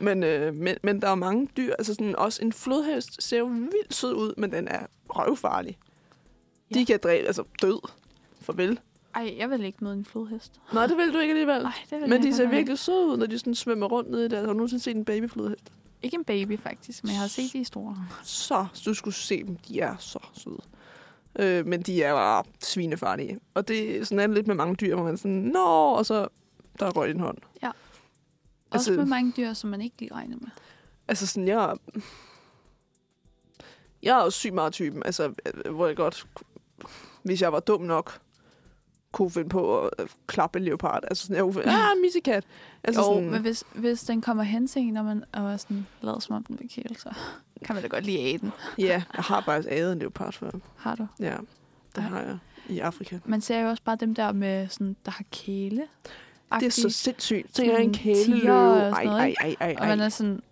Speaker 1: Men, øh, men, men der er mange dyr. Altså sådan, også en flodhest ser jo vildt sød ud, men den er røvfarlig. Ja.
Speaker 2: Ja.
Speaker 1: De kan dræbe, altså død. Farvel.
Speaker 2: Ej, jeg vil ikke møde en flodhest.
Speaker 1: Nej, det vil du ikke alligevel.
Speaker 2: Ej, det vil jeg
Speaker 1: Men de
Speaker 2: godt
Speaker 1: ser
Speaker 2: nok ikke.
Speaker 1: virkelig søde ud, når de sådan svømmer rundt nede i der. Har du nogensinde set en babyflodhest?
Speaker 2: Ikke en baby, faktisk, men jeg har set de store.
Speaker 1: Så, du skulle se dem. De er så søde. Øh, men de er bare svinefarlige. Og det sådan er det lidt med mange dyr, hvor man sådan, nå, og så der røg din hånd.
Speaker 2: Også
Speaker 1: Altså-
Speaker 2: med mange dyr, som man ikke lige regner med.
Speaker 1: Altså sådan, jeg... Jeg er også syg meget typen, altså, øh, hvor jeg godt, ku- hvis jeg var dum nok, kunne finde på at øh, klappe en leopard. Altså sådan, jeg kunne finde, ah, missekat. Altså
Speaker 2: jo,
Speaker 1: sådan,
Speaker 2: men hvis, hvis den kommer hen til en, når man og er sådan, lader som om den vil kæle, så kan man da godt lige æde den.
Speaker 1: ja, jeg har faktisk ædet en leopard før.
Speaker 2: Har du?
Speaker 1: Ja, det
Speaker 2: Ej.
Speaker 1: har jeg i Afrika.
Speaker 2: Man ser jo også bare dem der med sådan, der har kæle.
Speaker 1: Det er så sindssygt. Så
Speaker 2: Sådan
Speaker 1: jeg er en kæleløve.
Speaker 2: tiger og sådan
Speaker 1: Ej,
Speaker 2: noget,
Speaker 1: ej,
Speaker 2: ikke?
Speaker 1: ej, ej,
Speaker 2: Og man
Speaker 1: ej.
Speaker 2: er sådan,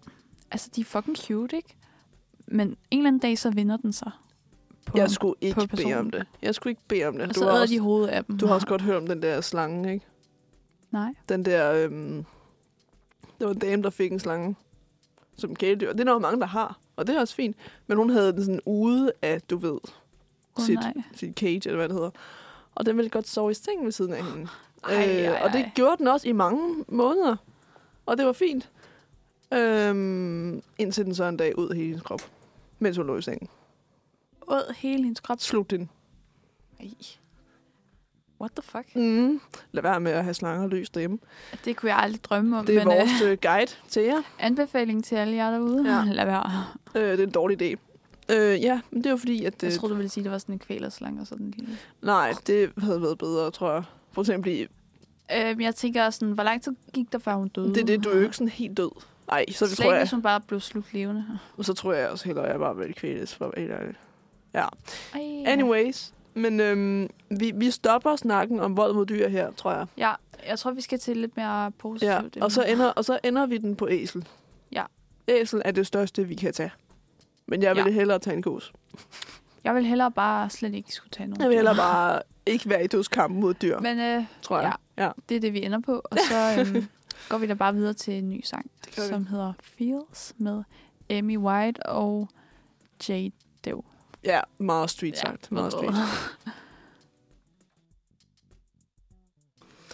Speaker 2: altså de er fucking cute, ikke? Men en eller anden dag, så vinder den sig. På
Speaker 1: Jeg
Speaker 2: ham.
Speaker 1: skulle
Speaker 2: på
Speaker 1: ikke bede
Speaker 2: personen.
Speaker 1: om det. Jeg skulle ikke bede om det.
Speaker 2: og
Speaker 1: Du
Speaker 2: så
Speaker 1: har,
Speaker 2: æder de
Speaker 1: også,
Speaker 2: hovedet af dem.
Speaker 1: du har også godt hørt om den der slange, ikke?
Speaker 2: Nej.
Speaker 1: Den der... Øhm, det var en dame, der fik en slange som kæledyr. Det er der jo mange, der har. Og det er også fint. Men hun havde den sådan ude af, du ved,
Speaker 2: Åh,
Speaker 1: sit,
Speaker 2: nej.
Speaker 1: sit cage, eller hvad det hedder. Og den ville godt sove i sengen ved siden af hende. Øh,
Speaker 2: Ej, ej,
Speaker 1: og det
Speaker 2: ej.
Speaker 1: gjorde den også i mange måneder. Og det var fint. Øhm, indtil den så en dag ud af hele hendes krop, mens hun lå i sengen.
Speaker 2: Åd hele hendes krop.
Speaker 1: Slug den.
Speaker 2: Ej. What the fuck?
Speaker 1: Mm. Lad være med at have slanger løs derhjemme.
Speaker 2: Det kunne jeg aldrig drømme om,
Speaker 1: Det er
Speaker 2: men
Speaker 1: Men,
Speaker 2: øh,
Speaker 1: vores øh, guide til jer.
Speaker 2: anbefaling til alle jer derude.
Speaker 1: Ja.
Speaker 2: Lad være.
Speaker 1: Øh, det er en dårlig idé. Øh, ja, men det var fordi, at...
Speaker 2: Jeg
Speaker 1: Øh,
Speaker 2: troede, du ville sige, at det var sådan en kvælerslange og sådan en lille.
Speaker 1: nej, det havde været bedre, tror jeg. For eksempel,
Speaker 2: Øhm, jeg tænker sådan, hvor lang tid gik der, før hun døde?
Speaker 1: det er det, du er jo ikke sådan helt død. Nej, så,
Speaker 2: Slet
Speaker 1: tror
Speaker 2: ikke,
Speaker 1: jeg,
Speaker 2: hvis hun bare blev slugt levende.
Speaker 1: så tror jeg også hellere, at jeg bare vil kvæles for at være helt ærlig.
Speaker 2: Ej.
Speaker 1: Anyways, men øhm, vi, vi stopper snakken om vold mod dyr her, tror jeg.
Speaker 2: Ja, jeg tror, vi skal til lidt mere positivt.
Speaker 1: Ja, og så, ender, og så ender vi den på æsel.
Speaker 2: Ja.
Speaker 1: Æsel er det største, vi kan tage. Men jeg ville ja. hellere tage en gås.
Speaker 2: Jeg vil hellere bare slet ikke skulle tage nogen.
Speaker 1: Jeg vil
Speaker 2: dyr.
Speaker 1: hellere bare ikke være i dødskamp mod dyr, Men,
Speaker 2: Men øh,
Speaker 1: tror jeg. Ja. ja.
Speaker 2: det er det, vi ender på. Og så øhm, går vi da bare videre til en ny sang,
Speaker 1: gør vi.
Speaker 2: som hedder Feels med Amy White og Jade Doe.
Speaker 1: Ja, meget street
Speaker 2: Ja,
Speaker 1: sagt. Meget street.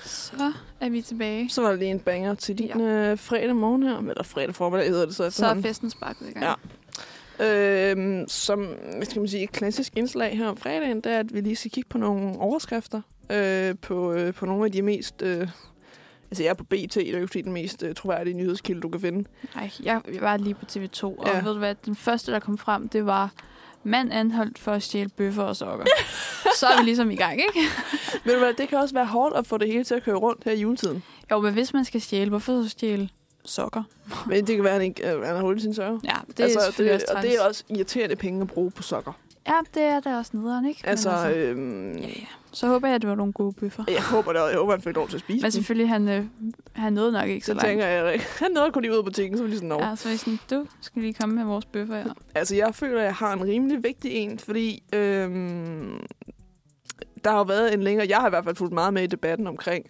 Speaker 2: Så er vi tilbage.
Speaker 1: Så var der lige en banger til din ja. øh, fredag morgen her. Eller fredag formiddag hedder det så
Speaker 2: Så er
Speaker 1: efterhånden.
Speaker 2: festen sparket i gang.
Speaker 1: Ja. Øhm, som hvad skal man sige, et klassisk indslag her om fredagen, det er, at vi lige skal kigge på nogle overskrifter øh, på, øh, på nogle af de mest... Øh, altså, jeg er på BT, det er jo ikke fordi den mest øh, troværdige nyhedskilde, du kan finde.
Speaker 2: Ej, jeg jeg var lige på TV2, og
Speaker 1: Ja.
Speaker 2: ja. ved du hvad, den første, der kom frem, det var, mand anholdt for at stjæle bøffer og sokker. så er vi ligesom i gang, ikke?
Speaker 1: Men ved du hvad, det kan også være hårdt at få det hele til at køre rundt her i juletiden.
Speaker 2: Jo, men hvis man skal stjæle, hvorfor så stjæle sokker?
Speaker 1: Men det kan være, at han, ikke, øh, han har hul i sin sørge.
Speaker 2: Ja, det altså,
Speaker 1: det,
Speaker 2: er selvfølgelig det,
Speaker 1: og
Speaker 2: også træls.
Speaker 1: det er også irriterende penge at bruge på sokker.
Speaker 2: Ja, det er da også nederen, ikke? Men
Speaker 1: Altså,
Speaker 2: altså
Speaker 1: øhm,
Speaker 2: ja, ja. Så håber jeg, at det var nogle gode bøffer.
Speaker 1: jeg håber, det, jeg håber, han fik lov til at spise
Speaker 2: Men
Speaker 1: dem.
Speaker 2: selvfølgelig, han, øh, han nåede nok ikke så,
Speaker 1: Så
Speaker 2: langt.
Speaker 1: tænker jeg, at han nåede kun lige ud af butikken, så var de sådan, no.
Speaker 2: Ja, så er jeg sådan, du skal lige komme med vores bøffer, ja.
Speaker 1: Altså, jeg føler, at jeg har en rimelig vigtig en, fordi øhm, der har jo været en længere... Jeg har i hvert fald fulgt meget med i debatten omkring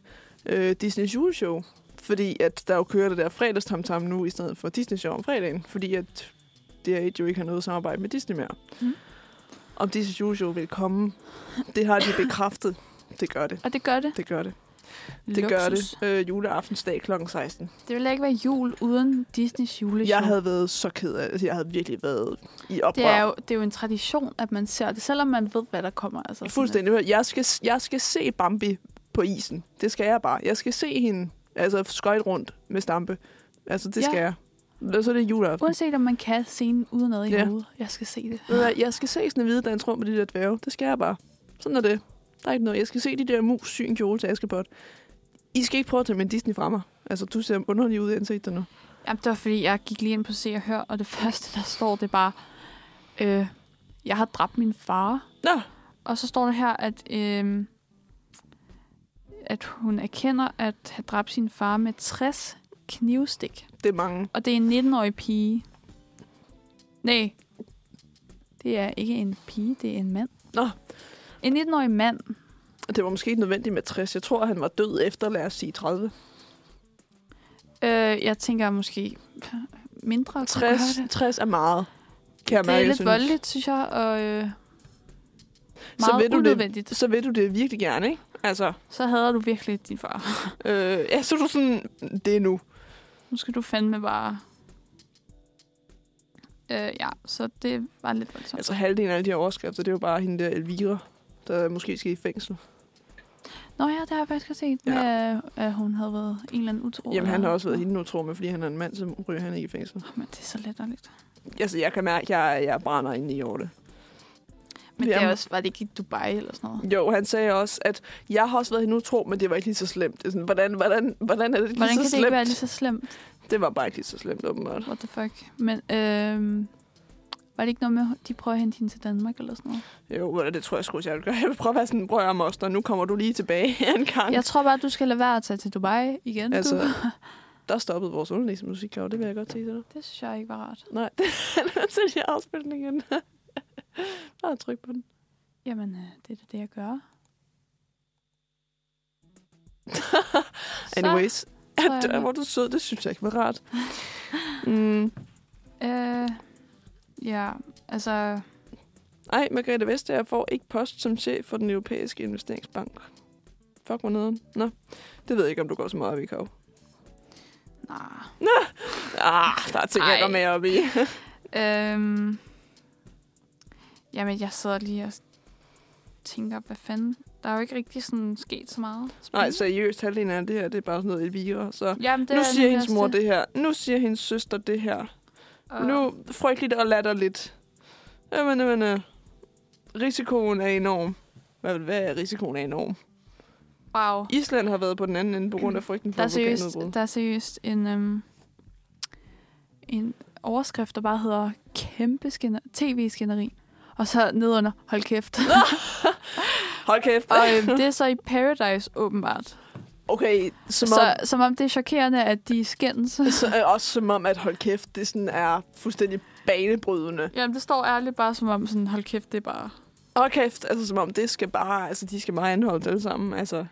Speaker 1: øh, Disney's juleshow, Fordi at der jo kører det der fredagstamtam nu, i stedet for Disney Show om fredagen. Fordi at DR1 jo ikke har noget samarbejde med Disney mere.
Speaker 2: Mm.
Speaker 1: Mm. Om Disney Show Show vil komme, det har de bekræftet. Det gør det.
Speaker 2: Og det gør det.
Speaker 1: Det gør det. Det gør det. Øh, juleaftensdag kl. 16.
Speaker 2: Det ville ikke være jul uden Disneys juleshow.
Speaker 1: Jeg havde været så ked af det. Jeg havde virkelig været i oprør.
Speaker 2: det er, jo, det er jo en tradition, at man ser det, selvom man ved, hvad der kommer. Altså, sådan, at-
Speaker 1: Fuldstændig. Jeg skal, jeg skal se Bambi på isen. Det skal jeg bare. Jeg skal se hende altså skøjt rundt med stampe. Altså, det
Speaker 2: Ja.
Speaker 1: ja. skal jeg. Og så er det juleaften.
Speaker 2: øh, Uanset om man kan scenen uden noget i
Speaker 1: Ja.
Speaker 2: hovedet. Jeg skal se det.
Speaker 1: Ved du hvad, Jeg skal se sådan en hvide dans rundt med de der dværge. Det skal jeg bare. Sådan er det. Der er ikke noget. Jeg skal se de der mus sy en kjole til Askepot. I skal ikke prøve at tage min Disney fra mig. Altså, du ser underlig ud i ansigtet nu.
Speaker 2: Jamen, det var fordi, jeg gik lige ind på Se og Hør, og det første, der står, det er bare, øh, jeg har dræbt min far.
Speaker 1: Nå.
Speaker 2: Og så står der her, at, øh, at hun erkender at have dræbt sin far med 60 knivstik.
Speaker 1: Det er mange.
Speaker 2: Og det er en 19-årig pige. Nej, det er ikke en pige, det er en mand.
Speaker 1: Nå.
Speaker 2: En 19-årig mand.
Speaker 1: Det var måske ikke nødvendigt med 60. Jeg tror, han var død efter, lad os sige, 30.
Speaker 2: Øh, jeg tænker måske mindre. kunne gøre
Speaker 1: 60, 60 er meget. Kan jeg
Speaker 2: Det
Speaker 1: mærke,
Speaker 2: er
Speaker 1: jeg
Speaker 2: lidt
Speaker 1: synes.
Speaker 2: voldeligt, synes jeg, og øh,
Speaker 1: Så
Speaker 2: meget
Speaker 1: ved du det-
Speaker 2: unødvendigt.
Speaker 1: Så vil du det virkelig gerne, ikke? Altså,
Speaker 2: Så hader du virkelig din far.
Speaker 1: Øh, ja, så er du sådan, det er nu.
Speaker 2: Nu skal du fandme bare... Øh, ja, så det var lidt voldsomt.
Speaker 1: Altså halvdelen af alle de her overskrifter, det er jo bare hende der Elvira, der måske skal i fængsel.
Speaker 2: Nå ja, det har jeg faktisk også set, med, ja. at hun havde været en eller anden utro.
Speaker 1: Jamen han
Speaker 2: eller-
Speaker 1: har også været hende nu, tror med, fordi han er en mand, så ryger han ikke i fængsel.
Speaker 2: Men det er så letterligt.
Speaker 1: Altså jeg kan mærke, at jeg, jeg brænder ind i over det.
Speaker 2: Men det er
Speaker 1: Jamen.
Speaker 2: også, var det ikke i Dubai eller sådan noget?
Speaker 1: Jo, han sagde også, at jeg har også været hende utro, men det var ikke lige så slemt. Det er Sådan, hvordan, hvordan, hvordan er det ikke
Speaker 2: Hvordan
Speaker 1: lige
Speaker 2: kan
Speaker 1: så
Speaker 2: det ikke
Speaker 1: slemt?
Speaker 2: være lige så slemt?
Speaker 1: Det var bare ikke lige så slemt, åbenbart.
Speaker 2: What the fuck? Men øh, var det ikke noget med, at de prøver at hente hende til Danmark eller sådan noget?
Speaker 1: Jo, eller det tror jeg sgu, jeg vil gøre. Jeg vil prøve at være sådan, prøv at høre, moster, nu kommer du lige tilbage en gang.
Speaker 2: Jeg tror bare, at du skal lade være at tage til Dubai igen.
Speaker 1: Altså,
Speaker 2: du.
Speaker 1: der stoppede vores underlægsmusik, det vil jeg godt sige til dig.
Speaker 2: Det synes jeg ikke var rart.
Speaker 1: Nej, det er til jeg afspille den igen. Bare tryk på den.
Speaker 2: Jamen, øh, det er da det, jeg gør.
Speaker 1: Anyways,
Speaker 2: så er
Speaker 1: at,
Speaker 2: jeg med.
Speaker 1: hvor du er sød, det synes jeg ikke var rart. Mm.
Speaker 2: Så, øh, ja, altså...
Speaker 1: Ej, Margrethe Vestager får ikke post som chef for den europæiske investeringsbank. Fuck mig neden. Nå, det ved jeg ikke, om du går så meget op i, Kav.
Speaker 2: Nej.
Speaker 1: Ah, der er ting, jeg
Speaker 2: Ej.
Speaker 1: går med op i.
Speaker 2: Øhm, jamen, jeg sidder lige og tænker, hvad fanden... Der er jo ikke rigtig sådan sket så meget.
Speaker 1: Nej,
Speaker 2: spændende.
Speaker 1: seriøst, halvdelen af det her, det er bare sådan noget Elvira. Så
Speaker 2: Jamen, det
Speaker 1: nu
Speaker 2: er
Speaker 1: siger
Speaker 2: den
Speaker 1: hendes
Speaker 2: værste,
Speaker 1: mor det her. Nu siger hendes søster det her.
Speaker 2: og-
Speaker 1: Nu frygteligt og latterligt. Jamen, jamen, øh, risikoen er enorm. Hvad, hvad er risikoen er enorm?
Speaker 2: Wow.
Speaker 1: Island har været på den anden ende på grund af frygten for
Speaker 2: Der er seriøst,
Speaker 1: vulkanudbrud.
Speaker 2: der er seriøst en, øhm, en overskrift, der bare hedder kæmpe skænder- tv-skænderi. Og så nedunder, hold kæft.
Speaker 1: Hold kæft.
Speaker 2: og øhm, det er så i Paradise, åbenbart.
Speaker 1: Okay, som om,
Speaker 2: Så, som om det er chokerende, at de skændes.
Speaker 1: så, øh, også som om, at hold kæft, det sådan er fuldstændig banebrydende.
Speaker 2: Jamen, det står ærligt bare som om, sådan, hold kæft, det er bare...
Speaker 1: Hold kæft, altså som om det skal bare, altså de skal bare anholde alle sammen. Altså,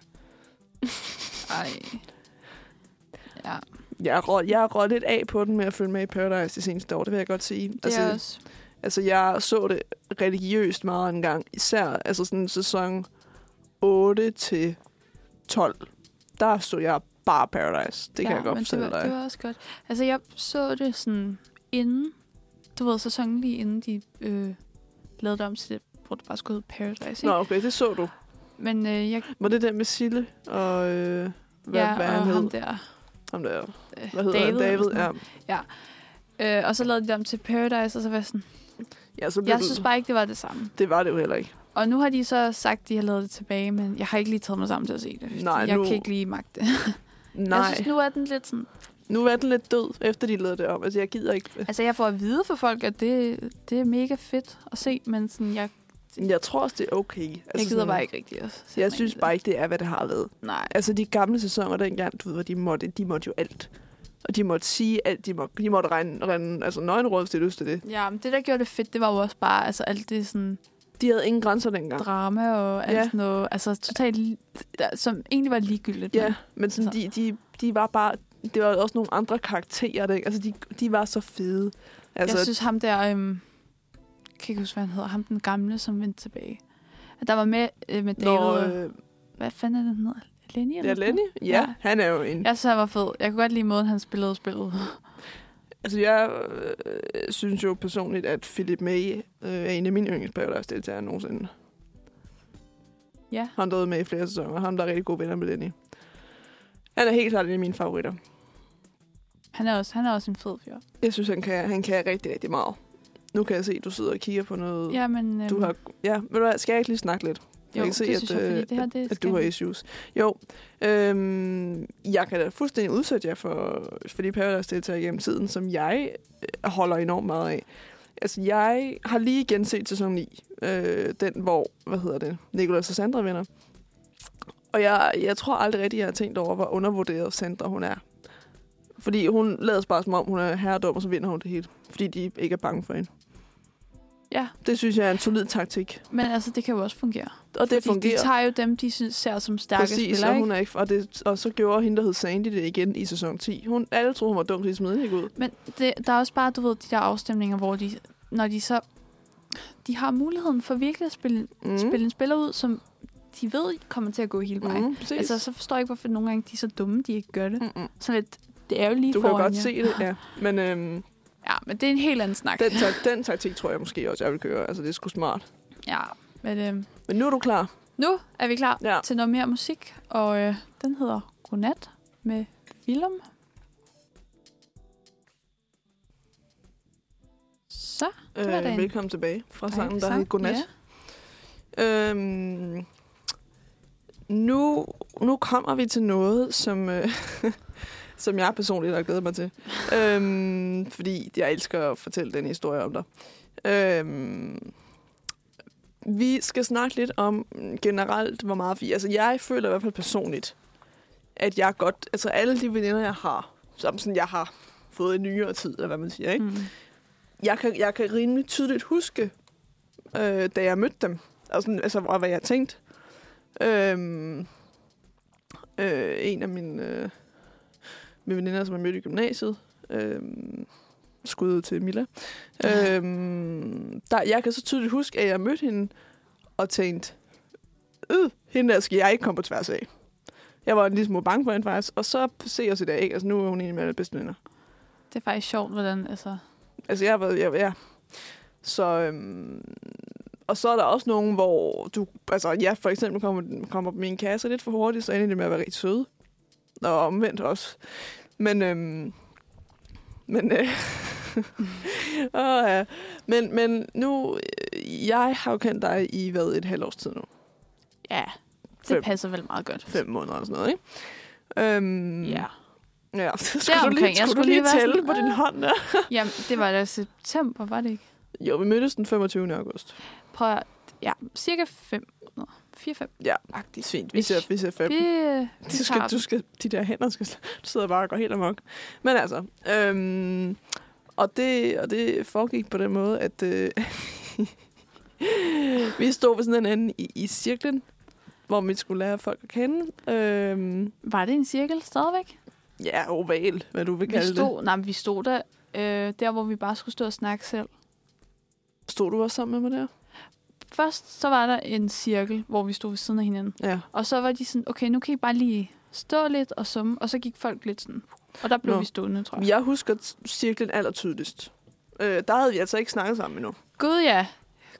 Speaker 2: Ej. Ja,
Speaker 1: jeg har rå- jeg har råd lidt af på den med at følge med i Paradise det seneste år, det vil jeg godt sige.
Speaker 2: det
Speaker 1: altså,
Speaker 2: er også...
Speaker 1: Altså, jeg så det religiøst meget en gang. Især altså sådan sæson 8 til 12. Der så jeg bare Paradise. Det kan
Speaker 2: ja,
Speaker 1: jeg godt
Speaker 2: men
Speaker 1: fortælle
Speaker 2: det var,
Speaker 1: dig.
Speaker 2: det var også godt. Altså, jeg så det sådan inden... Du ved, sæsonen lige inden de øh, lavede det om til det, hvor det bare skulle hedde Paradise,
Speaker 1: Nå,
Speaker 2: ikke?
Speaker 1: okay, det så du.
Speaker 2: Men øh, jeg...
Speaker 1: Var det der med Sille og... Øh, hvad,
Speaker 2: ja,
Speaker 1: hvad
Speaker 2: og
Speaker 1: han
Speaker 2: ham
Speaker 1: hed?
Speaker 2: der...
Speaker 1: Ham der.
Speaker 2: Øh,
Speaker 1: Hvad hedder
Speaker 2: David,
Speaker 1: David, han?
Speaker 2: eller
Speaker 1: David,
Speaker 2: sådan
Speaker 1: ja.
Speaker 2: noget. Øh, og så lavede de det om til Paradise, og så var jeg sådan...
Speaker 1: ja så blev
Speaker 2: Jeg
Speaker 1: det-
Speaker 2: synes bare ikke, det var det samme.
Speaker 1: Det var det jo heller ikke.
Speaker 2: Og nu har de så sagt, at de har lavet det tilbage, men jeg har ikke lige taget mig sammen til at se det. fordi
Speaker 1: Nej,
Speaker 2: jeg
Speaker 1: nu-
Speaker 2: kan ikke lige magte det.
Speaker 1: Nej,
Speaker 2: Jeg synes, nu er den lidt sådan...
Speaker 1: nu er den lidt død, efter de lavede det om. Altså, jeg gider ikke...
Speaker 2: Altså, jeg får at vide fra folk, at det, det er mega fedt at se, men sådan, jeg,
Speaker 1: Jeg tror også, det er okay. Altså,
Speaker 2: jeg gider
Speaker 1: sådan-
Speaker 2: bare ikke rigtig at se
Speaker 1: Jeg
Speaker 2: mig
Speaker 1: synes
Speaker 2: ind i
Speaker 1: bare ikke, det er, hvad det har været.
Speaker 2: det. Nej.
Speaker 1: Altså de gamle sæsoner dengang, du ved, hvor de måtte, de måtte jo alt. Og de måtte sige alt, de måtte, de måtte regne, regne altså nøgenråd, hvis de havde lyst til det.
Speaker 2: Ja, men det, der gjorde det fedt, det var jo også bare, altså alt det sådan...
Speaker 1: De havde ingen grænser dengang.
Speaker 2: drama og alt
Speaker 1: Ja.
Speaker 2: ja. sådan noget. Altså totalt, li- der, som egentlig var ligegyldigt.
Speaker 1: Ja, men sådan, de,
Speaker 2: Altså.
Speaker 1: de, de var bare... Det var også nogle andre karakterer, der, ikke? altså de, de var så fede.
Speaker 2: Altså,
Speaker 1: Altså,
Speaker 2: jeg synes ham der, øhm, kan ikke huske, hvad han hedder, ham den gamle, som vendte tilbage. Der var med, øh, med David,
Speaker 1: når,
Speaker 2: og,
Speaker 1: øh,
Speaker 2: hvad fanden er det, han hedder? Lenny?
Speaker 1: ja,
Speaker 2: eller sådan
Speaker 1: Lenny,
Speaker 2: noget?
Speaker 1: ja,
Speaker 2: Ja.
Speaker 1: ja, han er jo en... Ja.
Speaker 2: Jeg synes, han var fed. Jeg kunne godt lide måden, han spillede spillet.
Speaker 1: Altså, jeg øh, synes jo personligt, at Philip May øh, er en af mine yndlingsparadise-deltagere nogensinde.
Speaker 2: Ja.
Speaker 1: Han der har været med i flere sæsoner. Han der er rigtig gode venner med Lenny. Han er helt klart en af mine favoritter.
Speaker 2: Han er også, han er også en fed fyr.
Speaker 1: Jeg synes, han kan, han kan rigtig, rigtig meget. Nu kan jeg se, at du sidder og kigger på noget.
Speaker 2: Ja, men... Øhm,
Speaker 1: Du har, ja, ved du hvad, skal jeg ikke lige snakke lidt?
Speaker 2: jo,
Speaker 1: jeg kan se,
Speaker 2: det
Speaker 1: at,
Speaker 2: synes jeg, fordi
Speaker 1: øh,
Speaker 2: det her, det
Speaker 1: at
Speaker 2: skal
Speaker 1: du har
Speaker 2: vi-
Speaker 1: issues. Jo, øhm, jeg kan da fuldstændig udsætte jer for, for de Paradise-deltagere gennem tiden, som jeg øh, holder enormt meget af. Altså, jeg har lige igen set sæson 9, øh, den hvor, hvad hedder det, Nicolas og Sandra vinder. Og jeg, jeg tror aldrig rigtig, jeg har tænkt over, hvor undervurderet Sandra hun er. Fordi hun lader bare som om, hun er herredom, og så vinder hun det hele. Fordi de ikke er bange for hende.
Speaker 2: Ja,
Speaker 1: Det synes jeg er en solid taktik.
Speaker 2: men altså, det kan jo også fungere.
Speaker 1: Og det
Speaker 2: Fordi
Speaker 1: fungerer.
Speaker 2: De tager jo dem, de synes ser som stærke
Speaker 1: Præcis,
Speaker 2: spillere,
Speaker 1: og,
Speaker 2: ikke?
Speaker 1: hun er ikke, og, det, og så gjorde hende, der hed Sandy, det igen i sæson 10. Hun, alle troede, hun var dum, så de smed hende ikke ud.
Speaker 2: Men det, der er også bare, du ved, de der afstemninger, hvor de, når de så... De har muligheden for virkelig at spille, mm. spille en spiller ud, som de ved kommer til at gå hele vejen. Mm.
Speaker 1: mm, præcis.
Speaker 2: Altså, så forstår jeg ikke, hvorfor nogle gange de er så dumme, de ikke gør det.
Speaker 1: Mm-mm.
Speaker 2: Så lidt, det er jo lige
Speaker 1: Du kan jo
Speaker 2: foran
Speaker 1: godt
Speaker 2: jer.
Speaker 1: se det, ja. Men øhm,
Speaker 2: Ja, men det er en helt anden snak.
Speaker 1: den, ta- den taktik tror jeg måske også, jeg vil køre. Altså, det er sgu smart.
Speaker 2: Ja, men øh,
Speaker 1: Men nu er du klar.
Speaker 2: nu er vi klar
Speaker 1: Ja.
Speaker 2: ja. til noget mere musik, og øh, den hedder Godnat med Willem. Så var da
Speaker 1: Øh,
Speaker 2: en
Speaker 1: velkommen tilbage fra sangen, der
Speaker 2: sang.
Speaker 1: hed Godnat.
Speaker 2: Ja.
Speaker 1: Øhm, nu, nu kommer vi til noget, som, øh, som jeg personligt har glædet mig til. øhm, fordi jeg elsker at fortælle den historie om dig. Øhm, vi skal snakke lidt om mm, generelt, hvor meget vi... Altså, jeg føler i hvert fald personligt, at jeg godt... Altså, alle de veninder, jeg har, som sådan, jeg har fået i nyere tid, eller hvad man siger, ikke?
Speaker 2: Mm.
Speaker 1: jeg kan, jeg kan rimelig tydeligt huske, øh, da jeg mødte dem, og sådan, altså, og hvad jeg tænkte. Øhm, øh, en af mine, øh, mine veninder, som jeg mødte i gymnasiet, øh, skud ud til Milla, øh, der, jeg kan så tydeligt huske, at jeg mødte hende og tænkte, øh, hende der skal jeg ikke komme på tværs af. Jeg var en lille smule bange for hende faktisk, og så se os i dag, ikke? altså nu er hun en af mine bedste veninder.
Speaker 2: Det er faktisk sjovt, hvordan... Altså,
Speaker 1: Altså, jeg har været, jeg, ja. Så, øhm, og så er der også nogen, hvor du, altså jeg for eksempel kommer, kommer på min kasse lidt for hurtigt, så ender det med at være rigtig søde. Og omvendt også. Men, øhm, men, øh, åh, ja. men, men nu, øh, jeg har jo kendt dig i, hvad, et halvt års tid nu?
Speaker 2: ja, det
Speaker 1: Fem.
Speaker 2: passer vel meget godt.
Speaker 1: Fem måneder eller sådan noget, ikke? Øhm,
Speaker 2: Ja.
Speaker 1: ja. Så skulle du lige,
Speaker 2: Deromkring.
Speaker 1: skulle
Speaker 2: Jeg
Speaker 1: du
Speaker 2: skulle
Speaker 1: lige
Speaker 2: lige være
Speaker 1: tælle
Speaker 2: sådan,
Speaker 1: på din
Speaker 2: ah.
Speaker 1: hånd der.
Speaker 2: Jamen, det var da i september, var det ikke?
Speaker 1: Jo, vi mødtes den 25. august.
Speaker 2: Prøv at, ja, cirka fem. Nå, fire, fem.
Speaker 1: Ja,
Speaker 2: Agtigt.
Speaker 1: Fint, vi ser, vi ser fem.
Speaker 2: Vi, øh, vi
Speaker 1: Du skal,
Speaker 2: tager
Speaker 1: du skal, de der hænder skal, du sidder bare og går helt amok. Men altså, øhm, og, det, og det foregik på den måde, at øh, vi stod ved sådan en anden i, i cirklen, hvor vi skulle lære folk at kende. Øhm,
Speaker 2: Var det en cirkel stadigvæk?
Speaker 1: ja, oval, hvad du vil
Speaker 2: Vi
Speaker 1: kalde det.
Speaker 2: stod, nej, men vi stod der, øh, der, hvor vi bare skulle stå og snakke selv.
Speaker 1: Stod du også sammen med mig der?
Speaker 2: Først så var der en cirkel, hvor vi stod ved siden af hinanden.
Speaker 1: Ja.
Speaker 2: Og så var de sådan, okay, nu kan I bare lige stå lidt og summe. Og så gik folk lidt sådan. Og der blev
Speaker 1: Nå.
Speaker 2: Nå. vi stående, tror jeg.
Speaker 1: Jeg husker t- cirklen allertydeligst. Øh, der havde vi altså ikke snakket sammen endnu.
Speaker 2: Gud ja.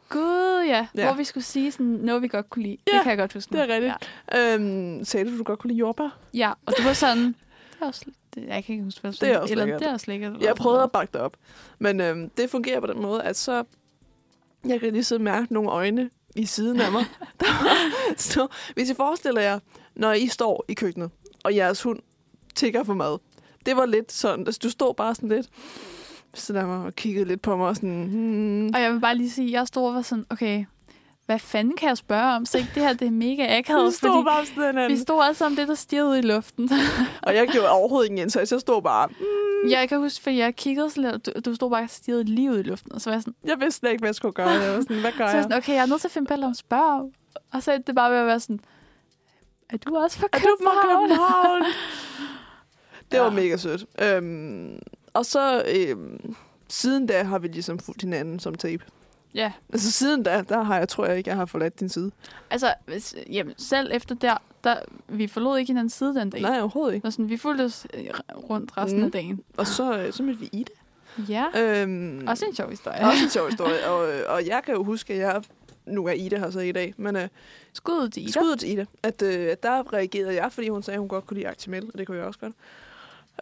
Speaker 2: Gud ja.
Speaker 1: Ja.
Speaker 2: ja. Hvor vi skulle sige sådan noget, vi godt kunne lide.
Speaker 1: Ja,
Speaker 2: det kan jeg godt huske.
Speaker 1: det er
Speaker 2: nu.
Speaker 1: rigtigt. Øhm, sagde du, du godt kunne lide jordbær?
Speaker 2: Ja. ja, og det var sådan... Det er også, det, jeg kan ikke huske, hvad jeg
Speaker 1: Det er
Speaker 2: sagde.
Speaker 1: også
Speaker 2: Eller
Speaker 1: lækkert.
Speaker 2: det er også lækkert. eller
Speaker 1: Jeg
Speaker 2: sådan
Speaker 1: prøvede at
Speaker 2: noget.
Speaker 1: bakke det op. Men øhm, det fungerer på den måde, at så... Jeg kan lige sidde og mærke nogle øjne i siden af mig. der var- så, hvis I forestiller jer, når I står i køkkenet, og jeres hund tigger for mad. Det var lidt sådan, altså, du stod bare sådan lidt sådan af mig og kiggede lidt på mig og sådan... Hmm.
Speaker 2: Og jeg vil bare lige sige, at jeg stod og var sådan, okay, hvad fanden kan jeg spørge om? Så ikke det her, det er mega akavet,
Speaker 1: Vi stod
Speaker 2: fordi
Speaker 1: bare sådan
Speaker 2: vi
Speaker 1: en,
Speaker 2: stod alle sammen lidt og stirrede ud i luften.
Speaker 1: og jeg gjorde overhovedet ingen indsats. Jeg stod bare, mm,
Speaker 2: Jeg kan huske, for jeg kiggede sådan lidt, og du, du stod bare og stirrede lige ud i luften, og så var jeg sådan,
Speaker 1: Jeg vidste slet ikke, hvad jeg skulle gøre. Jeg var sådan, hvad gør
Speaker 2: så var jeg
Speaker 1: jeg?
Speaker 2: sådan okay, jeg er nødt til at finde Bella om spørg. Og så er det bare ved at være sådan, er du også fra
Speaker 1: Er du fra
Speaker 2: København?
Speaker 1: København? Det var
Speaker 2: Ja.
Speaker 1: mega sødt. Øhm, og så øhm, siden da har vi ligesom fulgt hinanden som tape.
Speaker 2: Ja,
Speaker 1: Altså siden da, der har jeg, tror jeg ikke, jeg har forladt din side.
Speaker 2: altså, hvis, jamen, selv efter der, der, vi forlod ikke hinandens side den dag.
Speaker 1: Nej, overhovedet ikke.
Speaker 2: Og sådan, vi fulgte os øh, rundt resten
Speaker 1: Mm.
Speaker 2: mm. af dagen.
Speaker 1: Og så, øh, så mødte vi Ida.
Speaker 2: Ja,
Speaker 1: Øhm,
Speaker 2: også en sjov historie.
Speaker 1: også en sjov historie. Og, øh, og jeg kan jo huske, at jeg... Nu er Ida her så i dag, men øh,
Speaker 2: Skud ud til Ida.
Speaker 1: Skud ud til Ida. At, øh, at der reagerede jeg, fordi hun sagde, at hun godt kunne lide Actimel, og det kunne jeg også godt.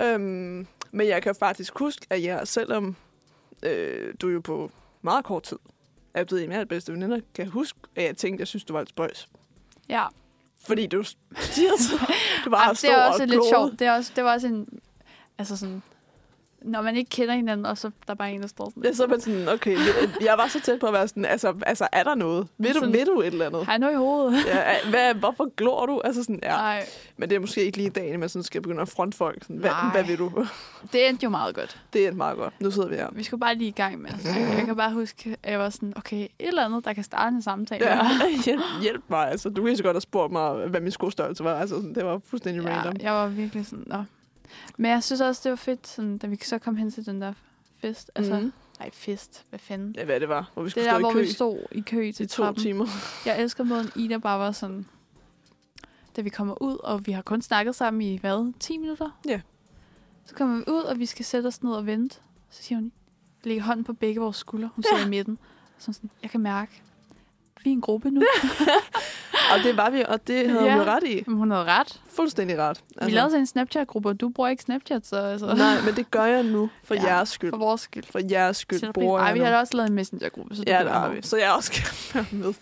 Speaker 1: Øhm, men jeg kan faktisk huske, at jeg, selvom øh, du jo på meget kort tid er blevet en af de bedste veninder, kan jeg huske, at jeg tænkte, at jeg synes, du var lidt spøjs.
Speaker 2: Ja.
Speaker 1: Fordi du stiger så. Du
Speaker 2: Ej,
Speaker 1: var
Speaker 2: det er også
Speaker 1: og
Speaker 2: lidt
Speaker 1: glod.
Speaker 2: sjovt. Det, er også, det var også en... Altså sådan... Når man ikke kender hinanden, og så er der bare en, der står sådan...
Speaker 1: Ja, så er man sådan, okay, jeg var så tæt på at være sådan, altså, altså er der noget? Vil du,
Speaker 2: Sådan-
Speaker 1: vil du et eller andet?
Speaker 2: Har jeg noget i hovedet?
Speaker 1: Ja, hvad, hvorfor glor du? Altså sådan, ja.
Speaker 2: Nej,
Speaker 1: Men det er måske ikke lige dagen, man sådan skal begynde at fronte folk. Sådan, hvad,
Speaker 2: Nej.
Speaker 1: hvad vil du?
Speaker 2: det endte jo meget godt.
Speaker 1: Det er meget godt. Nu sidder vi her.
Speaker 2: Vi skulle bare lige i gang med. Jeg kan bare huske, at jeg var sådan, okay, et eller andet, der kan starte en samtale.
Speaker 1: Ja. hjælp, hjælp mig. Altså, du kan så godt have spurgt mig, hvad min skostørrelse var. Altså, sådan, det var fuldstændig ja,
Speaker 2: ja
Speaker 1: random.
Speaker 2: jeg var virkelig sådan, Nå. Men jeg synes også, det var fedt, sådan, da vi så kom hen til den der fest. Altså,
Speaker 1: Mhm.
Speaker 2: mm. nej, fest, hvad fanden?
Speaker 1: Ja, hvad det var, hvor vi
Speaker 2: Det
Speaker 1: skulle
Speaker 2: er der,
Speaker 1: stå
Speaker 2: hvor
Speaker 1: i kø
Speaker 2: vi stod i kø til
Speaker 1: i to
Speaker 2: trappen.
Speaker 1: timer.
Speaker 2: Jeg elsker måden, Ida bare var sådan, da vi kommer ud, og vi har kun snakket sammen i, hvad, 10 minutter?
Speaker 1: Ja.
Speaker 2: Så kommer vi ud, og vi skal sætte os ned og vente. Så siger hun, lægge hånden på begge vores skuldre. Hun sidder i midten. Så hun sådan, jeg kan mærke, vi er en gruppe nu.
Speaker 1: Og det var vi, og det havde
Speaker 2: Ja.
Speaker 1: ja. hun jo ret i.
Speaker 2: Men hun havde ret.
Speaker 1: Fuldstændig ret.
Speaker 2: Altså. Vi lavede sådan en Snapchat-gruppe, og du bruger ikke Snapchat, så altså,
Speaker 1: Nej, men det gør jeg nu, for
Speaker 2: Ja,
Speaker 1: ja, jeres skyld.
Speaker 2: for vores skyld.
Speaker 1: For jeres skyld
Speaker 2: Selvom-
Speaker 1: bruger
Speaker 2: Ej,
Speaker 1: jeg
Speaker 2: vi
Speaker 1: nu.
Speaker 2: har da også lavet en messengergruppe, så du
Speaker 1: Ja,
Speaker 2: kan
Speaker 1: det
Speaker 2: være
Speaker 1: har
Speaker 2: med.
Speaker 1: vi. Så jeg også kan være med. Det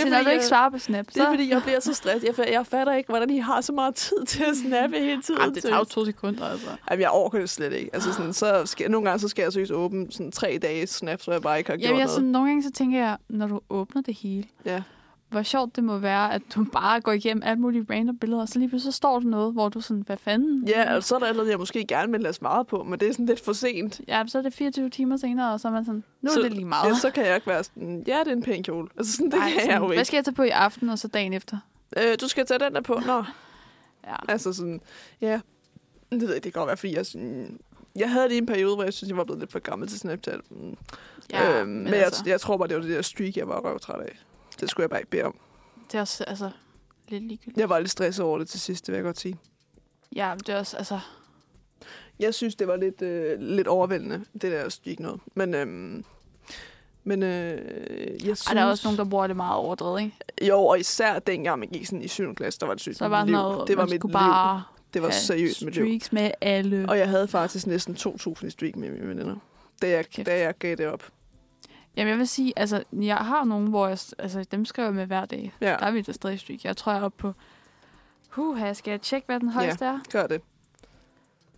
Speaker 2: Så når du
Speaker 1: jeg,
Speaker 2: ikke svarer på Snap, så...
Speaker 1: det er fordi, jeg bliver så stresset. Jeg, fa- jeg fatter ikke, hvordan I har så meget tid til at snappe hele tiden.
Speaker 2: Ej, det tager jo
Speaker 1: seriøst.
Speaker 2: to sekunder, altså.
Speaker 1: Jamen, jeg overgår det slet ikke. Altså, sådan, så skal, nogle gange så skal jeg seriøst åbne sådan tre dage snaps, hvor jeg bare ikke har gjort
Speaker 2: Jamen, jeg,
Speaker 1: noget.
Speaker 2: sådan, nogle gange så tænker jeg, når du åbner det hele,
Speaker 1: Ja.
Speaker 2: hvor sjovt det må være, at du bare går igennem alle mulige random billeder, og så lige pludselig så står der noget, hvor du sådan, hvad fanden?
Speaker 1: Ja, altså- og så er der allerede, jeg måske gerne vil lade svare på, men det er sådan lidt for sent.
Speaker 2: Ja, så er det 24 timer senere, og så er man sådan, nu
Speaker 1: Så-
Speaker 2: er det lige meget.
Speaker 1: Ja, så kan jeg ikke være sådan, ja, det er en pæn kjole. Altså sådan, det
Speaker 2: Ej,
Speaker 1: Ej, kan
Speaker 2: sådan,
Speaker 1: jeg jo
Speaker 2: Hvad
Speaker 1: ikke.
Speaker 2: skal jeg tage på i aften, og så dagen efter?
Speaker 1: Øh, du skal tage den der på. Nå,
Speaker 2: Ja.
Speaker 1: altså sådan, ja. Det ved jeg, det kan godt være, fordi jeg sådan, jeg havde lige en periode, hvor jeg synes, jeg var blevet lidt for gammel til Snapchat. Mm.
Speaker 2: ja altså,
Speaker 1: øhm, men jeg, jeg, tror bare, det var det der streak, jeg var røvtræt af. Det skulle jeg bare ikke bede om.
Speaker 2: det er også, altså, lidt ligegyldigt.
Speaker 1: Jeg var lidt stresset over det til sidst, det vil jeg godt sige.
Speaker 2: Ja, men det er også, altså,
Speaker 1: Jeg synes, det var lidt, øh, lidt overvældende, det der streak noget. Men, øhm, men øh, jeg synes...
Speaker 2: ej, der er også nogen, der bruger det meget overdrevet, ikke?
Speaker 1: Jo, og især dengang man gik sådan i 7. klasse, der var det sygt.
Speaker 2: Så var
Speaker 1: liv.
Speaker 2: noget,
Speaker 1: det var
Speaker 2: man
Speaker 1: mit liv.
Speaker 2: skulle bare
Speaker 1: Det var
Speaker 2: have
Speaker 1: seriøst mit liv.
Speaker 2: streaks med alle.
Speaker 1: Og jeg havde faktisk næsten 2.000 i streak med mine veninder, da jeg,
Speaker 2: Kæft.
Speaker 1: da jeg gav det op.
Speaker 2: Jamen, jeg vil sige, altså, jeg har nogen, hvor jeg, altså, dem skriver jeg med hver dag.
Speaker 1: Ja,
Speaker 2: Der er vi da stadig streak. Jeg tror, jeg er oppe på... Huha, skal jeg tjekke, hvad den højeste er?
Speaker 1: gør det.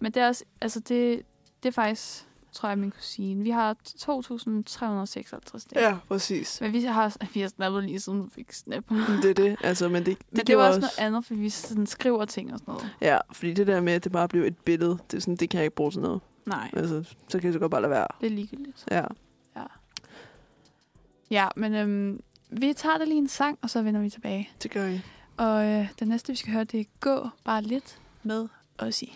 Speaker 2: Men det er også... Altså, det, det er faktisk, tror jeg, min kusine. Vi har 2.356 dage.
Speaker 1: Ja, præcis.
Speaker 2: Men vi har, vi har snappet lige siden vi fik snap. Men
Speaker 1: Det er det, altså, men det, det,
Speaker 2: det, det
Speaker 1: gjorde
Speaker 2: var også noget andet, for vi sådan skriver ting og sådan noget.
Speaker 1: Ja, fordi det der med, at det bare blev et billede, det, er sådan, det kan jeg ikke bruge til noget.
Speaker 2: Nej,
Speaker 1: Altså, så kan jeg så godt bare lade være.
Speaker 2: det er ligegyldigt.
Speaker 1: Ja.
Speaker 2: Ja, men øhm, vi tager da lige en sang, og så vender vi tilbage.
Speaker 1: Det gør jeg.
Speaker 2: Og øh, den næste, vi skal høre, det er Gå bare lidt med Ossie.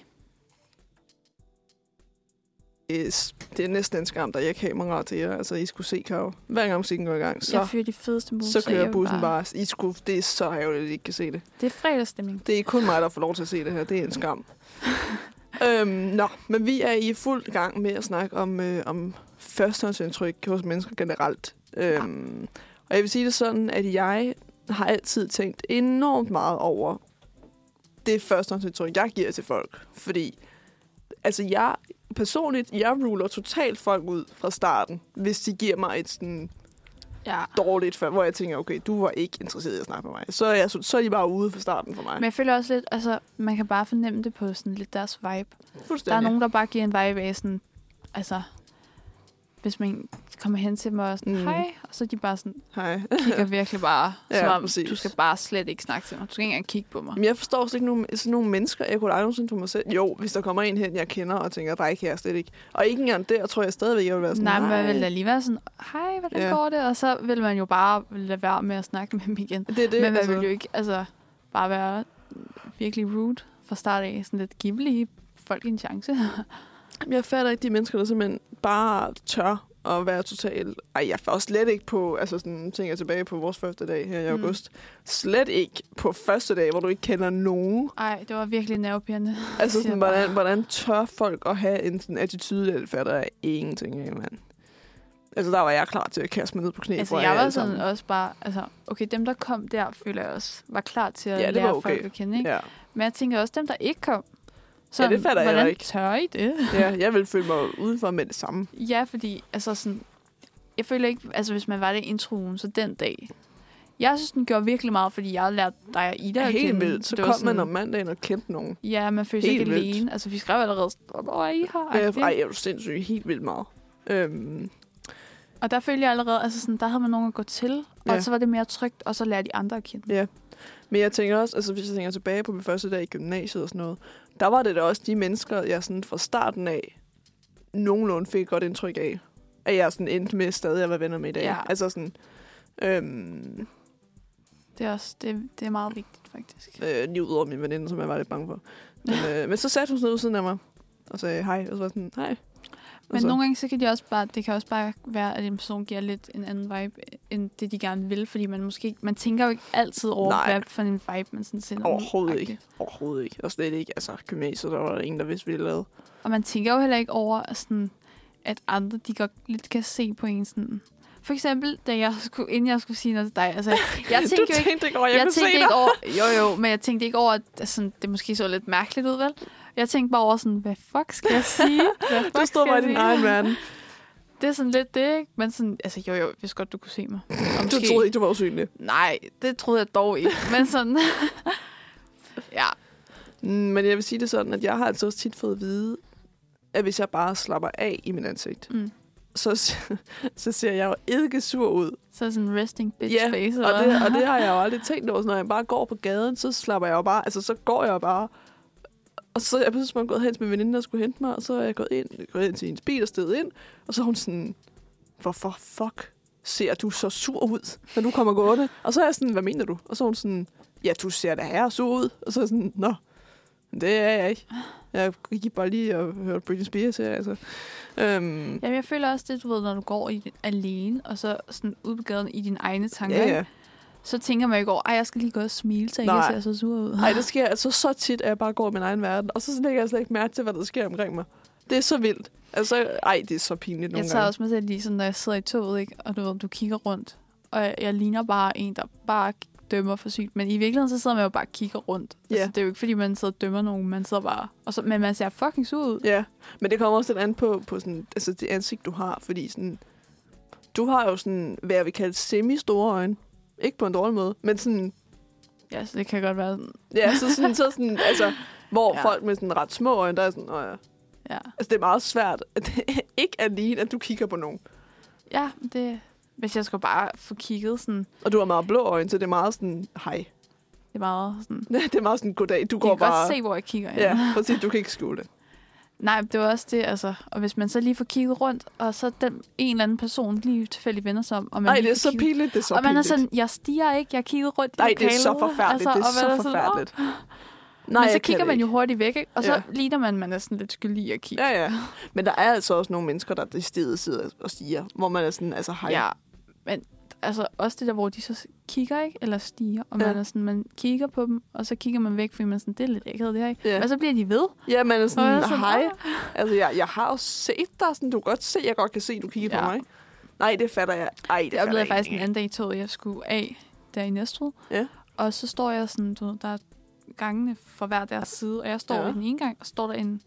Speaker 1: Yes. Det er næsten en skam, der jeg ikke kamera til jer. Altså, I skulle se Karo. Hver gang musikken går i gang,
Speaker 2: Så, jeg
Speaker 1: så,
Speaker 2: fyrer de fedeste moves,
Speaker 1: så
Speaker 2: af, jeg
Speaker 1: kører
Speaker 2: vil
Speaker 1: bussen bare. I skulle, det er så ærgerligt, at I ikke kan se det.
Speaker 2: Det er fredagsstemning.
Speaker 1: Det er kun mig, der får lov til at se det her. Det er en skam. øhm, nå, men vi er i fuld gang med at snakke om, øh, om førstehåndsindtryk hos mennesker generelt. Øhm, Og jeg vil sige det sådan, at jeg har altid tænkt enormt meget over det førstehåndsindtryk, jeg giver til folk. Fordi, altså jeg personligt, jeg ruler totalt folk ud fra starten, hvis de giver mig et sådan
Speaker 2: Ja.
Speaker 1: dårligt, før, hvor jeg tænker, okay, du var ikke interesseret i at snakke med mig. Så er, jeg, så, så er de bare ude fra starten for mig.
Speaker 2: Men jeg føler også lidt, altså, man kan bare fornemme det på sådan lidt deres vibe. Der
Speaker 1: Fuldstændig.
Speaker 2: er nogen, der bare giver en vibe af sådan, altså, hvis man kommer hen til dem og er sådan,
Speaker 1: Mm.
Speaker 2: mm. hej, og så er de bare sådan,
Speaker 1: Hej.
Speaker 2: kigger virkelig bare,
Speaker 1: Ja,
Speaker 2: ja, Mm, som om
Speaker 1: præcis.
Speaker 2: du skal bare slet ikke snakke til mig. Du skal ikke engang kigge på mig.
Speaker 1: Men jeg forstår slet ikke nogen, sådan nogle mennesker. Jeg kunne aldrig nogensinde for mig selv. Jo, hvis der kommer en hen, jeg kender, og tænker, dig kan jeg slet ikke. Og ikke engang der, tror jeg stadigvæk, jeg vil være sådan,
Speaker 2: Nej, men man vil da lige være sådan, hej, hvordan
Speaker 1: Ja.
Speaker 2: ja. går det? Og så vil man jo bare lade være med at snakke med dem igen.
Speaker 1: Det er det,
Speaker 2: Det, men man
Speaker 1: altså.
Speaker 2: altså... vil jo ikke altså, bare være virkelig rude fra start af. Sådan lidt give lige folk en chance.
Speaker 1: Jamen, Jeg fatter ikke de mennesker, der simpelthen bare tør at være totalt... Ej, jeg var slet ikke på... Altså, sådan tænker jeg tilbage på vores første dag her i
Speaker 2: Mm.
Speaker 1: august. Slet ikke på første dag, hvor du ikke kender nogen.
Speaker 2: Ej, det var virkelig nervepirrende.
Speaker 1: Altså,
Speaker 2: Siger
Speaker 1: sådan,
Speaker 2: bare.
Speaker 1: hvordan, hvordan tør folk at have en sådan attitude, der det fatter jeg ingenting af, mand. Altså, der var jeg klar til at kaste mig ned på knæ.
Speaker 2: Altså,
Speaker 1: foran
Speaker 2: jeg
Speaker 1: jer
Speaker 2: var
Speaker 1: alle
Speaker 2: sådan
Speaker 1: sammen.
Speaker 2: også bare, altså, okay, dem der kom der, føler jeg også, var klar til at
Speaker 1: Ja,
Speaker 2: ja,
Speaker 1: det var
Speaker 2: lære
Speaker 1: okay.
Speaker 2: folk at kende, ikke? Ja.
Speaker 1: Ja.
Speaker 2: Men jeg tænker også, dem der ikke kom, så
Speaker 1: det fatter jeg
Speaker 2: hvordan
Speaker 1: ikke.
Speaker 2: tør I det?
Speaker 1: ja, jeg ville føle mig udenfor med det samme.
Speaker 2: Ja, fordi altså sådan, jeg føler ikke, altså hvis man var det i introen, så den dag. Jeg synes, den gjorde virkelig meget, fordi jeg lærte dig og Ida
Speaker 1: Ja,
Speaker 2: at
Speaker 1: Helt
Speaker 2: kende.
Speaker 1: vildt. Så
Speaker 2: det
Speaker 1: kom
Speaker 2: var
Speaker 1: man om mandagen og kendte nogen.
Speaker 2: Ja, man følte sig
Speaker 1: Helt
Speaker 2: ikke
Speaker 1: vildt.
Speaker 2: alene. Altså, vi skrev allerede, hvor er I her?
Speaker 1: Ja,
Speaker 2: Agtigt.
Speaker 1: Øh, ej, jeg er du sindssyg. Helt vildt meget. Øhm,
Speaker 2: Og der følte jeg allerede, altså sådan, der havde man nogen at gå til, og
Speaker 1: Ja.
Speaker 2: så var det mere trygt, og så lærte de andre at kende.
Speaker 1: Men jeg tænker også, altså hvis jeg tænker tilbage på min første dag i gymnasiet og sådan noget, der var det da også de mennesker, jeg sådan fra starten af nogenlunde fik et godt indtryk af, at jeg sådan endte med stadig at være venner med i dag.
Speaker 2: Ja.
Speaker 1: Altså sådan, øhm,
Speaker 2: Det er, også, det, det er meget vigtigt, faktisk.
Speaker 1: øh, lige ud over min veninde, som jeg var lidt bange for. Men, øh, men så satte hun sig ned ved siden af mig og sagde hej, og så var jeg sådan, hej.
Speaker 2: Men nogle gange, så kan de også bare, det kan også bare være, at en person giver lidt en anden vibe, end det, de gerne vil, fordi man måske ikke, man tænker jo ikke altid over,
Speaker 1: Nej.
Speaker 2: hvad for en vibe, man sådan sender. ud,
Speaker 1: Overhovedet ikke.
Speaker 2: agtigt.
Speaker 1: Overhovedet ikke. Og slet ikke. Altså, gymnasiet, der var der ingen, der vidste, hvad de lavede.
Speaker 2: Og man tænker jo heller ikke over, at sådan, at andre, de godt lidt kan se på en sådan... For eksempel, da jeg skulle, inden jeg skulle sige noget til dig, altså, jeg
Speaker 1: du
Speaker 2: tænkte jo ikke,
Speaker 1: tænkte ikke over, jeg,
Speaker 2: jeg,
Speaker 1: kunne se
Speaker 2: tænkte
Speaker 1: dig.
Speaker 2: ikke over, jo jo, men jeg tænkte ikke over, at altså, det måske så lidt mærkeligt ud, vel? Jeg tænkte bare over sådan, hvad fuck skal jeg sige? Hvad fuck
Speaker 1: Du stod bare
Speaker 2: skal
Speaker 1: i
Speaker 2: jeg
Speaker 1: din
Speaker 2: sige?
Speaker 1: egen verden.
Speaker 2: Det er sådan lidt det, ikke? Men sådan, altså jo jo, hvis godt du kunne se mig. Og
Speaker 1: Du
Speaker 2: måske-
Speaker 1: troede ikke, du var usynlig.
Speaker 2: Nej, det troede jeg dog ikke. Men sådan, ja,
Speaker 1: Mm, Men jeg vil sige det sådan, at jeg har altså også tit fået at vide, at hvis jeg bare slapper af i min ansigt,
Speaker 2: Mm.
Speaker 1: så, så ser jeg jo ikke sur ud.
Speaker 2: så sådan resting bitch
Speaker 1: Ja,
Speaker 2: face.
Speaker 1: Og det, og det har jeg jo aldrig tænkt over. Så Når jeg bare går på gaden, så slapper jeg jo bare. Altså, så går jeg jo bare. Og så er jeg pludselig bare gået hen til min veninde, der skulle hente mig, og så er jeg gået ind, gået ind til hendes bil og stedet ind. Og så er hun sådan, hvorfor fuck ser du så sur ud, når du kommer gående? Og så er jeg sådan, hvad mener du? Og så er hun sådan, ja, du ser da her sur ud. Og så er jeg sådan, nå, men det er jeg ikke. Jeg gik bare lige og hørte Britney Spears her, altså. Øhm,
Speaker 2: Jamen, jeg føler også det, du ved, når du går i, alene, og så sådan ud på gaden i dine egne tanker,
Speaker 1: ja,
Speaker 2: ikke?
Speaker 1: ja.
Speaker 2: så tænker man ikke over, ej, jeg skal lige gå og smile, så ikke
Speaker 1: Nej.
Speaker 2: jeg ser så sur ud.
Speaker 1: Nej, det sker altså så tit, at jeg bare går i min egen verden, og så lægger jeg slet ikke mærke til, hvad der sker omkring mig. Det er så vildt. Altså, ej, det er så pinligt nogle
Speaker 2: Jeg tager
Speaker 1: gange.
Speaker 2: også mig selv lige sådan, når jeg sidder i toget, ikke? og du ved, du kigger rundt, og jeg, jeg ligner bare en, der bare dømmer for sygt. Men i virkeligheden, så sidder man jo bare og kigger rundt.
Speaker 1: Ja.
Speaker 2: Altså, det er jo ikke, fordi man sidder og dømmer nogen, man sidder bare... Og så, men man ser fucking sur ud.
Speaker 1: Ja, men det kommer også lidt an på, på sådan, altså det ansigt, du har, fordi sådan, du har jo sådan, hvad jeg vil kalde semi-store øjne. Ikke på en dårlig måde, men sådan,
Speaker 2: Ja, så det kan godt være sådan...
Speaker 1: ja, så sådan, så sådan altså, hvor ja.
Speaker 2: Ja.
Speaker 1: folk med sådan ret små øjne, der er sådan, "Nå ja.
Speaker 2: Ja,
Speaker 1: altså det er meget svært, at det ikke alene, at du kigger på nogen.
Speaker 2: ja det... Hvis jeg skulle bare få kigget sådan...
Speaker 1: Og du har meget blå øjne, så det er meget sådan, hej.
Speaker 2: Det er meget sådan... Du
Speaker 1: Det er meget sådan, goddag, du
Speaker 2: kan
Speaker 1: går bare...
Speaker 2: godt se, hvor jeg kigger. hen.
Speaker 1: Ja, præcis, du kan ikke skjule det.
Speaker 2: Nej, det var også det, altså. Og hvis man så lige får kigget rundt, og så den en eller anden person lige tilfældig vender sig om, og man
Speaker 1: Nej,
Speaker 2: lige
Speaker 1: det er
Speaker 2: får
Speaker 1: så
Speaker 2: kigget-
Speaker 1: pinligt, det er så
Speaker 2: og man er
Speaker 1: pinligt.
Speaker 2: sådan, jeg stiger ikke, jeg kigger rundt i
Speaker 1: Nej, det er
Speaker 2: lokalet.
Speaker 1: så forfærdeligt,
Speaker 2: altså, og
Speaker 1: det
Speaker 2: man
Speaker 1: er så forfærdeligt.
Speaker 2: Nej, Men så
Speaker 1: jeg kan
Speaker 2: kigger
Speaker 1: det
Speaker 2: man jo
Speaker 1: ikke.
Speaker 2: hurtigt væk, ikke? og så
Speaker 1: Ja.
Speaker 2: ja. ligner man, at man er sådan lidt skyldig at kigge.
Speaker 1: Ja, ja. Men der er altså også nogle mennesker, der det stedet sidder og siger, hvor man er sådan, altså hej.
Speaker 2: ja. Men altså også det der, hvor de så kigger, ikke? Eller stiger, og man
Speaker 1: Ja.
Speaker 2: er sådan, man kigger på dem, og så kigger man væk, fordi man er sådan, det er lidt ægget det her, ikke?
Speaker 1: Ja.
Speaker 2: Men så bliver de ved.
Speaker 1: ja man er
Speaker 2: Og jeg
Speaker 1: sådan,
Speaker 2: er sådan,
Speaker 1: hej.
Speaker 2: "Ah."
Speaker 1: Altså, jeg, jeg har jo set dig, sådan, du kan godt se, jeg godt kan se, du kigger ja. på
Speaker 2: Ja.
Speaker 1: mig. ikke? Nej, det fatter jeg. Ej, det,
Speaker 2: Det
Speaker 1: fatter
Speaker 2: oplevede jeg
Speaker 1: ikke.
Speaker 2: faktisk en anden dag i toget, jeg skulle af der i Næstved.
Speaker 1: Ja.
Speaker 2: Og så står jeg sådan, du ved, der er gangene for hver deres side, og jeg står
Speaker 1: Ja.
Speaker 2: ja. i den ene gang, og står der en,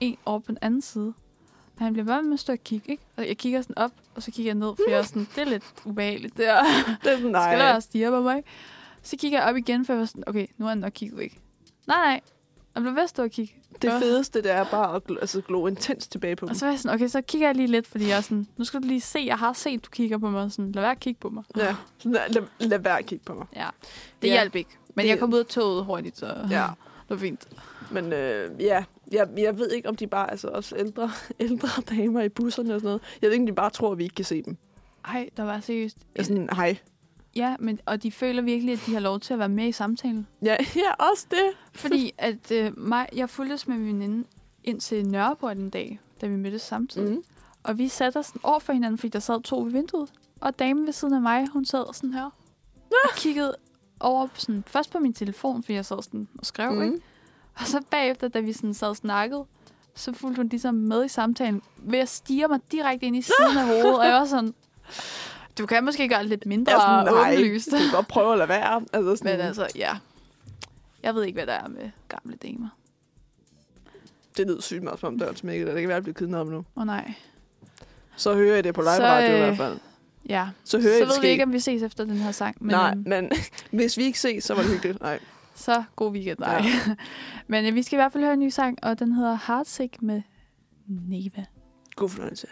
Speaker 2: en over på den anden side. Og han bliver bare med at stå og kigge, ikke? Og jeg kigger sådan op, og så kigger jeg ned, for jeg er sådan, det er lidt ubehageligt der.
Speaker 1: Det er sådan, nej.
Speaker 2: Skal der også stige på mig? Så kigger jeg op igen, for jeg var sådan, okay, nu har han nok kigget væk. Nej, nej. Jeg blev ved at stå og kigge.
Speaker 1: Det
Speaker 2: Ja.
Speaker 1: fedeste, det er bare at glo, altså, glo intens tilbage på dem.
Speaker 2: Og så var jeg sådan, okay, så kigger jeg lige lidt, fordi jeg er sådan, nu skal du lige se, jeg har set, du kigger på mig. og Sådan, lad være at kigge på mig.
Speaker 1: Ja. Sådan, der, lad, lad være at kigge på mig.
Speaker 2: Ja, det
Speaker 1: Ja.
Speaker 2: ja. hjalp ikke. Men
Speaker 1: Det-
Speaker 2: det... jeg kom ud af toget hurtigt, så
Speaker 1: Ja.
Speaker 2: det var fint.
Speaker 1: Men øh, ja, jeg, jeg ved ikke, om de bare, altså også ældre, ældre damer i busserne og sådan noget. Jeg ved ikke, om de bare tror, at vi ikke kan se dem.
Speaker 2: Ej, der var seriøst.
Speaker 1: Jeg er sådan, hej.
Speaker 2: Ja, men, og de føler virkelig, at de har lov til at være med i samtalen.
Speaker 1: Ja, ja, også det.
Speaker 2: Fordi at øh, mig, jeg fulgtes med min veninde ind til Nørreport en dag, da vi mødtes samtidig. Mm.
Speaker 1: Mm.
Speaker 2: Og vi satte os sådan over for hinanden, fordi der sad to ved vinduet. Og damen ved siden af mig, hun sad sådan her og kiggede over sådan, først på min telefon, fordi jeg sad sådan og skrev, mm. ikke? Og så bagefter, da vi sådan sad og snakkede, så fulgte hun ligesom med i samtalen ved at stige mig direkte ind i siden af hovedet. Og jeg var sådan, du kan måske gøre det lidt mindre
Speaker 1: Jeg er sådan, nej,
Speaker 2: åbenlyst.
Speaker 1: du kan godt prøve at lade være. Altså, sådan,
Speaker 2: Men altså, ja. Jeg ved ikke, hvad der er med gamle damer.
Speaker 1: Det lyder sygt meget, som om døren smækkede, og det kan være, at jeg bliver kidnappet nu.
Speaker 2: Åh oh, nej.
Speaker 1: Så hører jeg det på live
Speaker 2: Så,
Speaker 1: radio i
Speaker 2: øh,
Speaker 1: hvert fald.
Speaker 2: Ja.
Speaker 1: Så hører
Speaker 2: Så
Speaker 1: jeg det
Speaker 2: ved vi
Speaker 1: ske.
Speaker 2: ikke, om vi ses efter den her sang. Men,
Speaker 1: Nej,
Speaker 2: øhm,
Speaker 1: men hvis vi ikke ses, så var det hyggeligt. Nej.
Speaker 2: Så god weekend, nej.
Speaker 1: Ja.
Speaker 2: Ja. men øh, vi skal i hvert fald høre en ny sang, og den hedder Heartsick med Neva.
Speaker 1: God fornøjelse.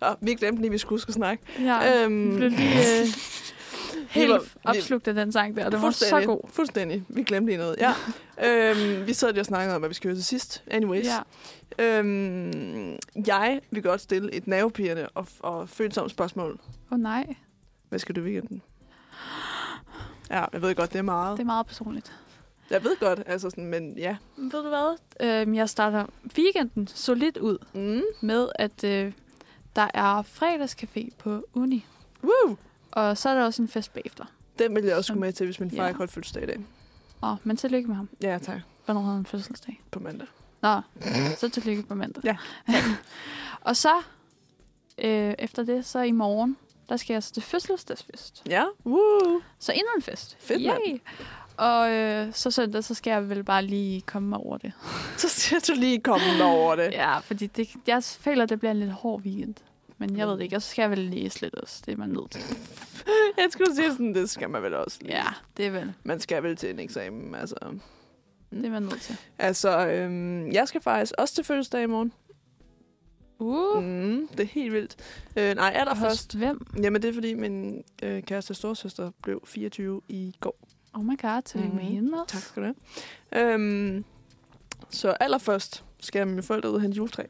Speaker 1: Og vi glemte lige, vi skulle huske at snakke.
Speaker 2: Ja,
Speaker 1: Øhm.
Speaker 2: øhm. blev lige øh, helt
Speaker 1: var- vi-
Speaker 2: opslugt af den sang der. Den var så
Speaker 1: Fuldstændig.
Speaker 2: god.
Speaker 1: Fuldstændig. Vi glemte lige noget. Ja. øhm, vi sad lige og snakkede om, hvad vi skal høre til sidst. Anyways.
Speaker 2: Ja.
Speaker 1: Øhm, jeg vil godt stille et nervepirrende og, og følsomt spørgsmål.
Speaker 2: Åh oh, nej,
Speaker 1: Hvad skal du i weekenden? Ja, jeg ved godt, det er meget.
Speaker 2: det er meget personligt.
Speaker 1: Jeg ved godt, altså sådan, men ja.
Speaker 2: Men Ved du hvad? Øhm, jeg starter weekenden solidt ud
Speaker 1: Mm.
Speaker 2: med, at øh, der er fredagscafé på Uni.
Speaker 1: Woo!
Speaker 2: Og så er der også en fest bagefter.
Speaker 1: Den ville jeg også skulle med til, hvis min far
Speaker 2: Ja.
Speaker 1: ikke holdt fødselsdag i dag.
Speaker 2: Åh, men tillykke med ham.
Speaker 1: Ja, tak.
Speaker 2: Hvornår havde han fødselsdag?
Speaker 1: På mandag.
Speaker 2: Nå, så tillykke på mandag.
Speaker 1: Ja.
Speaker 2: og så, øh, efter det, så i morgen, der skal jeg så til fødselsdagsfest.
Speaker 1: Ja, woo!
Speaker 2: Så endnu en fest.
Speaker 1: Fedt, mand.
Speaker 2: Yay! Og øh, så søndag, så skal jeg vel bare lige komme mig over det.
Speaker 1: Så skal du lige komme over det.
Speaker 2: Ja, fordi det, jeg føler, det bliver en lidt hård weekend. Men jeg ved det ikke, og så skal jeg vel læse lidt også. Det er man nødt til.
Speaker 1: Jeg skulle sige sådan, det skal man vel også lige.
Speaker 2: Ja, det er vel.
Speaker 1: Man skal vel til en eksamen, altså.
Speaker 2: Det er man nødt til.
Speaker 1: Altså, øhm, jeg skal faktisk også til fødselsdag i morgen.
Speaker 2: Uh,
Speaker 1: Mm, det er helt vildt. Øh, nej, er der først.
Speaker 2: først hvem?
Speaker 1: Jamen, det er fordi min øh, kæreste storsøster blev 24 i går.
Speaker 2: Oh my god, tillykke med
Speaker 1: Mhm.
Speaker 2: hende også.
Speaker 1: Tak skal du have. Øhm, så allerførst skal jeg med mine forældre ud og hente juletræ.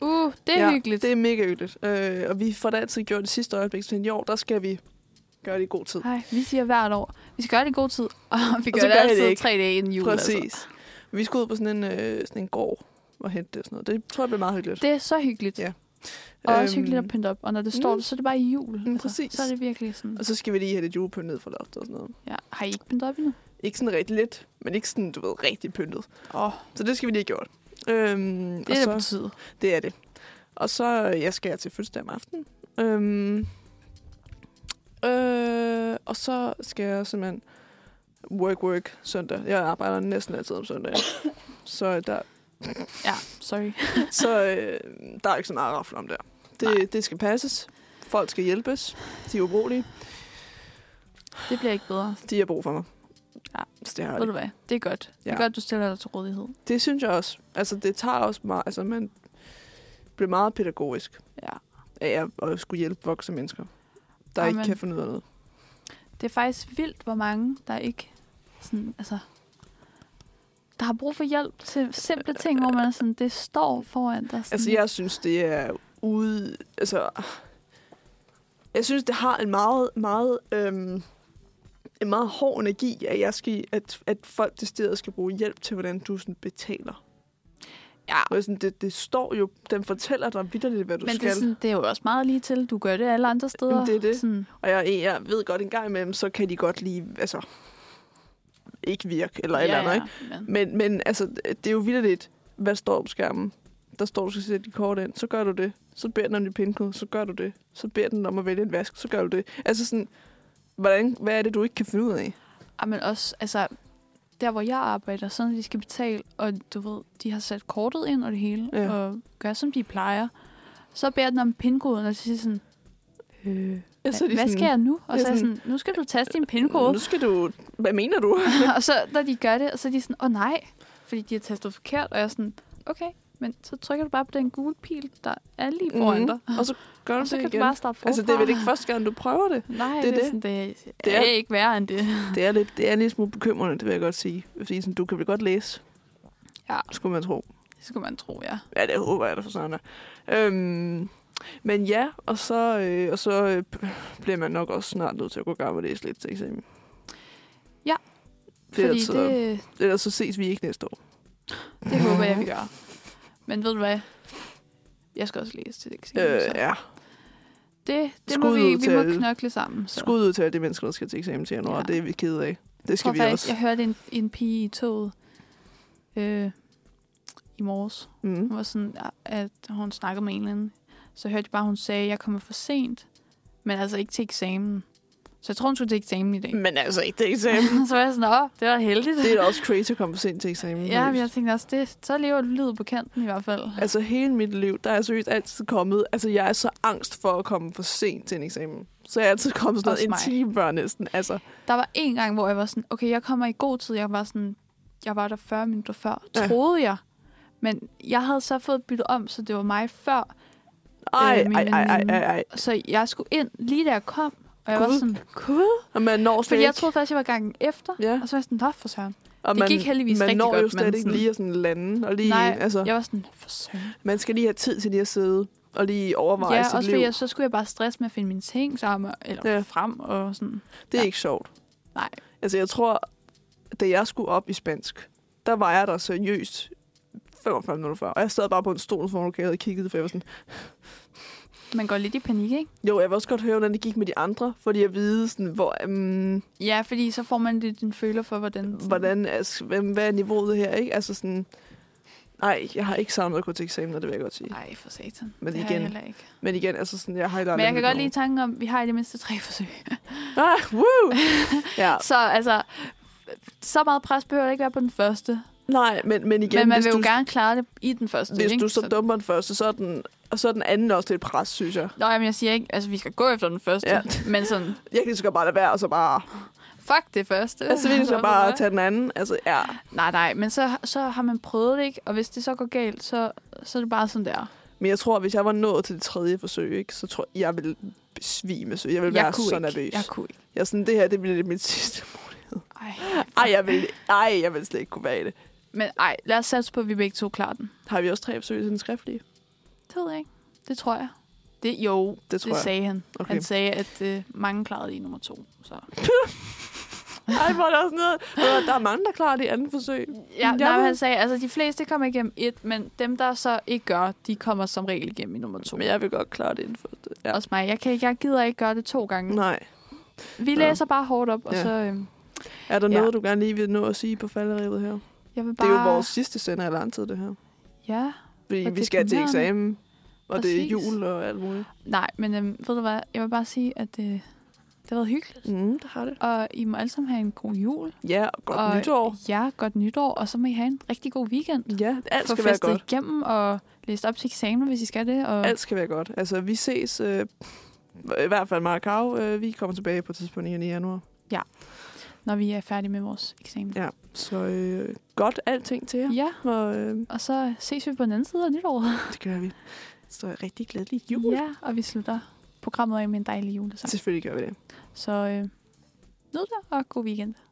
Speaker 2: Uh, det er ja, hyggeligt.
Speaker 1: Det er mega hyggeligt. Øh, og vi får det altid gjort det sidste øjeblik, så i år, der skal vi gøre det i god tid.
Speaker 2: Nej, vi siger hvert år, vi skal gøre det i god tid, og vi gør,
Speaker 1: så
Speaker 2: det
Speaker 1: gør I det
Speaker 2: altid
Speaker 1: ikke.
Speaker 2: tre dage inden jul.
Speaker 1: Præcis.
Speaker 2: Altså.
Speaker 1: Altså. Vi skulle ud på sådan en, øh, sådan en gård og hente det og sådan noget. Det tror jeg bliver meget hyggeligt.
Speaker 2: Det er så hyggeligt,
Speaker 1: Ja.
Speaker 2: ja. og også
Speaker 1: Øhm,
Speaker 2: hyggeligt at pynte op. Og når det står
Speaker 1: mm.
Speaker 2: der, så er det bare i jul. altså.
Speaker 1: Mm, præcis.
Speaker 2: Så er det virkelig sådan,
Speaker 1: Og så skal vi lige have det julepynt ned fra loftet og sådan noget.
Speaker 2: ja, har I ikke pyntet op endnu?
Speaker 1: Ikke sådan rigtig lidt, men ikke sådan, du ved, rigtig pyntet.
Speaker 2: Åh, oh,
Speaker 1: Så det skal vi lige have gjort. Øhm,
Speaker 2: det er
Speaker 1: og
Speaker 2: på
Speaker 1: så,
Speaker 2: tide.
Speaker 1: det er det. Og så øh, jeg skal jeg til fødselsdag om aftenen. Øhm, øh, og så skal jeg simpelthen work, work søndag. Jeg arbejder næsten altid om søndag. så der,
Speaker 2: Ja, sorry.
Speaker 1: så øh, der er ikke så meget at rafle om der.
Speaker 2: Nej.
Speaker 1: Det, det skal passes. Folk skal hjælpes. De er ubrugelige.
Speaker 2: Det bliver ikke bedre.
Speaker 1: De har brug for mig.
Speaker 2: Ja.
Speaker 1: Så det, har
Speaker 2: Ved
Speaker 1: de.
Speaker 2: du hvad? Det er godt. Det er
Speaker 1: Ja.
Speaker 2: godt, du stiller dig til rådighed.
Speaker 1: det synes jeg også. Altså, det tager også meget... Altså, man bliver meget pædagogisk
Speaker 2: Ja.
Speaker 1: af at, at skulle hjælpe voksne mennesker, der Amen.
Speaker 2: Amen.
Speaker 1: ikke kan finde ud af noget.
Speaker 2: Det er faktisk vildt, hvor mange, der ikke sådan, altså, der har brug for hjælp til simple ting, hvor man er sådan, det står foran dig. Sådan.
Speaker 1: Altså, jeg synes, det er ude... Altså, jeg synes, det har en meget, meget... Øhm, en meget hård energi, at, jeg skal, at, at folk til stedet skal bruge hjælp til, hvordan du sådan betaler.
Speaker 2: Ja.
Speaker 1: Og sådan, det, det står jo, den fortæller dig vidderligt, hvad du
Speaker 2: Men
Speaker 1: skal.
Speaker 2: det er, sådan, det er jo også meget lige til. Du gør det alle andre steder.
Speaker 1: Jamen, det er det.
Speaker 2: Sådan,
Speaker 1: Og jeg, jeg ved godt, en gang imellem, så kan de godt lige, altså, ikke virke eller ja, eller andet, ikke?
Speaker 2: Men,
Speaker 1: Men, men altså, det er jo vildt, hvad der står på skærmen. Der står, du skal sætte dit kort ind, så gør du det. Så beder den om dit pindkode, så gør du det. Så beder den om at vælge en vask, så gør du det. Altså sådan, hvordan, hvad er det, du ikke kan finde ud af?
Speaker 2: ah, men også, altså, der hvor jeg arbejder, sådan at de skal betale, og du ved, de har sat kortet ind og det hele,
Speaker 1: Ja.
Speaker 2: ja. og gør som de plejer. Så beder den om pindkoden, og så siger sådan,
Speaker 1: Øh,
Speaker 2: ja, så hvad skal jeg nu? Og
Speaker 1: det
Speaker 2: så
Speaker 1: er
Speaker 2: er jeg sådan, nu skal du taste din pindkode.
Speaker 1: Nu skal du, hvad mener du?
Speaker 2: og så når de gør det, og så er de sådan, åh oh, nej. fordi de har tastet forkert, og jeg er sådan, okay, men så trykker du bare på den gule pil, der er lige foran mm. dig.
Speaker 1: Mhm. Og så gør du
Speaker 2: Og så
Speaker 1: det
Speaker 2: kan du
Speaker 1: igen.
Speaker 2: bare starte forfra.
Speaker 1: Altså, det er vel ikke første gang, du prøver det.
Speaker 2: Nej,
Speaker 1: det er
Speaker 2: det, er
Speaker 1: det.
Speaker 2: sådan, det,
Speaker 1: Det
Speaker 2: det
Speaker 1: er-
Speaker 2: er ikke værre end det.
Speaker 1: Det er, lidt, det er en lille smule bekymrende, det vil jeg godt sige. Fordi sådan, du kan vel godt læse,
Speaker 2: Ja.
Speaker 1: skulle man tro.
Speaker 2: Det skulle man tro, ja.
Speaker 1: Ja, det håber jeg da for sådan øhm, Men ja, og så, øh, og så øh, p- bliver man nok også snart nødt til at gå i gang med at læse lidt til eksamen.
Speaker 2: Ja.
Speaker 1: Det er
Speaker 2: Fordi
Speaker 1: altså, det...
Speaker 2: det,
Speaker 1: Ellers så ses vi ikke næste år.
Speaker 2: det håber jeg, vi gør. Men ved du hvad? Jeg skal også læse til eksamen.
Speaker 1: Øh,
Speaker 2: så
Speaker 1: ja,
Speaker 2: Det, det må
Speaker 1: Skud
Speaker 2: vi,
Speaker 1: ud
Speaker 2: vi må
Speaker 1: til alle.
Speaker 2: knokle sammen. Så.
Speaker 1: skud ud til alle de mennesker, der skal til eksamen til januar. Ja.
Speaker 2: Ja.
Speaker 1: Det er vi kede af. Det
Speaker 2: Jeg tror
Speaker 1: skal vi
Speaker 2: faktisk,
Speaker 1: også.
Speaker 2: jeg hørte en, en pige i toget øh, i morges.
Speaker 1: Mm.
Speaker 2: Hun var sådan, at hun snakkede med en eller anden. Så hørte jeg bare, hun sagde, at jeg kommer for sent. Men altså ikke til eksamen. Så jeg tror, hun skulle til eksamen i dag.
Speaker 1: Men altså ikke til eksamen.
Speaker 2: så var jeg sådan, åh, det var heldigt.
Speaker 1: det er da også crazy at komme for sent til eksamen.
Speaker 2: Ja, men
Speaker 1: seriøst.
Speaker 2: jeg tænkte også, det, så lever du livet på kanten i hvert fald.
Speaker 1: Altså hele mit liv, der er jeg seriøst altid kommet... Altså jeg er så angst for at komme for sent til en eksamen. Så jeg er altid kommet sådan noget en
Speaker 2: Også mig. Øh,
Speaker 1: time før næsten. Altså,
Speaker 2: Der var en gang, hvor jeg var sådan, okay, jeg kommer i god tid. Jeg var sådan, jeg var der 40 minutter før,
Speaker 1: Ja.
Speaker 2: troede jeg. Men jeg havde så fået byttet om, så det var mig før.
Speaker 1: ej,
Speaker 2: Øh, min
Speaker 1: ej, ej, ej,
Speaker 2: veninde.
Speaker 1: ej, ej.
Speaker 2: Så jeg skulle ind lige da jeg kom. Og jeg var
Speaker 1: Gud.
Speaker 2: sådan, gud.
Speaker 1: Og man når slet
Speaker 2: Fordi jeg
Speaker 1: ikke-
Speaker 2: troede først, jeg var gangen efter.
Speaker 1: Ja.
Speaker 2: Og så var jeg sådan, nå for søren.
Speaker 1: og
Speaker 2: det gik heldigvis
Speaker 1: man
Speaker 2: rigtig
Speaker 1: når jo
Speaker 2: godt,
Speaker 1: slet
Speaker 2: men
Speaker 1: ikke
Speaker 2: sådan-
Speaker 1: lige at sådan lande. Og lige,
Speaker 2: Nej,
Speaker 1: altså,
Speaker 2: Jeg var sådan, for søren.
Speaker 1: Man skal lige have tid til lige at sidde og lige overveje
Speaker 2: Ja,
Speaker 1: sit
Speaker 2: også
Speaker 1: liv.
Speaker 2: fordi jeg, så skulle jeg bare stresse med at finde mine ting sammen, eller
Speaker 1: Ja.
Speaker 2: ja. frem og sådan.
Speaker 1: Det er
Speaker 2: Ja.
Speaker 1: ikke sjovt.
Speaker 2: Nej.
Speaker 1: Altså, jeg tror, da jeg skulle op i spansk, der var jeg der seriøst 45 minutter før. Og jeg sad bare på en stol foran lokalet og kiggede, for jeg var sådan...
Speaker 2: Man går lidt i panik, ikke?
Speaker 1: Jo, jeg vil også godt høre, hvordan det gik med de andre, fordi jeg vide, sådan, hvor, um,
Speaker 2: Ja, fordi så får man lidt en føler for, hvordan...
Speaker 1: hvordan, altså, hvem- hvad er niveauet her, ikke? Altså sådan... Nej, jeg har ikke savnet at gå til eksamen, og det vil jeg godt sige.
Speaker 2: Nej, for satan.
Speaker 1: Men
Speaker 2: det har
Speaker 1: igen,
Speaker 2: jeg heller ikke.
Speaker 1: Men igen, altså sådan, jeg har ikke
Speaker 2: Men jeg kan godt lide tanken om, at vi har i det mindste tre forsøg.
Speaker 1: Ah, woo! ja,
Speaker 2: Så altså, så meget pres behøver der ikke være på den første.
Speaker 1: nej, men, men igen,
Speaker 2: men man
Speaker 1: hvis
Speaker 2: vil
Speaker 1: du,
Speaker 2: jo gerne klare det i den første.
Speaker 1: hvis
Speaker 2: ikke?
Speaker 1: du så dumper den første, så er den, og så er den anden også lidt pres, synes jeg.
Speaker 2: Nå, jamen, jeg siger ikke, altså vi skal gå efter den første,
Speaker 1: Ja.
Speaker 2: ja. men sådan,
Speaker 1: Jeg kan lige så godt bare lade være, og så bare...
Speaker 2: fuck det første.
Speaker 1: Altså, vi kan så
Speaker 2: Hvorfor
Speaker 1: bare
Speaker 2: mig?
Speaker 1: tage den anden. Altså, ja.
Speaker 2: Nej, nej, men så, så har man prøvet det, ikke? Og hvis det så går galt, så, så er det bare sådan der.
Speaker 1: Men jeg tror, hvis jeg var nået til det tredje forsøg, ikke, så tror jeg, jeg ville besvime. Så jeg ville
Speaker 2: jeg
Speaker 1: være
Speaker 2: kunne
Speaker 1: så
Speaker 2: ikke.
Speaker 1: nervøs.
Speaker 2: Jeg kunne ikke.
Speaker 1: Jeg er sådan, det her, det bliver mit sidste.
Speaker 2: Ej.
Speaker 1: Ej, jeg vil, ej, jeg vil slet ikke kunne være i det.
Speaker 2: Men ej, lad os satse på, at vi begge to klarer den.
Speaker 1: Har vi også tre forsøg til den skriftlige?
Speaker 2: Det ved jeg ikke. Det tror jeg. Det, jo,
Speaker 1: Det tror
Speaker 2: det
Speaker 1: jeg.
Speaker 2: sagde han.
Speaker 1: Okay.
Speaker 2: Okay. Han sagde, at øh, mange klarede i nummer to. Så.
Speaker 1: Ej, hvor er der også noget. Ved du, Der er mange, der klarer det i andet forsøg.
Speaker 2: Ja, nej,
Speaker 1: ved-
Speaker 2: men han sagde, altså de fleste kommer igennem et, men dem, der så ikke gør, de kommer som regel igennem i nummer to.
Speaker 1: Men jeg vil godt klare det inden for det. Ja.
Speaker 2: Ja. Også mig. Jeg, kan ikke, jeg gider ikke gøre det to gange.
Speaker 1: Nej.
Speaker 2: Vi
Speaker 1: Ja.
Speaker 2: læser bare hårdt op, og
Speaker 1: Ja.
Speaker 2: så... Øh,
Speaker 1: Er der
Speaker 2: Ja.
Speaker 1: noget, du gerne lige vil nå at sige på falderæbet her?
Speaker 2: jeg vil
Speaker 1: Det
Speaker 2: bare...
Speaker 1: er jo vores sidste sender i lang tid, det her.
Speaker 2: Ja.
Speaker 1: Fordi
Speaker 2: Og
Speaker 1: vi
Speaker 2: det
Speaker 1: skal til
Speaker 2: kommer.
Speaker 1: eksamen, og det er
Speaker 2: Præcis.
Speaker 1: jul og alt muligt.
Speaker 2: Nej, men øh, ved du hvad? Jeg vil bare sige, at øh, det har været hyggeligt.
Speaker 1: Mm, det har det.
Speaker 2: Og I må alle sammen have en god jul.
Speaker 1: Ja, og godt
Speaker 2: og,
Speaker 1: nytår.
Speaker 2: Ja, godt nytår. Og så må I have en rigtig god weekend.
Speaker 1: Ja, alt
Speaker 2: Få
Speaker 1: skal være
Speaker 2: festet
Speaker 1: godt.
Speaker 2: igennem og læst op til eksamen, hvis I skal det. Og
Speaker 1: Alt skal være godt. Altså, vi ses øh, i hvert fald Maracau. Øh, vi kommer tilbage på et tidspunkt i januar.
Speaker 2: når vi er færdige med vores eksamen.
Speaker 1: Ja, så øh, godt alting til jer.
Speaker 2: ja.
Speaker 1: Og øh,
Speaker 2: Og så ses vi på den anden side af nytår.
Speaker 1: det gør vi. Så rigtig glædelig jul.
Speaker 2: Ja, og vi slutter programmet af med en dejlig julesang.
Speaker 1: Selvfølgelig gør vi det.
Speaker 2: Så øh, nyd det, og god weekend.